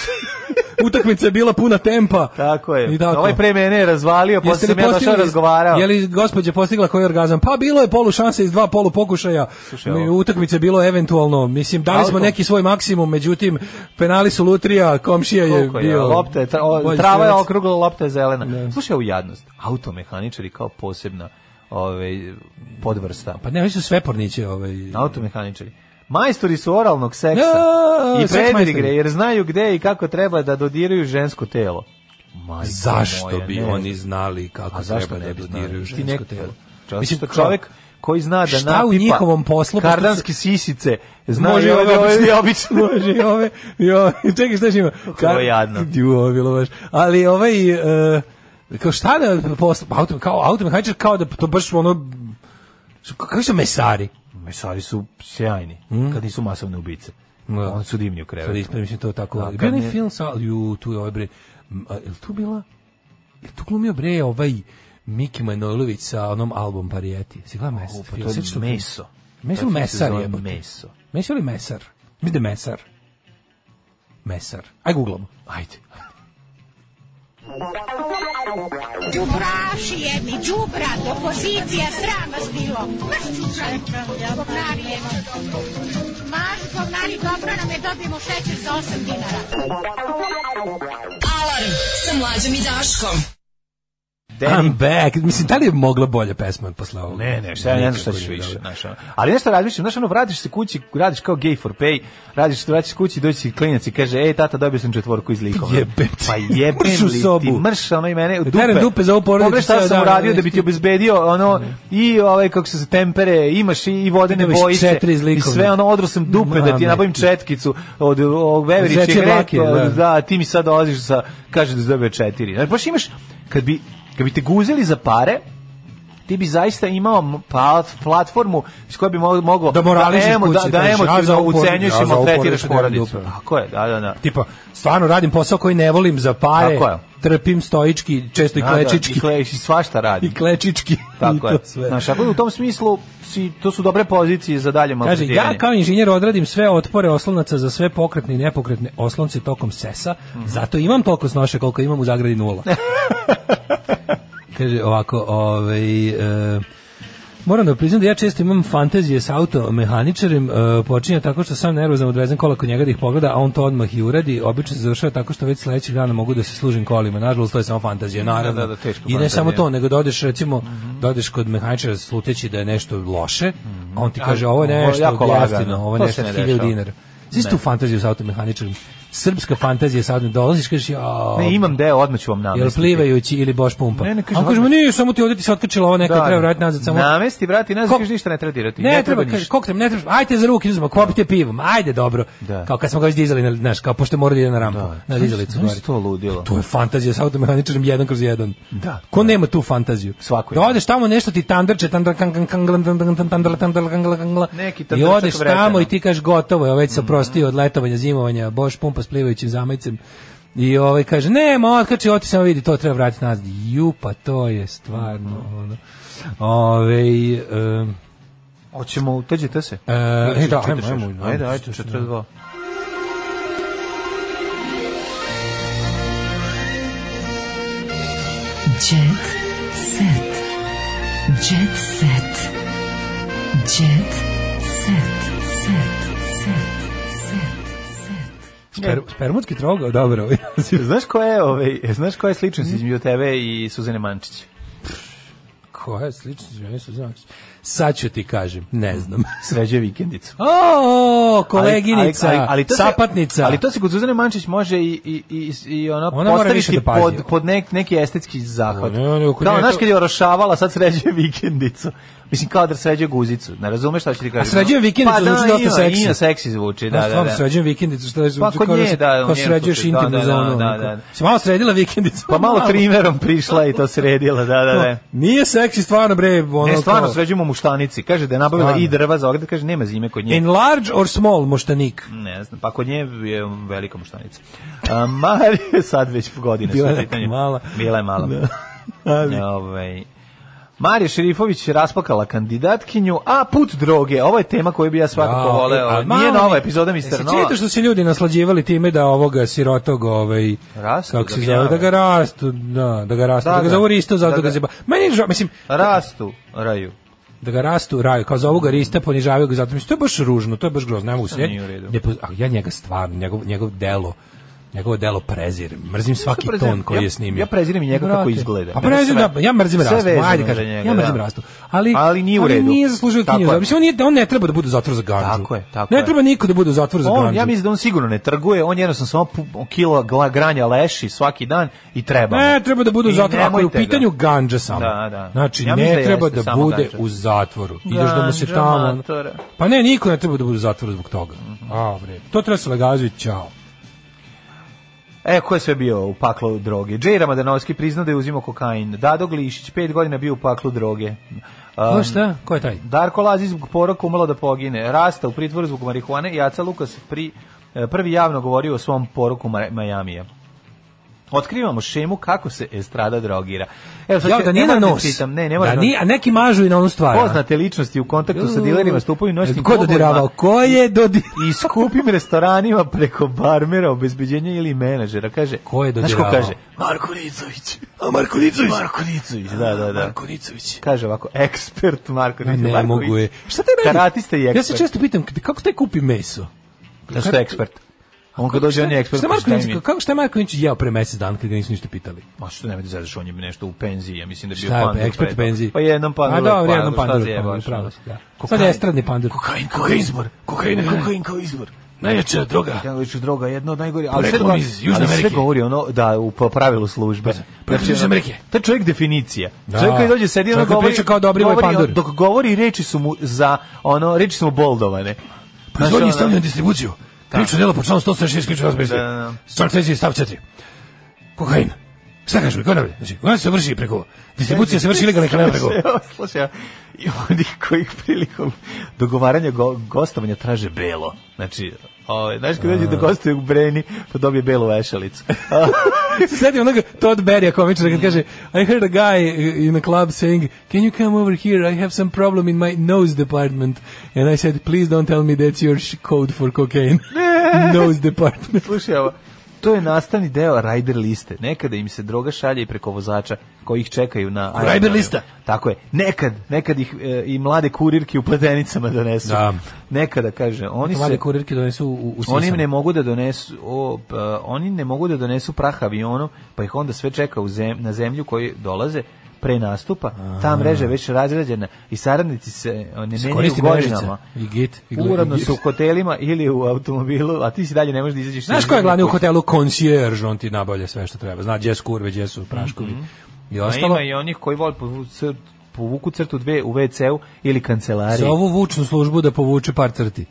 F: Utakmica je bila puna tempa.
G: Tako je.
F: I tako.
G: Ovaj pre mene je razvalio, posle
F: Jeste
G: sam
F: li
G: ja došao
F: postigli,
G: razgovarao.
F: je li gospođa postigla koji orgazam? Pa bilo je polu šanse iz dva polu pokušaja.
G: Slušaj, ovo.
F: Utakmice je bilo eventualno, mislim, dali smo
G: Alko-
F: neki svoj maksimum, međutim, penali su lutrija, komšija je
G: Koliko je,
F: bio...
G: lopta je, tra- o,
F: bolji
G: trava je
F: strelac.
G: okrugla, lopta je zelena. Slušaj ovu jadnost. Automehaničari kao posebna ove, podvrsta.
F: Pa ne, oni su sveporniće. Ovaj.
G: Automehaničari. Majstori su oralnog seksa
F: Ja,
G: i
F: seks
G: predigre,
F: majstori.
G: jer znaju gde i kako treba da dodiraju žensko telo. Majko
F: Zašto
G: moja,
F: bi
G: ne
F: oni znali kako
G: A zašto
F: treba
G: ne
F: da
G: bi znali?
F: dodiraju
G: Ti nek-
F: žensko telo?
G: Čas-
F: Mislim,
G: što
F: kao-
G: čovjek koji zna da
F: Šta u
G: napipa
F: njihovom poslu, pošto
G: kardanske sisice, zna
F: Može
G: i
F: i ove
G: ove
F: obične.
G: obične.
F: Može i ove, i ove. Čekaj, šta još ima?
G: je ovo jadno.
F: Ju, ovo je bilo baš. Ali ovaj, e, kao šta da posla, auto, kao automehaničar, kao da to baš ono, su- kakvi su mesari?
G: Mesari su sjajni, kad nisu masovne ubice.
F: Da.
G: Oni su divni u
F: Sad
G: krevetu.
F: ispravim se to tako.
G: Da,
F: Da, bio
G: kad
F: onaj
G: ne-
F: film sa, ju, tu je ovaj bre, m, a, je li tu bila, je li tu glumio bre ovaj Miki Manojlović sa onom album Parijeti? Si gledao mes?
G: O, pa
F: film?
G: to je
F: Sjećaš se?
G: meso.
F: Meso
G: Taj
F: ili
G: film se
F: mesar
G: zove
F: je.
G: Meso.
F: Meso ili mesar? Mislim da je mesar. mesar? Aj googlamo. Ajde.
E: Đubraši jedni, đubrat, opozicija, sram vas bilo. Maš čučan, govnari jedni. Maš govnari, dobro nam je, dobijemo šećer za 8 dinara.
B: Alarm sa mlađom i Daškom.
F: I'm back. Mislim, da li je mogla bolja pesma posle ovoga?
G: Ne, ne, šta, ja ne znam šta
F: Nikako
G: ćeš
F: nije
G: više.
F: dobro.
G: znaš, ono. ali nešto razmišljam, znaš, ono, vratiš se kući, radiš kao gay for pay, radiš se, vratiš se kući, dođe ti klinac i kaže, ej, tata, dobio sam četvorku iz likova.
F: Jebem ti.
G: Pa jebem
F: Mrš u
G: li ti,
F: sobu.
G: Mrš, ono, i mene, u dupe.
F: Terem dupe za ovu porodicu
G: Pogledaj
F: ceo
G: šta sam
F: dan,
G: uradio
F: ono,
G: da bi ti
F: nešto.
G: obezbedio, ono, i, ovaj, kako se zove, tempere, imaš i, i vodene
F: Imaš
G: bojice.
F: četiri iz
G: I
F: likova.
G: sve, ono, odro sam dupe da ti
F: Mame
G: nabavim
F: ti.
G: četkicu od ovog
F: Zeće
G: veveričeg
F: Vlake, da.
G: repa, da, ti mi sad dolaziš sa, kaže da si dobio četiri. Znači, baš imaš, kad bi, kad bi te guzili za pare, ti bi zaista imao m- plat- platformu s kojoj bi mo- mogao
F: Da moraliziš
G: da, emo- da,
F: kući,
G: da
F: kažeš, ja za
G: emotivno
F: ovu porodicu,
G: ucenjuješ
F: ja
G: i
F: za ovu
G: maltretiraš
F: porodicu nemam
G: porodicu.
F: dupe.
G: Tako je, da, da, da.
F: Tipa, stvarno radim posao koji ne volim za pare,
G: Tako je.
F: trpim stoički, često i
G: Da, da,
F: klečički.
G: I kleči, svašta radi.
F: I klečički.
G: Tako
F: I
G: je.
F: to sve.
G: Znaš, ako u tom smislu, si, to su dobre pozicije za dalje
F: Kaže,
G: maltretiranje.
F: ja kao inženjer odradim sve otpore oslonaca za sve pokretne i nepokretne oslonce tokom sesa,
G: Mhm.
F: zato imam toliko snoše koliko imam u zagradi nula. Kaže ovako, ovaj, e, moram da priznam da ja često imam fantazije sa automehaničarem, e, počinje tako što sam nervozan odvezem kola kod njega da ih pogleda, a on to odmah i uradi, obično se završava tako što već sledećeg dana mogu da se služim kolima, nažalost to je samo fantazija, naravno.
G: da, da, teška
F: I ne
G: fantazija. Mhm.
F: samo to, nego da odeš recimo, da odeš kod mehaničara sluteći da je nešto loše, a on ti kaže ovo je
G: Ovo je
F: nešto
G: jako
F: jeftino,
G: lagano.
F: ovo je
G: To
F: nešto
G: se ne
F: 1000
G: dešava.
F: dinara. Znaš tu fantaziju sa automehaničarom? Srpska fantazija sa autom, dolaziš, kažeš, ja,
G: Ne, imam deo, odmah ću vam namestiti.
F: Jel plivajući ili boš pumpa?
G: Ne, ne,
F: A
G: kažem,
F: on kaže, ma nije, samo ti ovdje ti se otkačila ovo neka,
G: Da,
F: treba
G: da.
F: vratiti nazad samo...
G: Namesti, vrati
F: Ko-
G: nazad, kažeš ništa ne treba dirati.
F: Ne, treba,
G: ništa.
F: kaže, koliko treba, ne treba, ajte za ruke, uzmemo, kopite pivom, ajde dobro.
G: Da.
F: Kao kad smo ga već dizali, na, znaš, kao pošto mora da ide na rampu, na dizalicu.
G: Znaš
F: u stvari.
G: to ludilo.
F: To je fantazija sa automehaničarom jedan kroz jedan.
G: Da.
F: Ko nema tu fantaziju?
G: Svako
F: Da
G: ima.
F: odeš tamo nešto ti tandrče, tandra kang kang kang kang kang kang tandra tandra kang kang kang
G: Neki
F: I
G: tandrčak
F: odeš tamo
G: vretenom.
F: i ti kažeš gotovo, je, ovaj već sam
G: Mhm.
F: prostio od letovanja, zimovanja, boš pumpa s plivajućim zamajcem. I ovaj kaže, nema, otkači, oti samo vidi, to treba vratiti nazad. Ju, pa to je stvarno,
G: Mhm.
F: ono. Ove, um,
G: Hoćemo, teđete se.
F: e, e, da, ajmo, ajmo, ajmo.
G: Ajde, ajde, 42.
E: Jet set. Jet set. Jet set. Set. Set. Set.
F: Sper, spermutski trogao, dobro. ovaj.
G: Znaš ko je, ovaj, znaš ko je sličnost između tebe i Suzane Mančić?
F: Koja je sličnost? Ja nisam znao. Sad ću ti kažem, ne znam.
G: Sređuje vikendicu.
F: O, koleginica,
G: Ali- ali- ali to se-
F: sapatnica.
G: ali to se kod Suzane Mančić može i, i, i, i ono
F: Ona mora više
G: postaviti
F: da pazi.
G: pod, pod nek, neki estetski zahvat.
F: Ne, ne, ne, oko nje
G: Kao,
F: je
G: znaš
F: to-
G: kad je orošavala, sad sređuje vikendicu. Mislim, kao da sređuje guzicu. Ne razumeš šta ću ti kažem?
F: sređuje vikendicu
G: pa, da,
F: zvuči dosta
G: ima-
F: seksi.
G: Ima seksi zvuči, da,
F: Da,
G: da,
F: stvarno,
G: da.
F: sređujem vikendicu, što je
G: Pa, kod
F: kao
G: nje,
F: se-
G: da, u njenom
F: kao sređuješ
G: slučaju, da,
F: intimnu
G: da,
F: zonu.
G: da,
F: onako.
G: da, da.
F: ono, Si malo sredila vikendicu.
G: Pa malo trimerom prišla i to sredila, da, da, da.
F: Nije seksi, stvarno, bre, ono
G: Ne, stvarno
F: kao-
G: sređujemo muštanici. Kaže da je nabavila
F: Stvarno.
G: i drva za ograd, kaže nema zime kod nje.
F: Enlarge or small, moštanik.
G: Ne znam, pa kod nje je velika muštanica. A, Marija, sad već godine
F: Bila
G: su
F: je
G: u pitanju.
F: mala.
G: Bila je mala. Ovaj. Marija Šerifović je raspakala kandidatkinju, a put droge, ovo je tema koju bi ja svakako
F: Da,
G: voleo.
F: e, a
G: Nije
F: malo
G: nova
F: mi-
G: epizoda
F: Jesi
G: Mr. Nova.
F: čitao što se ljudi naslađivali time da ovoga sirotog, ovaj,
G: Rastu,
F: kako se
G: da
F: zove,
G: gnjave.
F: da ga rastu, da, da ga rastu, da,
G: Da, da.
F: ga zovu Risto, zato
G: Da
F: da, ga
G: ga-
F: zeba. Meni je žao, mislim,
G: Rastu, raju.
F: da ga rastu, raju, kao zovu ga Rista, ponižavaju ga, zato mislim, to je baš ružno, to je baš grozno, ne mogu se,
G: nije u redu.
F: ne, poz- a ja njega stvarno, njegov, njegov delo, njegovo delo prezirem, mrzim svaki
G: prezirem?
F: ton koji
G: Ja-
F: je snimio.
G: ja prezirem i njega kako
F: Brate,
G: izgleda.
F: Pa prezirem,
G: Sve.
F: da, ja mrzim
G: Sve
F: rastu,
G: vezano
F: ajde
G: za
F: kažem,
G: njega,
F: ja mrzim
G: da.
F: rastu, ali,
G: Ali nije u redu.
F: nije zaslužio
G: Tako
F: kinju,
G: je.
F: mislim, on, nije, on ne treba da bude u zatvoru za ganđu.
G: Tako je, tako
F: Ne
G: je.
F: treba niko da bude u zatvoru za
G: On,
F: ganđu.
G: ja mislim da on sigurno ne trguje, on jednostavno samo pu- kilo gla- granja leši svaki dan i treba. mu.
F: Ne, treba da bude u
G: I
F: zatvoru. Ako je u
G: nemojte ga.
F: pitanju ganđa samo.
G: Da, da.
F: Znači,
G: Ja
F: ne
G: mislim da
F: treba
G: jeste
F: da
G: samo
F: bude
G: ganđa.
F: u zatvoru. Ideš da mu se
G: Ganđa
F: tamo...
G: matora. Mhm.
F: Pa ne, niko ne treba da bude u zatvoru zbog toga. A, bre. To treba se legalizuje, čao.
G: E, ko je sve bio u paklu droge? Džej Ramadanovski priznao da je uzimao kokain. Dado Glišić, pet godina bio u paklu droge.
F: Ko
G: Um,
F: šta? Ko je taj?
G: Darko Lazić zbog poroka umalo da pogine. Rasta u pritvoru zbog marihuane i Aca Lukas pri, e, prvi javno govorio o svom poroku Majamija. Otkrivamo šemu kako se estrada drogira. Evo sad
F: Ja,
G: ću-
F: da nije
G: ne
F: na
G: moram
F: nos.
G: Da čitam, ne, ne
F: da
G: moram
F: nije, a neki mažu i na onu stvar. a?
G: Poznate ličnosti u kontaktu sa dilerima stupaju noćnim
F: Ko je dodiravao? Ko je dodiravao?
G: i skupim restoranima preko barmera, obezbeđenja ili menadžera. Kaže, ko je
F: dodiravao?
G: kaže? Marko Nicović. A Marko Nicović? Marko Nicović, da, da, da. Marko Nicović. Kaže ovako, ekspert Marko Nicović.
F: Ne
G: Marko
F: mogu je.
G: Nicović.
F: Šta taj meni-
G: Karatista i ekspert.
F: Ja se često pitam, k- kako taj kupi meso?
G: Da što je ekspert. A On kad dođe, on je ekspert.
F: Šta
G: pa
F: Marko
G: im
F: Nicović-
G: je?
F: kako šta je Marko Nicović jeo pre mesec dana kad ga nisu ništa pitali?
G: Ma što nemojte zazaš, on je nešto u penziji, ja mislim da je bio
F: Šta je,
G: pandur.
F: pa, ekspert
G: pre
F: u
G: toga.
F: penziji?
G: Pa jednom pandur.
F: A dobro, jednom
G: pandur,
F: pandur,
G: šta
F: pandur,
G: zjebaš,
F: pravo
G: ono?
F: si, da. Sad je estradni pandur.
G: Kokain kao izbor. Kokain, kokain kao izbor.
J: Najjača droga.
G: Najjača droga, jedno od najgorih.
J: Poreklom
G: govori-
J: iz Južne
G: ali sve
J: Amerike.
G: govori ono da u po pravilu službe.
J: poreklom iz
G: ono,
J: Amerike.
G: To je čovjek definicija.
F: Da.
G: Čovjek koji dođe sedi ono
F: Čovjek koji
G: govori
F: priča kao Dobrivoj
G: govori,
F: Pandur.
G: Dok govori reči su mu za ono reči su mu boldovane.
F: Pa
J: Proizvodnje i
G: Znaš, ono,
J: stavljanje na distribuciju. Krivično delo po članu 176 krivično razbezbe.
G: Da, da, da.
J: Član 3 stav 4. Kokain. Šta kažu mi,
F: ono
J: ko najbolje? Znači, ona se vrši preko, distribucija se vrši ilegalnih kanala preko.
G: Evo, Slušaj, evo, i oni koji prilikom dogovaranja go, gostovanja traže belo. Znači, ovaj, znaš kad dođe da gostuje u Breni, pa dobije belu vešalicu.
F: Sedi onoga Todd Berry komičara kad kaže I heard a guy in a club saying Can you come over here? I have some problem in my nose department. And I said please don't tell me that's your sh- code for cocaine. nose department.
G: Slušaj, ovo, to je nastavni deo rider liste. Nekada im se droga šalje i preko vozača koji ih čekaju na...
J: Rider
G: aerodromu.
J: lista?
G: Tako je. Nekad, nekad ih e, i mlade kurirke u pletenicama donesu.
F: Da.
G: Nekada, kaže, oni
F: Mlade
G: se...
F: kurirke donesu u, u
G: Oni im
F: sisama.
G: ne mogu da donesu o, pa, oni ne mogu da donesu prah avionu, pa ih onda sve čeka u zem, na zemlju koji dolaze pre nastupa. Ta mreža je već razrađena i saradnici se o, ne menjaju
F: Koristi mrežica.
G: godinama.
F: I git. i gle-
G: Uradno
F: i git.
G: su u hotelima ili u automobilu, a ti si dalje ne možeš da izađeš.
F: Znaš
G: iz
F: ko je glavni u
G: zemlje.
F: hotelu? Concierge, on ti nabavlja sve što treba. Zna gdje su kurve, gdje su praškovi. I
G: A
F: ostalo.
G: Mhm. Ima i onih koji vole povuku crtu, povuku crtu dve u WC-u ili kancelariji.
F: Za ovu vučnu službu da povuče par crti.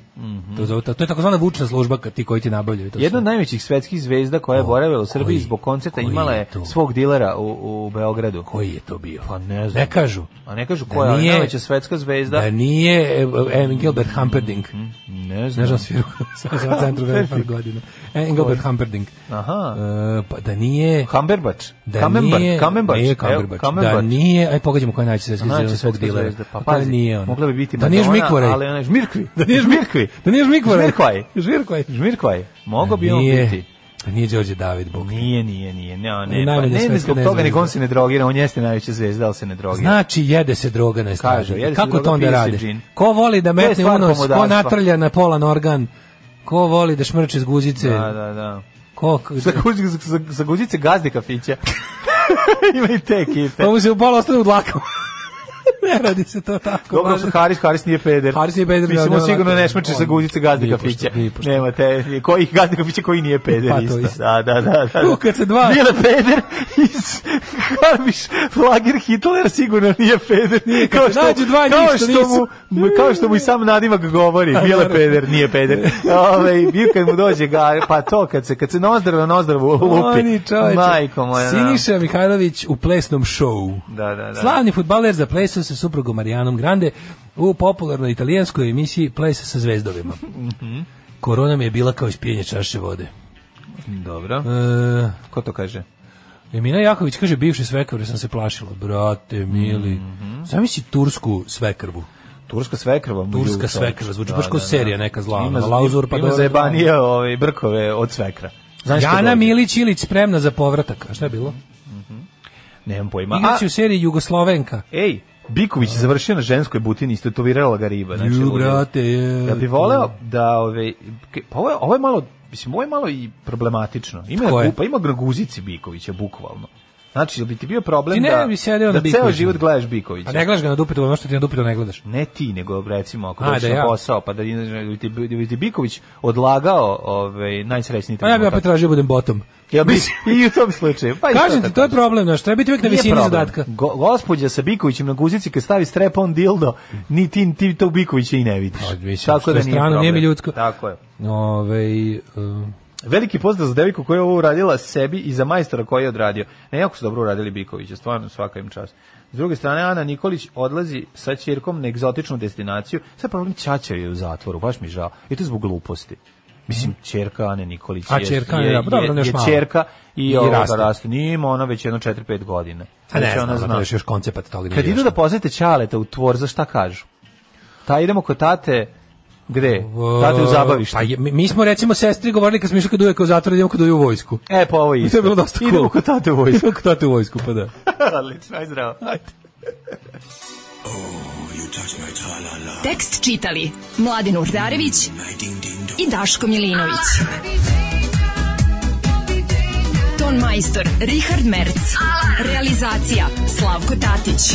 F: to, zove- to je takozvana vučna služba kad ti koji ti nabavljaju. To
G: Mhm. Jedna
F: sve.
G: od najvećih svetskih zvezda koja je
F: Ko-
G: boravila u Srbiji
F: koji-
G: zbog koncerta
F: koji
G: imala
F: je
G: je
F: to?
G: svog dilera u, u Beogradu.
F: Koji je to bio?
G: Pa ne znam.
F: Ne kažu.
G: A ne kažu
F: Da
G: koja je
F: nije-
G: najveća svetska zvezda.
F: Da, nije e, e, Engelbert Humperdinck.
G: Mhm. Ne
F: Ne
G: znam.
F: znam sviru. Sad sam u centru već par godina. Engelbert Humperdinck.
G: Aha.
F: E, pa da nije...
G: Kamberbač.
F: Da
G: Kamembar-
F: nije,
G: Kamembač.
F: Nije
G: Evo,
F: Kamberbač. Da
G: Kamembač.
F: nije, aj pogađamo koja je najveća svetska
G: Najveća
F: zvezda svog
G: svetska
F: dilera.
G: zvezda. Pa
F: to
G: pazi,
F: nije ona.
G: mogla bi biti
F: Da nije
G: Madonna,
F: Žmikvorej.
G: ali ona je Žmirkvi.
F: Da nije Žmirkvi. Da nije Žmikvorej.
G: Žmirkvaj.
F: Žmirkvaj.
G: Žmirkvaj. Mogao bi on
F: Nije.
G: biti.
F: Da nije Đorđe David, bog.
G: Nije, nije, nije. Ne, ne,
F: Najmanja
G: pa ne, ne
F: svetska
G: zbog toga
F: nezvezda.
G: nego on se ne drogira, on jeste najveća zvezda, ali se ne drogira.
F: Znači jede se droga na
G: Kaže,
F: estradi.
G: jede se
F: Kako
G: droga,
F: to onda
G: pije se
F: radi?
G: džin.
F: Ko voli da
G: To je
F: metne
G: stvar
F: unos, ko
G: pomodarstva.
F: natrlja na polan organ, ko voli da šmrče iz guzice,
G: Da, da, da.
F: ko...
G: Za, guzi- za, za, za guzice gazde kafića. Ima i te ekipe.
F: Pa mu se u pola ostane u dlakama. ne radi se to tako.
G: Dobro su Haris, Haris nije peder.
F: Haris nije peder,
G: Mislim,
F: da,
G: on
F: da,
G: sigurno
F: da,
G: ne
F: da.
G: šmače
F: On-
G: sa guzice gazde
F: Nipošto,
G: kafića.
F: nipošto.
G: Nema te, kojih gazde kafića koji nije peder
F: Pa, to
G: isto.
F: isto.
G: Da, da, da. da, da.
F: Tu kad se dva-
G: Bile peder iz Harbiš, Flager Hitler sigurno nije peder. Nije,
F: kad se nađu dva njih
G: kao
F: što
G: što
F: nisu.
G: mu, mu- kao što mu i sam nadimak govori. Bile peder, nije peder. Ove, i bio kad mu dođe ga, pa to, kad se, kad se nozdrav na nozdravu lupi.
F: Oni čoveče.
G: Majko moja. da.
F: Siniša Mihajlović u plesnom šovu.
G: Da, da, da.
F: Slavni futbaler zaplesao se suprugom Marijanom Grande u popularnoj italijanskoj emisiji Plesa sa zvezdovima.
G: Mhm.
F: Korona mi je bila kao ispijenje čaše vode.
G: Dobro.
F: E,
G: Ko to kaže?
F: Emina Jaković kaže, bivši svekar, jer sam se plašila. Brate, mili.
G: Mhm.
F: Zamisli tursku svekrvu.
G: Turska svekrva. mu
F: Turska
G: ljubi,
F: svekrva,
G: čoveče.
F: zvuči baš kao serija neka zla, ono, Lauzur pa
G: ima
F: dole-
G: zajebanije ovaj, brkove od svekra. Znaš šta
F: Jana
G: dođe?
F: Milić Ilić spremna za povratak. A šta je bilo?
G: Nemam pojma. A,
F: Igraće u seriji Jugoslovenka.
G: ej, Biković je završio na ženskoj butini, istetovirala ga riba. Znači,
F: Ju,
G: ludo.
F: brate, je,
G: Ja bih voleo da, ove, ke- pa ovo je, ovo je malo, mislim, ovo je malo i problematično. Ima
F: Tko je?
G: gupa, ima grguzici Bikovića, bukvalno. Znači, jel bi ti bio problem
F: Ti ne
G: da,
F: bi sedeo na
G: da ceo
F: Bikoviću.
G: život gledaš Bikovića?
F: A ne gledaš ga na dupetu, ono što ti na dupetu ne gledaš.
G: ne ti, nego recimo ako
F: A,
G: dođeš
F: da
G: na
F: ja.
G: posao, pa da bi ti, da bi ti Biković odlagao ovaj, najsrećniji
F: Pa ja bih
G: trenutak.
F: opet tražio da budem bottom.
G: Ja mislim i u tom slučaju. Pa i
F: Kažem
G: to
F: ti, to je
G: tako.
F: problem, znaš, treba biti uvijek na
G: Nije
F: visini
G: problem.
F: zadatka.
G: Go, gospođa sa Bikovićem na guzici kad stavi strep on dildo, ni ti, ti tog Bikovića i ne vidiš.
F: Pa, mislim, što je strano,
G: problem.
F: nije mi ljudsko.
G: Tako je.
F: Ove, um,
G: Veliki pozdrav za deviku koja je ovo uradila sebi i za majstora koji je odradio. Ne, jako su dobro uradili Bikovića, stvarno svaka im čast. S druge strane, Ana Nikolić odlazi sa ćirkom na egzotičnu destinaciju. Sve problem Ćaća je u zatvoru, baš mi žao. I to zbog gluposti. Mislim, čerka Ane Nikolić
F: A,
G: je,
F: ćerka Ane,
G: je,
F: da, pa dobro,
G: je,
F: ona još
G: je
F: malo.
G: čerka i,
F: I
G: ovoga
F: raste.
G: raste. Nije ima ona već jedno 4-5 godina.
F: A ne,
G: Već ona
F: znam, pa
G: zna.
F: to ono još, još koncept toga nije
G: Kad idu
F: još.
G: da posete Ćaleta u tvor, za šta kažu? Ta idemo kod tate, gde? Tate u zabavište.
F: Pa je- mi, mi smo recimo sestri govorili kad smo išli kod ujeka u zatvor, idemo kod uje u vojsku.
G: E, pa ovo je
F: I
G: isto.
F: to je bilo dosta cool.
G: Idemo kod tate u vojsku.
F: Idemo kod tate u vojsku, pa da.
G: Odlično, aj zdravo. Ajde.
B: Tekst čitali Mladin Urdarević i Daško Milinović. Ton majstor Richard Merc. Realizacija Slavko Tatić.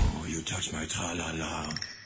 M: You touch my tra-la-la.